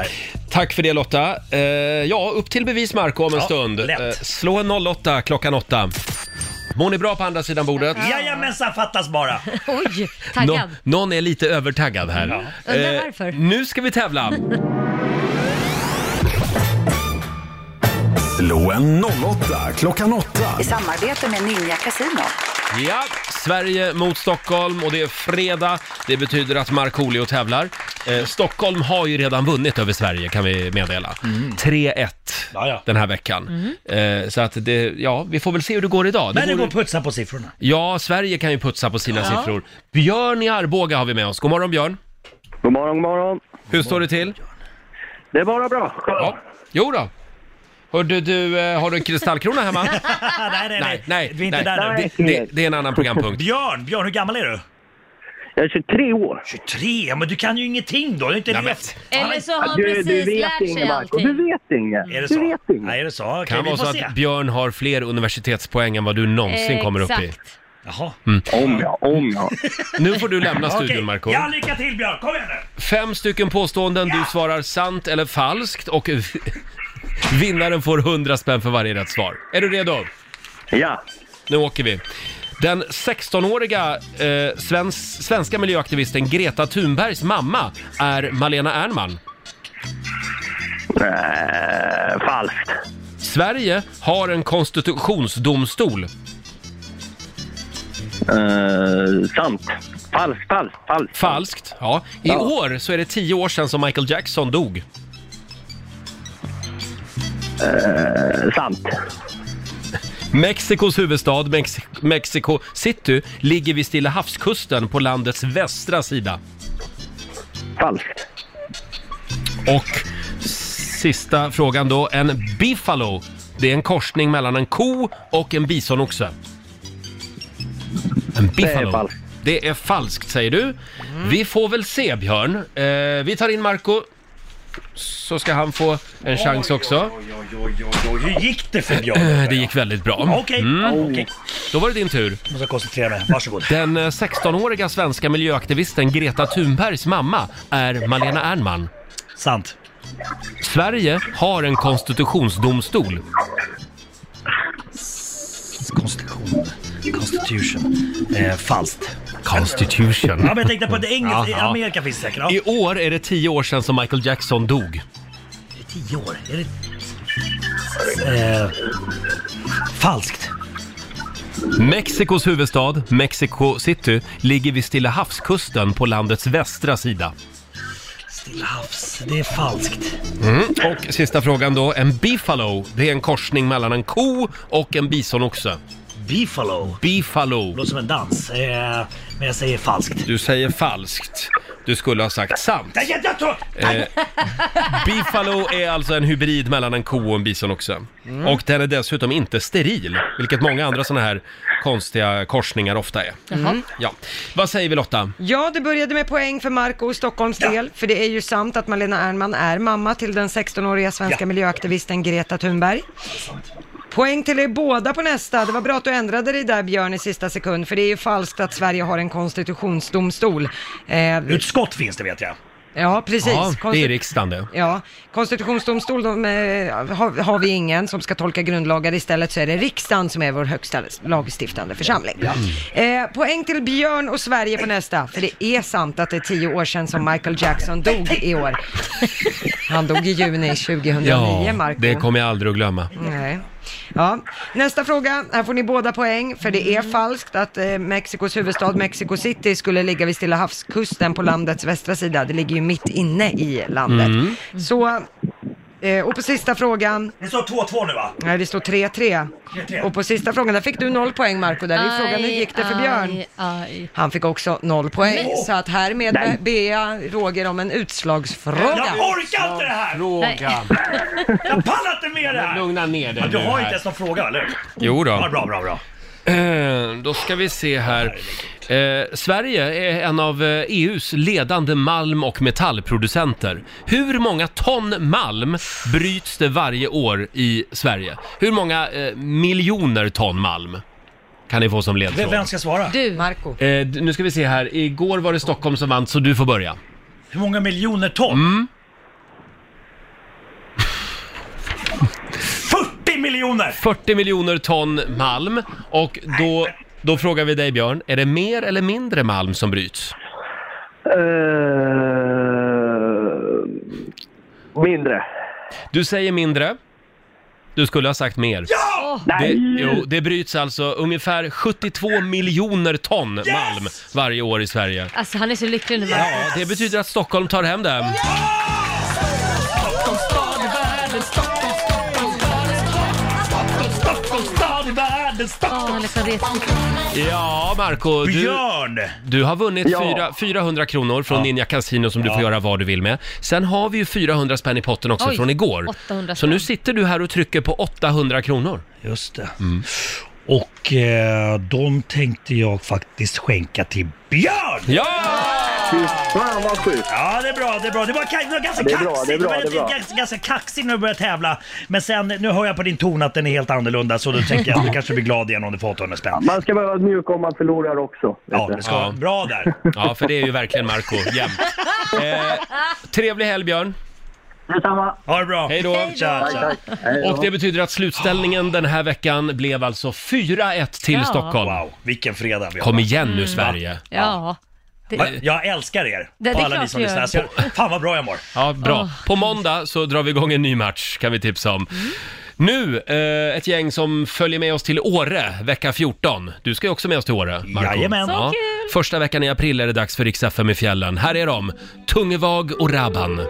[SPEAKER 1] Tack för det Lotta. Eh, ja, upp till bevis Marco om en
[SPEAKER 9] Ja,
[SPEAKER 1] stund.
[SPEAKER 9] lätt.
[SPEAKER 1] Eh, slå en 08 klockan 8. Mår ni bra på andra sidan bordet?
[SPEAKER 9] Jajamensan, fattas bara.
[SPEAKER 6] Oj, taggad.
[SPEAKER 1] Nå- någon är lite övertaggad här.
[SPEAKER 6] Undrar
[SPEAKER 1] Eh,
[SPEAKER 6] varför.
[SPEAKER 1] nu ska vi tävla.
[SPEAKER 3] Slå en 08 klockan 8.
[SPEAKER 15] I samarbete med Ninja Casino.
[SPEAKER 1] Ja, Sverige mot Stockholm och det är fredag. Det betyder att Markoolio tävlar. Eh, Stockholm har ju redan vunnit över Sverige kan vi meddela.
[SPEAKER 9] Mm.
[SPEAKER 1] 3-1 den här veckan. Eh, så att det, ja, vi får väl se hur det går idag.
[SPEAKER 9] Men det går
[SPEAKER 1] vore-
[SPEAKER 9] att putsa på siffrorna.
[SPEAKER 1] Ja, Sverige kan ju putsa på sina
[SPEAKER 9] Ja.
[SPEAKER 1] siffror. Björn i Arboga har vi med oss. God morgon Björn!
[SPEAKER 16] God morgon, god morgon.
[SPEAKER 1] Hur står det till?
[SPEAKER 16] Det är bara bra.
[SPEAKER 1] Ja. Jo då. Hörde du, eh, har du en kristallkrona hemma?
[SPEAKER 9] nej, nej, nej.
[SPEAKER 1] nej,
[SPEAKER 9] Vi är inte där nu.
[SPEAKER 1] Det, det, det är en annan programpunkt.
[SPEAKER 9] Björn, Björn, hur gammal är du?
[SPEAKER 16] Jag är 23 år.
[SPEAKER 9] 23? Ja, men du kan ju ingenting då. Du har inte levt.
[SPEAKER 6] Eller så har han precis lärt sig allting.
[SPEAKER 16] vet inget.
[SPEAKER 9] Är det
[SPEAKER 16] Du
[SPEAKER 9] så?
[SPEAKER 16] vet inget.
[SPEAKER 9] Nej, är det så? Okej,
[SPEAKER 1] kan
[SPEAKER 9] vi
[SPEAKER 1] vara
[SPEAKER 9] får
[SPEAKER 1] så
[SPEAKER 9] se.
[SPEAKER 1] att Björn har fler universitetspoäng än vad du någonsin kommer upp i. Mm.
[SPEAKER 6] Exakt.
[SPEAKER 9] Jaha.
[SPEAKER 1] Om ja, om ja. Nu får du lämna
[SPEAKER 9] Okej.
[SPEAKER 1] studion, Marco.
[SPEAKER 9] Ja, lycka till Björn! Kom igen nu!
[SPEAKER 1] Fem stycken påståenden, du svarar sant eller falskt och vinnaren får 100 spänn för varje rätt svar. Är du redo?
[SPEAKER 16] Ja.
[SPEAKER 1] Nu åker vi. Den 16-åriga eh, svens- svenska miljöaktivisten Greta Thunbergs mamma är Malena Ernman.
[SPEAKER 16] falskt.
[SPEAKER 1] Sverige har en konstitutionsdomstol.
[SPEAKER 16] Eh, sant. Falskt, falskt, falskt.
[SPEAKER 1] Falskt, ja. I
[SPEAKER 16] Ja.
[SPEAKER 1] år så är det tio år sedan som Michael Jackson dog.
[SPEAKER 16] Eh, sant.
[SPEAKER 1] Mexikos huvudstad Mex- Mexico City ligger vid Stilla havskusten på landets västra sida.
[SPEAKER 16] Falskt.
[SPEAKER 1] Och sista frågan då. En biffalo, det är en korsning mellan en ko och en bisonoxe. En
[SPEAKER 16] Det är
[SPEAKER 1] biffalo.
[SPEAKER 16] falskt.
[SPEAKER 1] Det är falskt säger du. Vi får väl se Björn. Eh, vi tar in Marco så ska han få en chans också.
[SPEAKER 9] Och hur gick det för Björn?
[SPEAKER 1] Eh, Det gick väldigt bra. Mm.
[SPEAKER 9] Okej, okej.
[SPEAKER 1] Då var det din tur.
[SPEAKER 9] Jag måste koncentrera mig. Varsågod.
[SPEAKER 1] Den eh, 16-åriga svenska miljöaktivisten Greta Thunbergs mamma är Malena Ernman.
[SPEAKER 9] Sant.
[SPEAKER 1] Sverige har en konstitutionsdomstol.
[SPEAKER 9] Konstitution. Constitution. Eh, falskt.
[SPEAKER 1] Constitution.
[SPEAKER 9] Ja, men jag tänkte på det engelska. I
[SPEAKER 1] Ja, ja.
[SPEAKER 9] Amerika finns det säkert. Ja.
[SPEAKER 1] I år är det tio år sedan som Michael Jackson dog.
[SPEAKER 9] Det är tio år. Är det... Eh, falskt.
[SPEAKER 1] Mexikos huvudstad, Mexico City, ligger vid Stilla havskusten på landets västra sida.
[SPEAKER 9] Stilla havs. Det är falskt.
[SPEAKER 1] Mm. Och sista frågan då. En beefalo, det är en korsning mellan en ko och en bisonoxe.
[SPEAKER 9] Beefalo?
[SPEAKER 1] Beefalo.
[SPEAKER 9] Låter som en dans. Eh, men jag säger falskt.
[SPEAKER 1] Du säger falskt. Du skulle ha sagt sant.
[SPEAKER 9] Nej, jag, jag tror...
[SPEAKER 1] Eh, Beefalo är alltså en hybrid mellan en ko och en bisonoxe.
[SPEAKER 9] Mm.
[SPEAKER 1] Och den är dessutom inte steril, vilket många andra sådana här konstiga korsningar ofta är. Mm.
[SPEAKER 2] Jaha.
[SPEAKER 1] Ja. Vad säger vi Lotta?
[SPEAKER 2] Ja, det började med poäng för Marco i Stockholms del, för det är ju sant att Malena Ernman är mamma till den 16-åriga svenska miljöaktivisten Greta Thunberg. Poäng till er båda på nästa. Det var bra att du ändrade dig där Björn i sista sekund, för det är ju falskt att Sverige har en konstitutionsdomstol. Eh,
[SPEAKER 9] Utskott finns det vet jag.
[SPEAKER 2] Ja, precis.
[SPEAKER 1] Ja, det är
[SPEAKER 2] Konstitu-
[SPEAKER 1] riksdagen det.
[SPEAKER 2] Ja, konstitutionsdomstol de, eh, har, har vi ingen som ska tolka grundlagar. Istället så är det riksdagen som är vår högsta lagstiftande församling. Eh, poäng till Björn och Sverige på nästa. För det är sant att det är tio år sedan som Michael Jackson dog i år. Han dog i juni 2009,
[SPEAKER 1] Ja,
[SPEAKER 2] Marco.
[SPEAKER 1] det kommer jag aldrig att glömma.
[SPEAKER 2] Nej. Ja. Nästa fråga, här får ni båda poäng, för det
[SPEAKER 9] Mm.
[SPEAKER 2] är falskt att eh, Mexikos huvudstad Mexico City skulle ligga vid Stilla havskusten på landets västra sida. Det ligger ju mitt inne i landet.
[SPEAKER 11] Mm.
[SPEAKER 2] Så, eh, och på sista frågan,
[SPEAKER 9] Det står 2-2 nu va?
[SPEAKER 2] nej det står 3-3.
[SPEAKER 9] 3-3.
[SPEAKER 2] Och på sista frågan, där fick du noll poäng Marco, där är ju frågan hur gick det för Björn?
[SPEAKER 6] Aj, aj.
[SPEAKER 2] Han fick också noll poäng,
[SPEAKER 6] Nej.
[SPEAKER 2] så att härmed
[SPEAKER 6] Nej.
[SPEAKER 2] ber jag Roger om en utslagsfråga.
[SPEAKER 9] Jag orkar inte det här!
[SPEAKER 1] Fråga.
[SPEAKER 9] Jag pallar inte med det här!
[SPEAKER 1] Lugna ner dig
[SPEAKER 9] Du
[SPEAKER 1] nu
[SPEAKER 9] har
[SPEAKER 1] här.
[SPEAKER 9] inte ens någon fråga eller hur?
[SPEAKER 1] Jo då.
[SPEAKER 9] Ja, bra, bra, bra.
[SPEAKER 1] Eh, Då ska vi se här. Eh, Sverige är en av eh, EUs ledande malm och metallproducenter. Hur många ton malm bryts det varje år i Sverige? Hur många eh, miljoner ton malm kan ni få som
[SPEAKER 9] Vem,
[SPEAKER 1] ledtråd?
[SPEAKER 9] vem ska svara?
[SPEAKER 6] Du.
[SPEAKER 2] Marco.
[SPEAKER 1] Eh, d- nu ska vi se här. Igår var det Stockholm som vann, så du får börja.
[SPEAKER 9] Hur många miljoner ton? 40 miljoner!
[SPEAKER 1] 40 miljoner ton malm. Och då, då frågar vi dig Björn, är det mer eller mindre malm som bryts?
[SPEAKER 16] mindre.
[SPEAKER 1] Du säger mindre. Du skulle ha sagt mer.
[SPEAKER 6] Åh,
[SPEAKER 1] Det, jo, det bryts alltså ungefär 72 miljoner ton malm varje år i Sverige.
[SPEAKER 6] Alltså han är så lycklig nu va?
[SPEAKER 1] Ja, det betyder att Stockholm tar hem det.
[SPEAKER 9] Stockholms stad i världen,
[SPEAKER 1] Mm.
[SPEAKER 9] Stockholms
[SPEAKER 6] stad i
[SPEAKER 1] Ja, Marco, du,
[SPEAKER 9] Björn!
[SPEAKER 1] du har vunnit
[SPEAKER 9] Ja.
[SPEAKER 1] fyra, 400 kronor från Ninja Casino som du får göra vad du vill med. Sen har vi ju 400 spänn i potten också
[SPEAKER 6] Oj,
[SPEAKER 1] från igår.
[SPEAKER 6] 800
[SPEAKER 1] Så nu sitter du här och trycker på 800 kronor.
[SPEAKER 9] Just det. Mm. Och eh, de tänkte jag faktiskt skänka till Björn!
[SPEAKER 1] Ja!
[SPEAKER 9] Fy fan vad sjukt! Ja, det är bra, det är bra. Det var, ka- det var ganska
[SPEAKER 13] Det är
[SPEAKER 9] kaxigt.
[SPEAKER 13] bra, det är bra,
[SPEAKER 9] var
[SPEAKER 13] det är bra.
[SPEAKER 9] Ganska, ganska kaxigt när du började tävla. Men sen, nu hör jag på din ton att den är helt annorlunda så då tänker jag att du kanske blir glad igen om du får 800 spänn.
[SPEAKER 13] Man ska vara mjuk om man förlorar också.
[SPEAKER 9] Ja, det ska vara bra där.
[SPEAKER 1] Ja, för det är ju verkligen Marco jämt. Eh, trevlig helg Björn!
[SPEAKER 13] Detsamma!
[SPEAKER 9] Ha det bra!
[SPEAKER 1] Hej då!
[SPEAKER 13] Hej då. Tack, tack. Hej då.
[SPEAKER 1] Och det betyder att slutställningen den här veckan blev alltså 4-1 till
[SPEAKER 6] Ja.
[SPEAKER 1] Stockholm.
[SPEAKER 9] Wow, vilken fredag vi har.
[SPEAKER 1] Kom igen nu
[SPEAKER 6] Mm.
[SPEAKER 1] Sverige!
[SPEAKER 6] Ja.
[SPEAKER 9] Va?
[SPEAKER 6] Det,
[SPEAKER 9] Jag älskar er!
[SPEAKER 6] Det- det
[SPEAKER 9] på
[SPEAKER 6] är
[SPEAKER 9] alla
[SPEAKER 6] klart
[SPEAKER 9] ni som
[SPEAKER 6] du
[SPEAKER 9] lyssnar.
[SPEAKER 6] gör.
[SPEAKER 9] Så- Fan vad bra jag mår!
[SPEAKER 1] Ja, bra.
[SPEAKER 9] Åh. Mm.
[SPEAKER 1] På måndag så drar vi igång en ny match kan vi tipsa om. Nu, eh, ett gäng som följer med oss till Åre vecka 14. Du ska ju också med oss till Åre, Marco.
[SPEAKER 9] Jajamän. Så
[SPEAKER 1] kul! Första veckan i april är det dags för Rix FM i fjällen. Här är de, Tungevag och Rabban.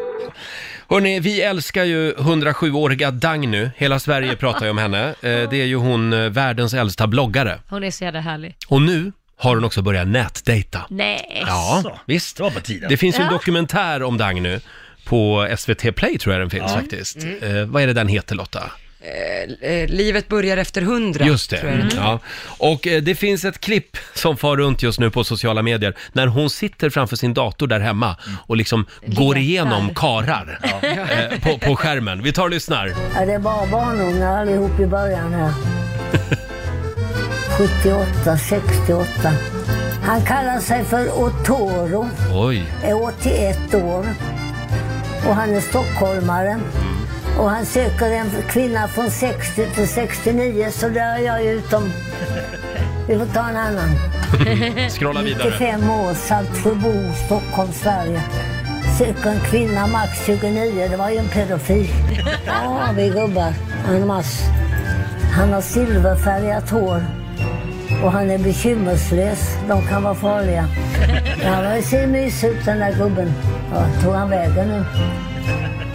[SPEAKER 1] Hörrni, vi älskar ju 107-åriga Dagny. Hela Sverige pratar ju om henne. Eh, det är ju hon eh, världens äldsta bloggare.
[SPEAKER 6] hon är så jävla härlig.
[SPEAKER 1] Och nu har hon också börjat nätdejta.
[SPEAKER 6] Nej.
[SPEAKER 1] Ja, visst. Det finns ju en
[SPEAKER 6] Ja.
[SPEAKER 1] dokumentär om Dagny på SVT Play tror jag den finns
[SPEAKER 2] Ja. Mm.
[SPEAKER 1] faktiskt. Eh, vad är det den heter Lotta?
[SPEAKER 2] Eh, eh, livet börjar efter hundra.
[SPEAKER 1] Just det. Mm.
[SPEAKER 2] tror jag heter.
[SPEAKER 1] Ja. Och eh, det finns ett klipp som far runt just nu på sociala medier när hon sitter framför sin dator där hemma
[SPEAKER 2] Mm.
[SPEAKER 1] och liksom går igenom karar eh, på, på skärmen. Vi tar och lyssnar.
[SPEAKER 7] Ja, det är bara barnungar allihop i början här. 78, 68. Han kallar sig för Otoro,
[SPEAKER 1] Oj.
[SPEAKER 7] är 81 år och han är stockholmare. Och han söker en kvinna från 60 till 69, så där är jag ju utom. Vi får ta en annan.
[SPEAKER 1] Scrolla vidare.
[SPEAKER 7] 95 år, Saltsjöbo, Stockholm, Sverige. Söker en kvinna max 29, det var ju en pedofil. Ja, vi gubbar. En mass. Han har silverfärgat hår. Och han är bekymmerslös. De kan vara farliga. Ja, han ser mysig ut den där gubben. Ja, tog han vägen nu?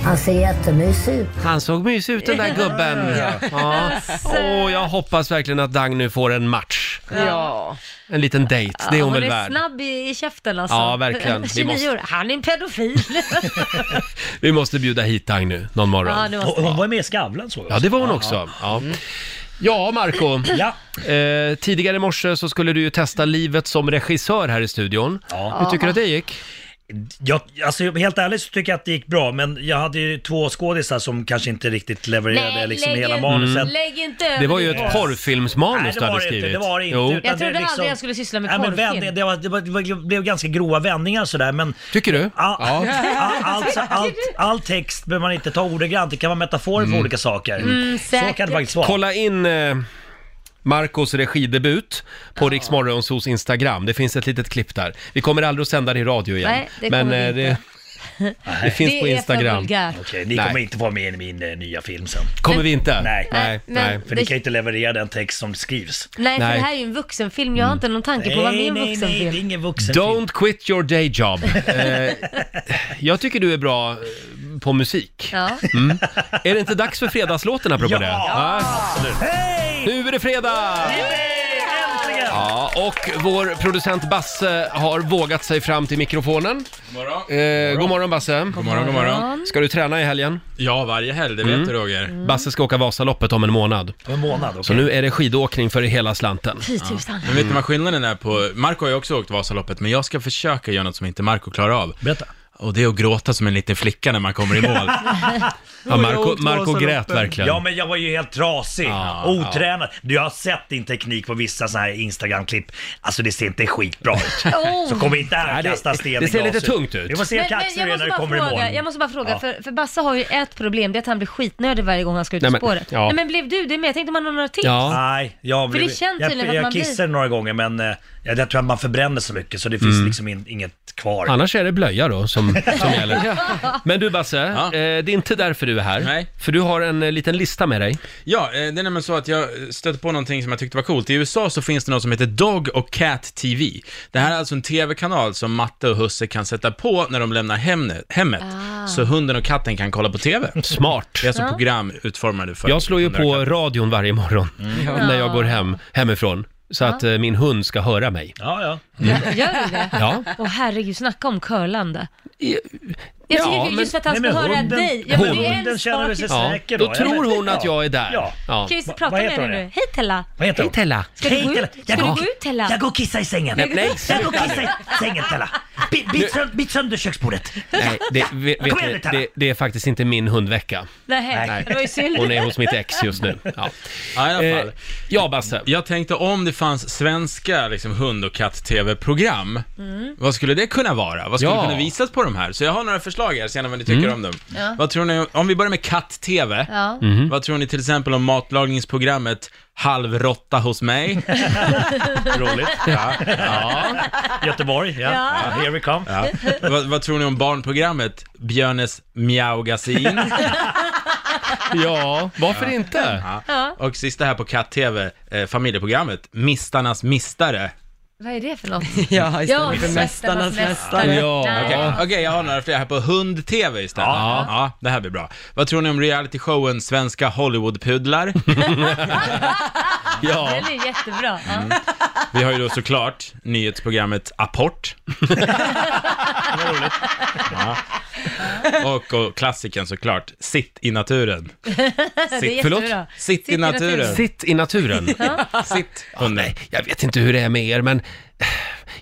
[SPEAKER 7] Han ser jättemysig ut.
[SPEAKER 1] Han såg mysig ut den där gubben. Ja. Och jag hoppas verkligen att Dagny får en match.
[SPEAKER 6] Ja.
[SPEAKER 1] En liten dejt, det är hon
[SPEAKER 6] hon
[SPEAKER 1] väl
[SPEAKER 6] är
[SPEAKER 1] värd.
[SPEAKER 6] snabb i, i käften alltså.
[SPEAKER 1] Ja, verkligen. Vi
[SPEAKER 6] 29
[SPEAKER 1] måste-
[SPEAKER 6] år. Han är en pedofil.
[SPEAKER 1] Vi måste bjuda hit Dagny någon morgon.
[SPEAKER 6] Ja, det Mm. måste
[SPEAKER 9] Hon, hon var med i Skavlan såg jag.
[SPEAKER 1] Ja, det var hon också. Ja, ja Marco.
[SPEAKER 9] Ja.
[SPEAKER 1] Eh, tidigare i morse så skulle du ju testa livet som regissör här i studion. Hur tycker du att det gick?
[SPEAKER 9] Jag, alltså, helt ärligt så tycker jag att det gick bra, men jag hade ju två skådisar som kanske inte riktigt levererade
[SPEAKER 6] Nej,
[SPEAKER 9] liksom
[SPEAKER 6] lägg
[SPEAKER 9] hela
[SPEAKER 6] inte-
[SPEAKER 9] manuset.
[SPEAKER 6] Mm. lägg inte över
[SPEAKER 1] Det var ju
[SPEAKER 6] det.
[SPEAKER 1] ett porrfilmsmanus
[SPEAKER 9] Nej, det
[SPEAKER 1] du
[SPEAKER 9] var
[SPEAKER 1] hade
[SPEAKER 9] det
[SPEAKER 1] skrivit.
[SPEAKER 9] inte, det var det inte.
[SPEAKER 1] Jo.
[SPEAKER 9] Utan
[SPEAKER 6] Jag trodde
[SPEAKER 9] det är liksom-
[SPEAKER 6] aldrig jag skulle syssla med
[SPEAKER 9] Nej, men
[SPEAKER 6] porrfilm.
[SPEAKER 9] vänd, det, var, det, var, det, var, det blev ganska grova vändningar sådär men...
[SPEAKER 1] Tycker du?
[SPEAKER 9] Ja.
[SPEAKER 1] Ja.
[SPEAKER 9] All, allt- allt, all text behöver man inte ta ordagrant, det kan vara metaforer för olika saker.
[SPEAKER 6] Mm,
[SPEAKER 9] Så kan
[SPEAKER 6] säkert.
[SPEAKER 9] det faktiskt vara.
[SPEAKER 1] Mm. Kolla in eh, Marcos regidebut på Rix Morgonzos Instagram. Det finns ett litet klipp där. Vi kommer aldrig att sända det i radio igen.
[SPEAKER 6] Nej, det kommer
[SPEAKER 1] Men,
[SPEAKER 6] vi
[SPEAKER 1] eh, det, det finns
[SPEAKER 6] Det
[SPEAKER 1] på
[SPEAKER 6] är för
[SPEAKER 1] Instagram.
[SPEAKER 6] vulgärt.
[SPEAKER 9] Okej, ni
[SPEAKER 1] Nej.
[SPEAKER 9] kommer inte vara med i min eh, nya film sen.
[SPEAKER 1] Kommer vi inte?
[SPEAKER 9] Nej.
[SPEAKER 1] Nej,
[SPEAKER 6] men- nej.
[SPEAKER 9] För ni kan ju inte leverera den text som skrivs.
[SPEAKER 6] Nej, för det här är ju en vuxenfilm.
[SPEAKER 1] Mm.
[SPEAKER 6] Jag har inte någon tanke på vad det är en
[SPEAKER 9] nej, nej, det är
[SPEAKER 6] vuxenfilm.
[SPEAKER 9] ingen vuxenfilm.
[SPEAKER 1] Don't quit your day job. Eh, jag tycker du är bra eh, på musik.
[SPEAKER 6] Ja.
[SPEAKER 1] Mm. Är det inte dags för fredagslåten apropå
[SPEAKER 9] Ja,
[SPEAKER 1] det? Ja.
[SPEAKER 9] absolut. Hej!
[SPEAKER 1] Nu är det fredag!
[SPEAKER 9] Äntligen!
[SPEAKER 1] Ja, och vår producent Basse har vågat sig fram till mikrofonen.
[SPEAKER 11] Godmorgon.
[SPEAKER 1] Eh, god morgon Basse! God
[SPEAKER 11] morgon, god morgon.
[SPEAKER 1] Ska du träna i helgen? Mm.
[SPEAKER 11] Ja, varje helg, det vet du Roger.
[SPEAKER 1] Basse ska åka Vasaloppet om en månad.
[SPEAKER 9] Om en månad, okej.
[SPEAKER 1] Så nu är det skidåkning för hela slanten.
[SPEAKER 6] Fy tusan.
[SPEAKER 11] Men vet ni vad skillnaden är på, Marco har ju också åkt Vasaloppet, men jag ska försöka göra något som inte Marco klarar av.
[SPEAKER 9] Berätta.
[SPEAKER 11] Och det är att gråta som en liten flicka när man kommer i mål.
[SPEAKER 1] Ja, Marco, Marco grät verkligen.
[SPEAKER 9] Ja, men jag var ju helt trasig.
[SPEAKER 1] Ja,
[SPEAKER 9] otränad. Du, jag har sett din teknik på vissa sådana här Instagram-klipp. Alltså det ser inte skitbra ut.
[SPEAKER 6] Oh.
[SPEAKER 9] Så kom inte här och
[SPEAKER 1] det-
[SPEAKER 9] kasta sten i
[SPEAKER 1] det ser lite
[SPEAKER 9] glashus.
[SPEAKER 1] tungt ut.
[SPEAKER 9] Vi får se hur kaxig du är när du kommer i
[SPEAKER 6] fråga,
[SPEAKER 9] mål.
[SPEAKER 6] jag måste bara fråga,
[SPEAKER 9] Ja.
[SPEAKER 6] för, för Bassa har ju ett problem, det är att han blir skitnödig varje gång han ska ut
[SPEAKER 1] Nej,
[SPEAKER 6] på
[SPEAKER 1] men-
[SPEAKER 6] spåret.
[SPEAKER 1] ja.
[SPEAKER 6] Nej, men blev du det med? Jag tänkte om han har några tips.
[SPEAKER 1] Ja.
[SPEAKER 9] Nej, jag,
[SPEAKER 6] För
[SPEAKER 9] blev,
[SPEAKER 6] det känns
[SPEAKER 9] jag,
[SPEAKER 6] tydligen att
[SPEAKER 9] jag
[SPEAKER 6] man blir-
[SPEAKER 9] kissade några gånger men eh, jag, jag tror att man förbränner så mycket så det finns
[SPEAKER 1] Mm.
[SPEAKER 9] liksom in, inget kvar.
[SPEAKER 1] Annars är det blöja då som, som gäller. Men du Basse, eh, det är inte därför du är här.
[SPEAKER 11] Nej.
[SPEAKER 1] För du har en eh, liten lista med dig.
[SPEAKER 11] Ja, eh, det är nämligen så att jag stötte på någonting som jag tyckte var coolt. I USA så finns det något som heter Dog och Cat TV. Det här är alltså en TV-kanal som Matte och Husse kan sätta på när de lämnar hemnet, hemmet. Så hunden och katten kan kolla på TV.
[SPEAKER 1] Smart.
[SPEAKER 11] Det är alltså
[SPEAKER 6] Ah. Ja.
[SPEAKER 11] program utformade för
[SPEAKER 1] Jag slår ju
[SPEAKER 11] hundar och
[SPEAKER 1] på
[SPEAKER 11] katter.
[SPEAKER 1] radion varje morgon
[SPEAKER 11] Mm.
[SPEAKER 1] när jag
[SPEAKER 6] Ja.
[SPEAKER 1] går hem, hemifrån. Så att eh, min hund ska höra mig.
[SPEAKER 9] Ja, ja.
[SPEAKER 6] Gör, gör du det?
[SPEAKER 1] Ja.
[SPEAKER 6] Åh herregud, snacka om curlande. Jag tycker just för att han ska höra dig. Ja, men det är en sak.
[SPEAKER 1] Då tror hon att jag är där.
[SPEAKER 9] Ja.
[SPEAKER 6] Kan vi prata med henne nu? Hej Tella!
[SPEAKER 9] Vad heter hon?
[SPEAKER 1] Hej Tella!
[SPEAKER 6] Ska du gå ut? Ska du gå ut Tella?
[SPEAKER 9] Jag går och kissar i sängen.
[SPEAKER 1] Nej, nej,
[SPEAKER 9] jag går och
[SPEAKER 1] sluta
[SPEAKER 9] kissar i sängen Tella. Bi- Bit sönd- bit sönder köksbordet.
[SPEAKER 1] Nej, det, vet,
[SPEAKER 9] Kom igen
[SPEAKER 1] vet
[SPEAKER 9] nu,
[SPEAKER 1] ni,
[SPEAKER 9] Tella.
[SPEAKER 1] det, det är faktiskt inte min hundvecka.
[SPEAKER 6] Nej, det var ju synd.
[SPEAKER 1] Hon är hos mitt ex just nu. Ja. Eh,
[SPEAKER 11] Ja, i alla fall.
[SPEAKER 1] ja, Basse.
[SPEAKER 11] Jag tänkte om det fanns svenska liksom, hund och katt-tv-program,
[SPEAKER 6] Mm.
[SPEAKER 11] vad skulle det kunna vara? Vad skulle
[SPEAKER 1] Ja.
[SPEAKER 11] kunna visas på de här? Så jag har några förslag här, se gärna vad ni tycker
[SPEAKER 1] Mm.
[SPEAKER 11] om dem.
[SPEAKER 6] Ja.
[SPEAKER 11] Vad tror ni, om vi börjar med katt-tv,
[SPEAKER 6] Ja.
[SPEAKER 1] Mhm.
[SPEAKER 11] vad tror ni till exempel om matlagningsprogrammet Halvrotta hos mig? Roligt. Ja. ja.
[SPEAKER 9] Göteborg, ja. Ja, here we come.
[SPEAKER 11] Vad, vad tror ni om barnprogrammet Björnes mjaugasin?
[SPEAKER 1] ja, varför inte?
[SPEAKER 6] Ja.
[SPEAKER 11] Och sista här på katt-tv, eh, familjeprogrammet Mistarnas mistare.
[SPEAKER 6] Vad är det för något?
[SPEAKER 2] Ja,
[SPEAKER 6] istället för Mästarnas mästare. Nej.
[SPEAKER 11] Okej, okej, jag har några fler här på hund-tv istället. Ja. ja, det här blir bra. Vad tror ni om realityshowen Svenska Hollywoodpudlar? ja,
[SPEAKER 6] Den är jättebra. Ja.
[SPEAKER 11] vi har ju då såklart nyhetsprogrammet Apport. ja. och, och klassikern såklart, Sitt i naturen.
[SPEAKER 6] det är
[SPEAKER 11] förlåt?
[SPEAKER 6] jättebra.
[SPEAKER 11] Sitt i naturen.
[SPEAKER 1] Sitt i naturen.
[SPEAKER 11] Sitt.
[SPEAKER 1] Ja, nej, jag vet inte hur det är med er, men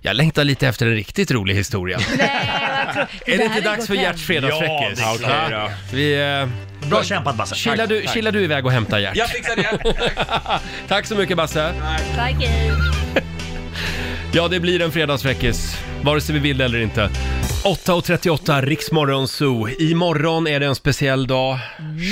[SPEAKER 1] jag längtar lite efter en riktigt rolig historia. Är det inte dags för Gerts fredagsfräckis?
[SPEAKER 9] Ja, det är klart.
[SPEAKER 1] Ja. Vi, eh,
[SPEAKER 9] Bra kämpat Basse.
[SPEAKER 1] Chilla du, chilla du iväg och hämta Gert.
[SPEAKER 9] Jag
[SPEAKER 11] fixar det.
[SPEAKER 1] Tack så mycket Basse.
[SPEAKER 6] Tack, hej.
[SPEAKER 1] Ja, det blir en fredagsfräckis, vare sig vi vill eller inte. 8.38, Riksmorgon Zoo. Imorgon är det en speciell dag.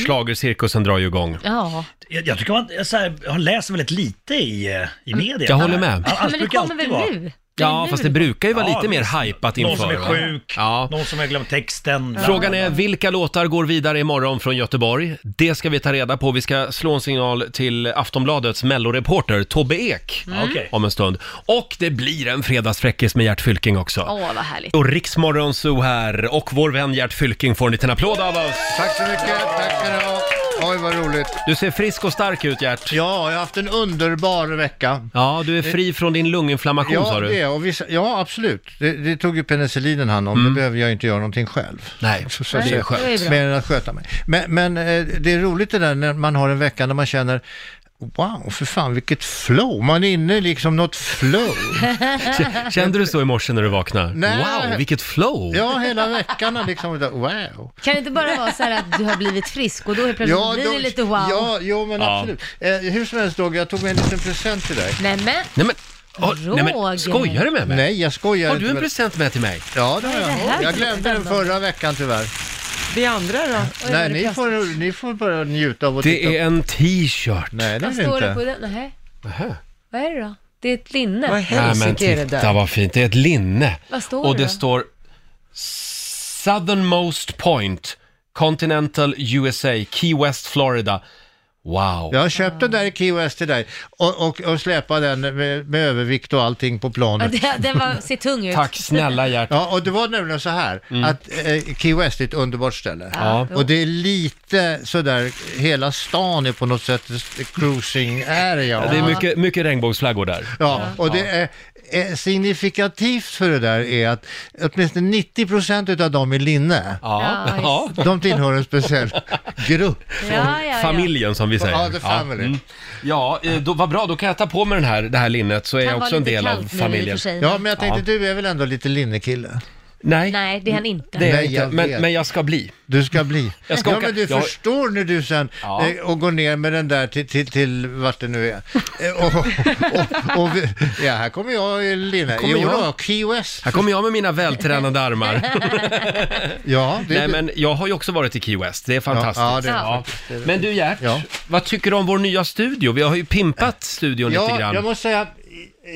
[SPEAKER 1] Schlagercirkusen drar ju igång.
[SPEAKER 6] Ja.
[SPEAKER 9] Jag, jag tycker man, jag, så här, jag läser väldigt lite i, eh, i
[SPEAKER 6] Mm.
[SPEAKER 9] media.
[SPEAKER 1] Jag håller med.
[SPEAKER 9] Allt
[SPEAKER 6] Men det
[SPEAKER 9] brukar
[SPEAKER 6] kommer
[SPEAKER 9] alltid
[SPEAKER 6] väl
[SPEAKER 9] vara-
[SPEAKER 6] nu?
[SPEAKER 1] Ja, fast det brukar ju vara
[SPEAKER 9] Ja,
[SPEAKER 1] lite
[SPEAKER 9] visst.
[SPEAKER 1] mer hypat inför.
[SPEAKER 9] Någon som är
[SPEAKER 1] va?
[SPEAKER 9] sjuk,
[SPEAKER 1] Ja.
[SPEAKER 9] någon som har glömt texten.
[SPEAKER 1] Frågan är vilka låtar går vidare imorgon från Göteborg? Det ska vi ta reda på. Vi ska slå en signal till Aftonbladets melloreporter Tobbe Ek
[SPEAKER 6] Mm. Okej.
[SPEAKER 1] om en stund. Och det blir en fredagsfräckis med Gert Fylking också.
[SPEAKER 6] Åh, vad härligt.
[SPEAKER 1] Och Riksmorgon Zoo här och vår vän Gert Fylking får en liten applåd av oss.
[SPEAKER 17] Tack så mycket, tack ska ni ha. Oj, vad roligt.
[SPEAKER 1] Du ser frisk och stark ut Gert.
[SPEAKER 17] Ja, jag har haft en underbar vecka.
[SPEAKER 1] Ja, du är fri från din lunginflammation
[SPEAKER 17] Ja,
[SPEAKER 1] sa du.
[SPEAKER 17] det, och vissa, ja absolut. Det, det tog ju penicillinen hand om, det behöver jag inte göra någonting själv.
[SPEAKER 1] Mm. Nej,
[SPEAKER 17] så,
[SPEAKER 1] det är
[SPEAKER 17] säga.
[SPEAKER 1] skönt. Det är bra.
[SPEAKER 17] Mer än att sköta mig. Men, men eh, det är roligt det där när man har en vecka när man känner Wow, för fan vilket flow! Man är inne i liksom något flow.
[SPEAKER 1] Kände du så i morse när du vaknade?
[SPEAKER 17] Nej.
[SPEAKER 1] Wow, vilket flow!
[SPEAKER 17] Ja, hela veckan har liksom, wow.
[SPEAKER 6] Kan det inte bara vara så här att du har blivit frisk och då helt plötsligt blir det
[SPEAKER 17] då-
[SPEAKER 6] lite wow?
[SPEAKER 17] Ja, jo men
[SPEAKER 1] Ja.
[SPEAKER 17] absolut. Eh, hur som helst Roger, jag tog med en liten present till dig.
[SPEAKER 6] Nej men,
[SPEAKER 1] Nej men, åh, nej,
[SPEAKER 6] Roger.
[SPEAKER 1] men skojar du med mig?
[SPEAKER 17] Nej, jag skojar
[SPEAKER 1] Har
[SPEAKER 17] inte
[SPEAKER 1] du en
[SPEAKER 17] med-
[SPEAKER 1] present med till mig?
[SPEAKER 17] Ja, det har
[SPEAKER 6] Vad är det
[SPEAKER 17] jag.
[SPEAKER 6] här
[SPEAKER 17] Jag
[SPEAKER 6] för
[SPEAKER 17] glömde den
[SPEAKER 6] present då?
[SPEAKER 17] förra veckan tyvärr.
[SPEAKER 2] Vi andra då?
[SPEAKER 17] Nej, ni får, ni får bara njuta av att
[SPEAKER 1] Det
[SPEAKER 17] titta.
[SPEAKER 1] är en t-shirt.
[SPEAKER 17] Nej, det
[SPEAKER 6] vad
[SPEAKER 17] är det
[SPEAKER 6] står det
[SPEAKER 17] inte.
[SPEAKER 6] på den? Nähä,
[SPEAKER 1] Nähä.
[SPEAKER 6] vad är det då? Det är ett linne.
[SPEAKER 2] Vad
[SPEAKER 1] Nej, men titta vad fint, det är ett linne.
[SPEAKER 6] Vad står
[SPEAKER 1] Och
[SPEAKER 6] det
[SPEAKER 1] det
[SPEAKER 6] då?
[SPEAKER 1] står Southernmost Point, Continental USA, Key West, Florida. Wow.
[SPEAKER 17] Jag köpte den där i Key West till dig och, och, och släpade den med, med övervikt och allting på
[SPEAKER 6] Ja,
[SPEAKER 17] planet.
[SPEAKER 6] det, den var, ser tung ut.
[SPEAKER 1] Tack snälla Gert. Mm.
[SPEAKER 17] Ja, och det var nämligen så här att eh, Key West är ett underbart ställe.
[SPEAKER 1] Ja.
[SPEAKER 17] Och det är lite sådär, hela stan är på något sätt cruising area.
[SPEAKER 1] Det är mycket, mycket regnbågsflaggor där.
[SPEAKER 17] Ja, och det är, är signifikativt för det där är att åtminstone 90 procent av dem är linne.
[SPEAKER 1] Ja. Ja, just
[SPEAKER 17] De tillhör en speciell grupp.
[SPEAKER 6] Ja, ja, ja.
[SPEAKER 1] Familjen som vi säger.
[SPEAKER 17] Ja, the family.
[SPEAKER 1] Ja, mm. ja eh, då, vad bra, då kan jag ta på mig den här, det här linnet så är jag
[SPEAKER 6] vara
[SPEAKER 1] också en
[SPEAKER 6] lite
[SPEAKER 1] del av
[SPEAKER 6] kallt nu i och för
[SPEAKER 1] familjen.
[SPEAKER 6] sig.
[SPEAKER 17] Ja, men jag tänkte
[SPEAKER 1] Ja.
[SPEAKER 17] du är väl ändå lite linnekille?
[SPEAKER 1] Nej,
[SPEAKER 6] Nej, det är han inte.
[SPEAKER 1] det är jag
[SPEAKER 17] Nej,
[SPEAKER 1] inte,
[SPEAKER 17] jag
[SPEAKER 1] men,
[SPEAKER 17] vet.
[SPEAKER 1] men jag ska bli.
[SPEAKER 17] Du ska bli.
[SPEAKER 1] Jag ska
[SPEAKER 17] ja,
[SPEAKER 1] åka-
[SPEAKER 17] men du
[SPEAKER 1] jag-
[SPEAKER 17] förstår när du sen
[SPEAKER 1] Ja.
[SPEAKER 17] eh, och går ner med den där till, till, till vart det nu är. Eh, och, och, och, vi- ja, här kommer jag i linne.
[SPEAKER 1] kommer
[SPEAKER 17] Jo
[SPEAKER 1] jag.
[SPEAKER 17] då, Key West.
[SPEAKER 1] Här kommer jag med mina vältränade armar.
[SPEAKER 17] Ja, det
[SPEAKER 1] Nej men jag har ju också varit i Key West, det är fantastiskt.
[SPEAKER 17] Ja, ja, det är
[SPEAKER 1] Ja.
[SPEAKER 17] faktiskt- det är-
[SPEAKER 1] Men du Gert, vad tycker du om vår nya studio? Vi har ju pimpat studion
[SPEAKER 17] ja,
[SPEAKER 1] lite grann.
[SPEAKER 17] jag måste säga,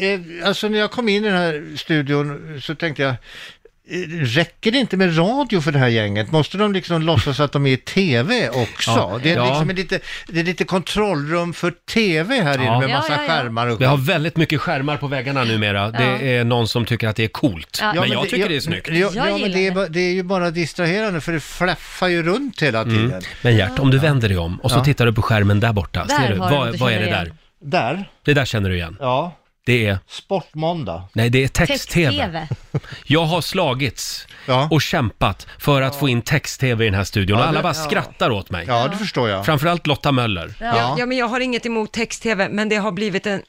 [SPEAKER 17] eh, alltså när jag kom in i den här studion så tänkte jag, eh, räcker det inte med radio för det här gänget? Måste de liksom låtsas att de är i TV också?
[SPEAKER 1] Ja.
[SPEAKER 17] det, är
[SPEAKER 1] Ja.
[SPEAKER 17] liksom en lite, det är lite kontrollrum för TV här inne med
[SPEAKER 1] Ja,
[SPEAKER 17] massa
[SPEAKER 1] ja, ja.
[SPEAKER 17] skärmar och
[SPEAKER 1] Vi har väldigt mycket skärmar på väggarna numera. Det är någon som tycker att det är coolt.
[SPEAKER 6] Ja. Ja,
[SPEAKER 1] men
[SPEAKER 6] men
[SPEAKER 1] jag
[SPEAKER 17] det-
[SPEAKER 1] tycker
[SPEAKER 17] jag-
[SPEAKER 1] det är snyggt.
[SPEAKER 17] Ja,
[SPEAKER 6] Jag
[SPEAKER 17] ja men
[SPEAKER 6] gillar
[SPEAKER 17] det är, ba- det är ju bara distraherande för det flaffar ju runt hela tiden.
[SPEAKER 1] Mm. Men Gert, om du vänder dig om och så
[SPEAKER 17] Ja.
[SPEAKER 1] tittar du på skärmen där borta.
[SPEAKER 17] Där
[SPEAKER 1] Ser du?
[SPEAKER 17] har du,
[SPEAKER 1] Vad,
[SPEAKER 17] du
[SPEAKER 1] vad är det
[SPEAKER 17] känner
[SPEAKER 1] där?
[SPEAKER 17] igen. Där,
[SPEAKER 1] Det där känner du igen.
[SPEAKER 17] ja,
[SPEAKER 1] Det är...
[SPEAKER 17] Sportmåndag.
[SPEAKER 1] Nej, det är text-tv. Jag har slagits och kämpat för att få in text-tv i den här studion.
[SPEAKER 17] Ja,
[SPEAKER 1] och alla
[SPEAKER 17] det-
[SPEAKER 1] bara
[SPEAKER 17] ja.
[SPEAKER 1] skrattar åt mig.
[SPEAKER 17] Ja, det förstår jag.
[SPEAKER 1] Framförallt Lotta Möller.
[SPEAKER 2] Ja. ja, men jag har inget emot text-tv, men det har blivit en...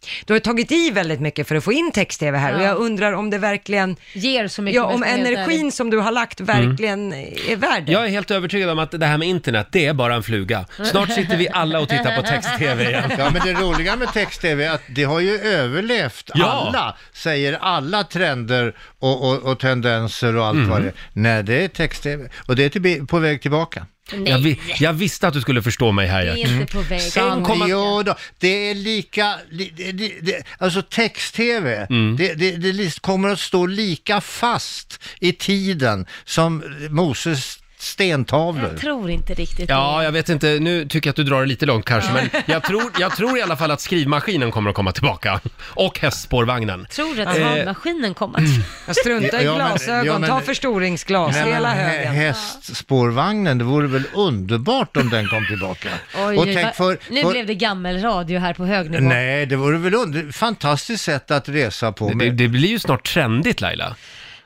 [SPEAKER 2] Du har ju tagit i väldigt mycket för att få in text-tv här och
[SPEAKER 6] Ja.
[SPEAKER 2] jag undrar om det verkligen...
[SPEAKER 6] Ger så mycket
[SPEAKER 2] Ja,
[SPEAKER 6] om jag
[SPEAKER 2] om
[SPEAKER 6] ska vara helt
[SPEAKER 2] energin
[SPEAKER 6] ärlig.
[SPEAKER 2] som du har lagt verkligen är värd det.
[SPEAKER 1] Jag är helt övertygad om att det här med internet, det är bara en fluga. Snart sitter vi alla och tittar på text-tv igen.
[SPEAKER 17] Ja, men det roliga med text-tv är att det har ju överlevt
[SPEAKER 1] Ja.
[SPEAKER 17] alla, säger alla trender och, och, och tendenser och allt
[SPEAKER 1] Mm.
[SPEAKER 17] vad det är. Nej, det är text-tv och det är till, på väg tillbaka.
[SPEAKER 1] Jag, vi, jag visste att du skulle förstå mig här, Gert.
[SPEAKER 17] Sant. Jo då, det är lika, li, det, det, det, alltså text-tv,
[SPEAKER 1] Mm.
[SPEAKER 17] det, det, det lis- kommer att stå lika fast i tiden som Moses stentavlor.
[SPEAKER 6] Jag tror inte riktigt
[SPEAKER 1] Ja, jag vet inte. Nu tycker jag att du drar det lite långt kanske, men jag tror, jag tror i alla fall att skrivmaskinen kommer att komma tillbaka. Och hästspårvagnen.
[SPEAKER 6] det. Tror du att
[SPEAKER 1] Eh,
[SPEAKER 6] havmaskinen kommer?
[SPEAKER 2] Jag struntar i
[SPEAKER 17] Ja, men-
[SPEAKER 2] glasögon,
[SPEAKER 17] ja, men-
[SPEAKER 2] ta förstoringsglas,
[SPEAKER 17] Nej, men
[SPEAKER 2] hela
[SPEAKER 17] hä-
[SPEAKER 2] högen.
[SPEAKER 17] Hästspårvagnen, det vore väl underbart om den kom tillbaka. och tänk för,
[SPEAKER 6] nu
[SPEAKER 17] för,
[SPEAKER 6] blev det gammelradio här på hög nivå.
[SPEAKER 17] Nej, det vore väl under, fantastiskt sätt att resa på.
[SPEAKER 1] Det, det blir ju snart trendigt Laila.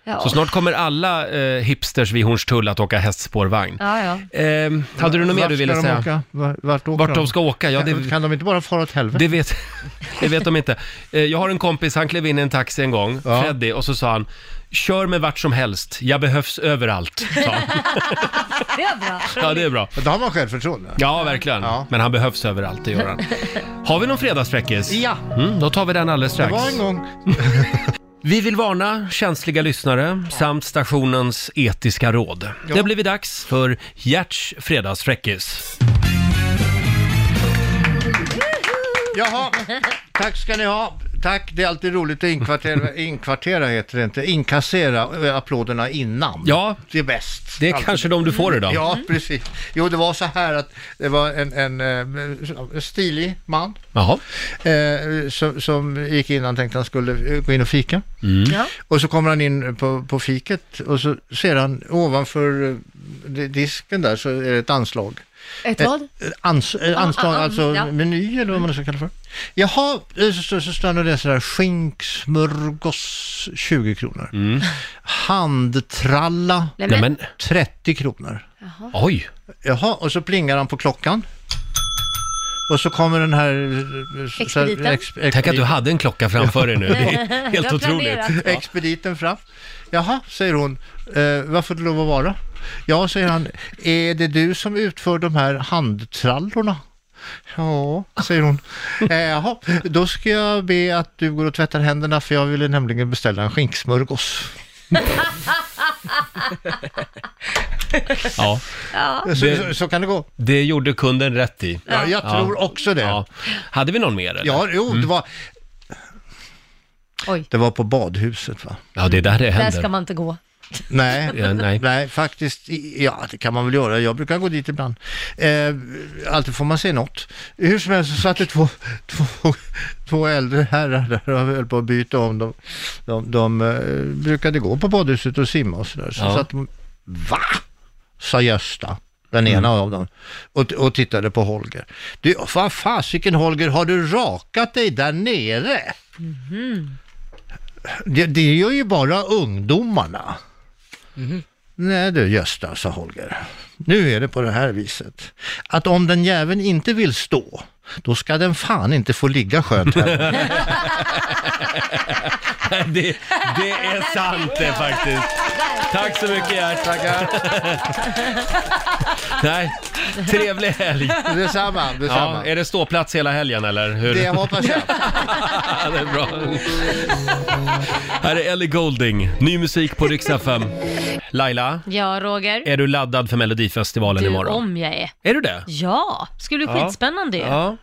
[SPEAKER 6] Ja.
[SPEAKER 1] Så snart kommer alla eh, hipsters vid Hornstull att åka hästspårvagn.
[SPEAKER 6] Ja, ja.
[SPEAKER 1] Ehm, hade du något mer
[SPEAKER 17] Vart
[SPEAKER 1] du ville
[SPEAKER 17] ska de
[SPEAKER 1] säga?
[SPEAKER 17] åka? Vart, vart åker
[SPEAKER 1] Vart de ska åka? Ja,
[SPEAKER 17] kan,
[SPEAKER 1] det-
[SPEAKER 17] kan de inte bara fara åt helvete?
[SPEAKER 1] Det vet, det vet de inte. Eh, Jag har en kompis, han klev in i en taxi en gång, Freddy, och så sa han Kör mig vart som helst, jag behövs överallt. sa han.
[SPEAKER 6] Det är bra.
[SPEAKER 1] Ja, det är bra.
[SPEAKER 17] Då har man självförtroende.
[SPEAKER 1] Ja, verkligen. Men han behövs överallt, det gör han. Har vi någon fredagsfräckis?
[SPEAKER 17] Ja.
[SPEAKER 1] Mm, då tar vi den alldeles
[SPEAKER 17] Det
[SPEAKER 1] strax.
[SPEAKER 17] var en gång.
[SPEAKER 1] Vi vill varna känsliga lyssnare samt stationens etiska råd. Det har blivit dags för Gerts fredagsfräckis.
[SPEAKER 17] Jaha, tack ska ni ha. Tack, det är alltid roligt att inkvartera, inkvartera heter det inte, inkassera eh, applåderna innan.
[SPEAKER 1] Ja.
[SPEAKER 17] Det är bäst.
[SPEAKER 1] Det är kanske de du får idag.
[SPEAKER 17] Ja, precis. Jo, det var så här att det var en, en eh, stilig man
[SPEAKER 1] Jaha.
[SPEAKER 17] eh, som, som gick in, han tänkte han skulle eh, gå in och fika.
[SPEAKER 1] Mm.
[SPEAKER 17] Och så kommer han in på, på fiket och så ser han ovanför eh, di- disken där så är det ett anslag.
[SPEAKER 6] Ett vad?
[SPEAKER 17] Eh, Ans, eh,
[SPEAKER 6] Ah,
[SPEAKER 17] anslag,
[SPEAKER 6] ah, ah,
[SPEAKER 17] alltså
[SPEAKER 6] ja.
[SPEAKER 17] meny eller vad man nu ska kalla det för. Jaha, eh, så, så, så står han och läser där, skinksmörgås 20 kronor.
[SPEAKER 1] Mm.
[SPEAKER 17] Handtralla
[SPEAKER 6] Nej, men- Nej,
[SPEAKER 17] 30 kronor.
[SPEAKER 6] Jaha.
[SPEAKER 1] Oj!
[SPEAKER 17] Jaha, och så plingar han på klockan. Och så kommer den här... eh, så- så här-
[SPEAKER 6] Expediten.
[SPEAKER 1] Tänk att du hade en klocka framför dig nu. Det är helt
[SPEAKER 6] Jag planerar.
[SPEAKER 1] otroligt.
[SPEAKER 6] planerat. Ja.
[SPEAKER 17] Expediten fram. Jaha, säger hon. Eh, vad får det lov att vara? Ja, säger han. Är det du som utför de här handtrallorna? Ja, säger hon. Eh, jaha, då ska jag be att du går och tvättar händerna för jag ville nämligen beställa en skinksmörgås.
[SPEAKER 1] Ja.
[SPEAKER 6] Ja.
[SPEAKER 17] Så, så, så kan det gå.
[SPEAKER 1] Det gjorde kunden rätt i.
[SPEAKER 17] Ja, jag tror också det.
[SPEAKER 1] Ja. Hade vi någon mer? Eller?
[SPEAKER 17] Ja, jo, det var...
[SPEAKER 6] Oj.
[SPEAKER 17] Det var på badhuset va?
[SPEAKER 1] Ja, det är där det
[SPEAKER 6] Där
[SPEAKER 1] händer.
[SPEAKER 6] ska man inte gå.
[SPEAKER 17] Nej,
[SPEAKER 1] Ja, nej.
[SPEAKER 17] nej. faktiskt, i- ja det kan man väl göra. Jag brukar gå dit ibland. Eh, alltid får man se något. Hur som helst så satt det två, två, två äldre herrar där och höll på att byta om. De, de, de eh, brukade gå på badhuset och simma och sådär. Så
[SPEAKER 1] Ja.
[SPEAKER 17] satt de, va? Sa Gösta. Den
[SPEAKER 1] Mm.
[SPEAKER 17] ena av dem. Och, och tittade på Holger. Du, vad fasiken Holger, har du rakat dig där nere? Det, det gör ju bara ungdomarna. Nej du Gösta, sa Holger. Nu är det på det här viset. Att om den jäveln inte vill stå, då ska den fan inte få ligga skönt heller.
[SPEAKER 1] det, det är sant det faktiskt. Tack så mycket Gert. Tackar. Nej, trevlig helg.
[SPEAKER 17] detsamma,
[SPEAKER 1] Ja,
[SPEAKER 17] detsamma.
[SPEAKER 1] är det ståplats hela helgen eller? Hur?
[SPEAKER 17] det hoppas jag.
[SPEAKER 1] Ja, det är bra. Här är Ellie Golding, ny musik på Rix FM. Laila,
[SPEAKER 6] Ja, Roger.
[SPEAKER 1] är du laddad för Melodifestivalen
[SPEAKER 6] Du,
[SPEAKER 1] imorgon?
[SPEAKER 6] om jag är.
[SPEAKER 1] Är du det?
[SPEAKER 6] Ja, skulle bli
[SPEAKER 1] Ja.
[SPEAKER 6] skitspännande ju.
[SPEAKER 1] Ja.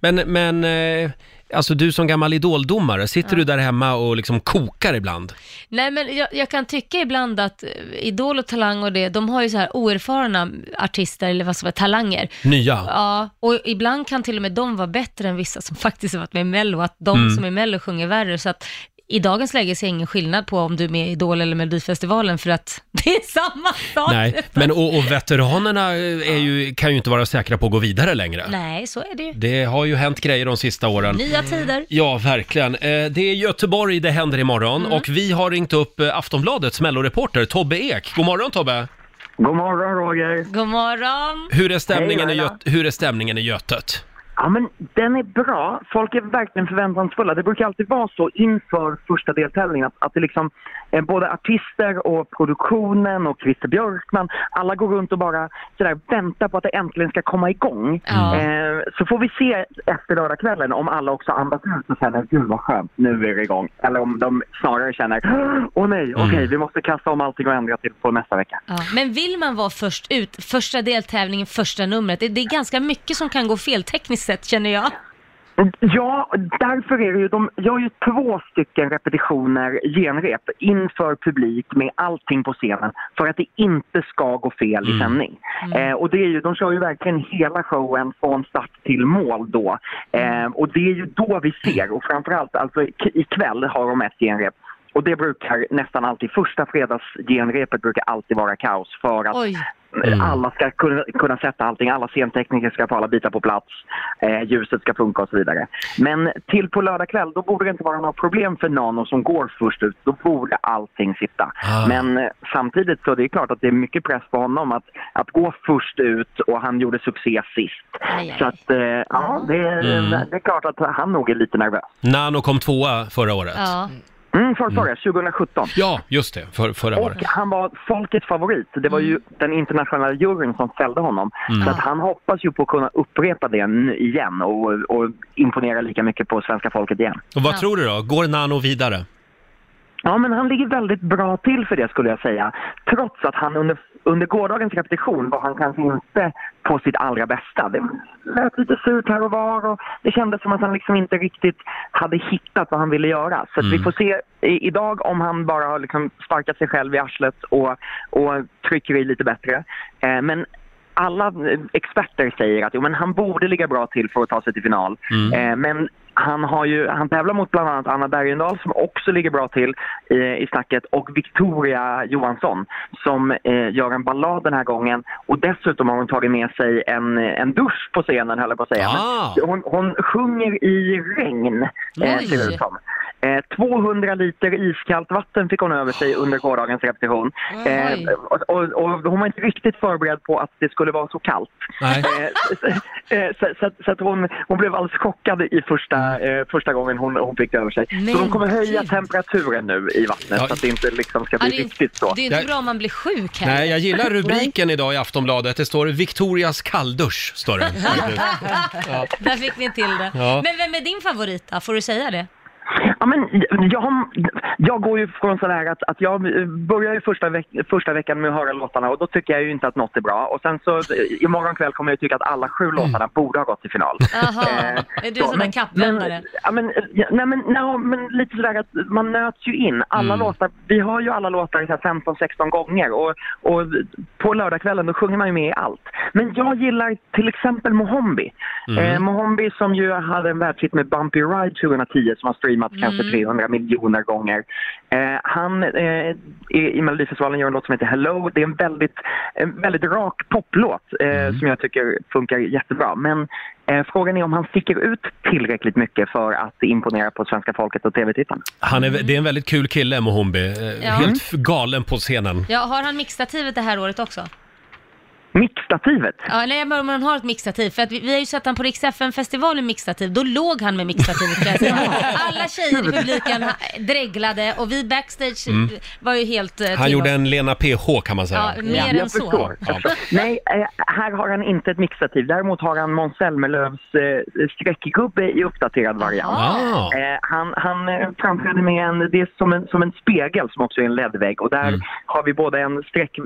[SPEAKER 1] Men, men eh, alltså du som gammal idoldomare, sitter du där hemma och liksom kokar ibland?
[SPEAKER 6] Nej men jag, jag kan tycka ibland att eh, Idol och Talang och det, de har ju så här oerfarna artister eller vad som är talanger.
[SPEAKER 1] Nya?
[SPEAKER 6] Ja, och ibland kan till och med de vara bättre än vissa som faktiskt har varit med i Mello, att de
[SPEAKER 1] Mm.
[SPEAKER 6] som är i Mello sjunger värre. Så att i dagens läge ser jag ingen skillnad på om du är med i Idol eller Melodifestivalen för att det är samma sak.
[SPEAKER 1] Nej, men och, och veteranerna eh, är ju, kan ju inte vara säkra på att gå vidare längre.
[SPEAKER 6] Nej, så är det ju.
[SPEAKER 1] Det har ju hänt grejer de sista åren.
[SPEAKER 6] Nya tider.
[SPEAKER 1] Ja, verkligen. Eh, Det är Göteborg det händer imorgon
[SPEAKER 6] Mm.
[SPEAKER 1] och vi har ringt upp eh, Aftonbladets melloreporter Tobbe Ek. God morgon Tobbe! God morgon Roger!
[SPEAKER 6] God morgon.
[SPEAKER 1] Hur är stämningen,
[SPEAKER 18] Hej,
[SPEAKER 1] i,
[SPEAKER 18] Laila.
[SPEAKER 1] Göt- hur är stämningen i Götet?
[SPEAKER 18] Ja, men den är bra. Folk är verkligen förväntansfulla. Det brukar alltid vara så inför första deltävlingen att, att det liksom, eh, både artister och produktionen och Christer Björkman, alla går runt och bara sådär, väntar på att det äntligen ska komma igång. Eh, så får vi se efter lördagskvällen om alla också andas ut och känner gud vad skönt, nu är det igång. Eller om de snarare känner åh nej, okej, vi måste kasta om allting och ändra till på nästa vecka.
[SPEAKER 6] Ja. Men vill man vara först ut, första deltävlingen, första numret, det, det är ganska mycket som kan gå fel tekniskt sett känner jag.
[SPEAKER 18] Ja, därför är det ju, de gör ju två stycken repetitioner, genrep, inför publik med allting på scenen för att det inte ska gå fel i sändning. Eh, och det är ju, de kör ju verkligen hela showen från start till mål då. Eh, och det är ju då vi ser, och framförallt alltså ik- ikväll har de ett genrep. Och det brukar nästan alltid, första fredagsgenrepet brukar alltid vara kaos för att
[SPEAKER 6] Oj.
[SPEAKER 18] Mm. Alla ska kunna, kunna sätta allting, alla scentekniker ska få alla bitar på plats, eh, ljuset ska funka och så vidare. Men till på lördag kväll, då borde det inte vara några problem för Nano som går först ut, då borde allting sitta.
[SPEAKER 1] Ah.
[SPEAKER 18] Men eh, samtidigt så är det är klart att det är mycket press på honom att, att gå först ut och han gjorde succé sist. Så att, eh, ja, det, är- eh,
[SPEAKER 1] Mm.
[SPEAKER 18] det är klart att han nog är lite nervös.
[SPEAKER 1] Nano kom tvåa förra året.
[SPEAKER 6] Ja.
[SPEAKER 18] Mm, för, förra, 2017.
[SPEAKER 1] Ja, just det, för, förra
[SPEAKER 18] Och
[SPEAKER 1] året.
[SPEAKER 18] han var folkets favorit. Det var ju den internationella juryn som fällde honom.
[SPEAKER 1] Mm.
[SPEAKER 18] Så att han hoppas ju på att kunna upprepa det nu igen och, och imponera lika mycket på svenska folket igen.
[SPEAKER 1] Och vad tror du då? Går Nano vidare?
[SPEAKER 18] Ja, men han ligger väldigt bra till för det skulle jag säga. Trots att han under, under gårdagens repetition var han kanske inte på sitt allra bästa. Det lät lite surt här och var och det kändes som att han liksom inte riktigt hade hittat vad han ville göra. Så att vi får se i, idag om han bara har liksom sparkat sig själv i arslet och, och trycker i lite bättre. Eh, men alla eh, experter säger att jo, men han borde ligga bra till för att ta sig till final. Eh, men han, har ju, han tävlar mot bland annat Anna Bergendahl som också ligger bra till i, i snacket och Victoria Johansson som eh, gör en ballad den här gången och dessutom har hon tagit med sig en, en dusch på scenen höll jag på att säga.
[SPEAKER 1] Ah.
[SPEAKER 18] Men Hon, hon sjunger i regn eh,
[SPEAKER 1] Oj.
[SPEAKER 18] ser det ut som. Eh, 200 liter iskallt vatten fick hon över sig under gårdagens repetition. Eh,
[SPEAKER 1] Oj.
[SPEAKER 18] och, och, och hon var inte riktigt förberedd på att det skulle vara så kallt.
[SPEAKER 1] Nej.
[SPEAKER 18] Eh, så, eh, så, så, att- så att hon, hon blev alldeles chockad i första, eh, första gången hon, hon fick det över sig.
[SPEAKER 6] Men
[SPEAKER 18] så de kommer höja
[SPEAKER 6] gud.
[SPEAKER 18] temperaturen nu i vattnet så att det inte liksom ska
[SPEAKER 6] Ja,
[SPEAKER 18] bli
[SPEAKER 6] det är-
[SPEAKER 18] riktigt så.
[SPEAKER 6] Det är inte bra om man blir sjuk här.
[SPEAKER 1] Nej, jag gillar rubriken idag i Aftonbladet. Det står Victorias kalldusch, står det. Ja.
[SPEAKER 6] Där fick ni till det.
[SPEAKER 1] Ja.
[SPEAKER 6] Men vem är din favorit då? Får du säga det?
[SPEAKER 18] Ja, men jag, har- jag går ju från sådär att, att jag börjar ju första, veck, första veckan med att höra låtarna och då tycker jag ju inte att något är bra. Och sen så eh, imorgon kväll kommer jag ju tycka att alla sju låtarna borde ha gått till final.
[SPEAKER 6] Jaha,
[SPEAKER 18] Eh,
[SPEAKER 6] är du en
[SPEAKER 18] så,
[SPEAKER 6] sån där
[SPEAKER 18] men-
[SPEAKER 6] kappvändare?
[SPEAKER 18] men- Ja, men, ja, nej, men, nej, men lite sådär att man nöts ju in. Alla låtar, vi har ju alla låtar så här 15-16 gånger och, och på lördagskvällen då sjunger man ju med i allt. Men jag gillar till exempel Mohombi.
[SPEAKER 19] Mm.
[SPEAKER 18] Eh, Mohombi som ju hade en världshit med Bumpy Ride 2010 som har streamat kanske 300 miljoner gånger. Eh, han eh, i, i Melodifestivalen gör en låt som heter Hello. Det är en väldigt, en väldigt rak poplåt eh, som jag tycker funkar jättebra. Men eh, frågan är om han sticker ut tillräckligt mycket för att imponera på svenska folket och tv-tittarna.
[SPEAKER 1] Han är, Det är en väldigt kul kille, Mohombi. Eh,
[SPEAKER 6] Ja.
[SPEAKER 1] Helt f- galen på scenen.
[SPEAKER 6] Ja, har han mixtativet det här året också?
[SPEAKER 18] Mixstativet?
[SPEAKER 6] Ja, nej, men om han har ett mixtativ. För att vi, vi har ju sett han på Rix FM-festivalen mixtativ. Då låg han med mixtativet kan jag säga. Alla tjejer i publiken eh, dreglade och vi backstage
[SPEAKER 1] Mm.
[SPEAKER 6] eh, var ju helt eh,
[SPEAKER 1] Han
[SPEAKER 6] till
[SPEAKER 1] gjorde
[SPEAKER 6] oss.
[SPEAKER 1] en Lena PH kan man säga.
[SPEAKER 6] Ja, mer än Jag så. förstår.
[SPEAKER 1] Ja.
[SPEAKER 18] Nej, eh, här har han inte ett mixativ. Däremot har han Måns Zelmerlöws eh, streckgubbe i uppdaterad variant.
[SPEAKER 1] Ah.
[SPEAKER 18] Eh, han han eh, framträder med en, det är som en, som en spegel som också är en ledvägg och
[SPEAKER 6] Mm.
[SPEAKER 18] där har vi både en streck,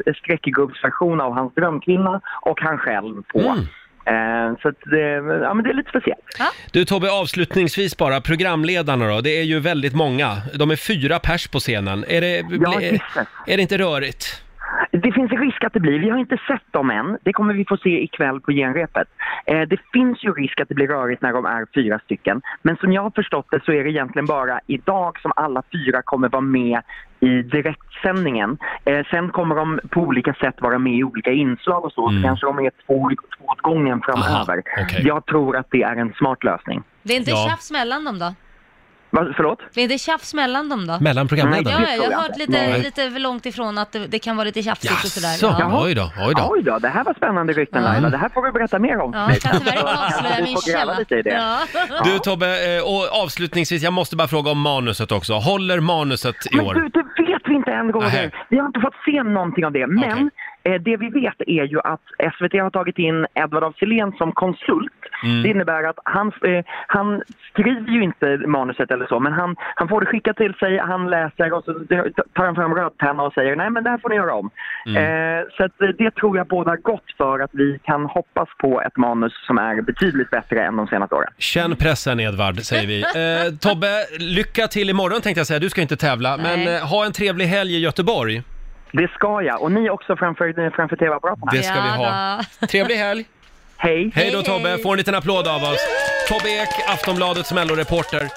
[SPEAKER 18] streckgubbsversion av hans drömkvinna och han själv på.
[SPEAKER 6] Mm.
[SPEAKER 18] Eh, så att, eh, ja, men det är lite speciellt.
[SPEAKER 1] Du Tobbe, avslutningsvis bara, programledarna då, det är ju väldigt många. De är fyra pers på scenen. Är det,
[SPEAKER 18] Ja,
[SPEAKER 1] är, är det inte rörigt?
[SPEAKER 18] Det finns en risk att det blir, vi har inte sett dem än, det kommer vi få se ikväll på genrepet. Eh, det finns ju risk att det blir rörigt när de är fyra stycken. Men som jag har förstått det så är det egentligen bara idag som alla fyra kommer vara med i direktsändningen. Eh, sen kommer de på olika sätt vara med i olika inslag och så,
[SPEAKER 19] Mm.
[SPEAKER 18] så kanske de är två, två åt gången framöver. Jag tror att det är en smart lösning.
[SPEAKER 6] Det är inte tjafs mellan dem då?
[SPEAKER 18] Va, förlåt?
[SPEAKER 6] Det är inte tjafs mellan dem då?
[SPEAKER 18] Mellan programledarna?
[SPEAKER 6] Ja, ja, jag har hört lite,
[SPEAKER 18] Nej.
[SPEAKER 6] lite för långt ifrån att det, det kan vara lite tjafsigt och sådär.
[SPEAKER 18] Så,
[SPEAKER 6] Ja.
[SPEAKER 18] jaha.
[SPEAKER 1] Oj då, oj då.
[SPEAKER 18] Oj då, det här var spännande rykten Laila. Det här får vi berätta mer om.
[SPEAKER 6] Ja, jag kan tyvärr inte avslöja
[SPEAKER 18] Vi
[SPEAKER 6] min
[SPEAKER 18] får gräva
[SPEAKER 6] källa.
[SPEAKER 18] lite i det.
[SPEAKER 6] Ja.
[SPEAKER 1] Du Tobbe, eh, och avslutningsvis, jag måste bara fråga om manuset också. Håller manuset i
[SPEAKER 18] Men
[SPEAKER 1] år?
[SPEAKER 18] du, det vet vi inte än
[SPEAKER 1] Nähä.
[SPEAKER 18] Roger. Vi har inte fått se någonting av det. Men eh, det vi vet är ju att SVT har tagit in Edvard af Sillén som konsult.
[SPEAKER 19] Mm.
[SPEAKER 18] Det innebär att han, eh, han skriver ju inte manuset eller så, men han, han får det skickat till sig, han läser och så tar han fram rödpenna och säger nej men det här får ni göra om.
[SPEAKER 19] Mm.
[SPEAKER 18] Eh, så att eh, det tror jag bådar gott för att vi kan hoppas på ett manus som är betydligt bättre än de senaste åren.
[SPEAKER 1] Känn pressen Edvard, säger vi. Eh, Tobbe, lycka till imorgon tänkte jag säga. Du ska inte tävla, men
[SPEAKER 18] Nej.
[SPEAKER 1] eh, ha en trevlig helg i Göteborg.
[SPEAKER 18] Det ska jag och ni också framför, framför tv-apparaterna.
[SPEAKER 1] Det ska vi ha. Trevlig helg!
[SPEAKER 18] Hej!
[SPEAKER 1] Hej då Tobbe, får en liten applåd av oss. Tobbe Ek, Aftonbladets melloreporter.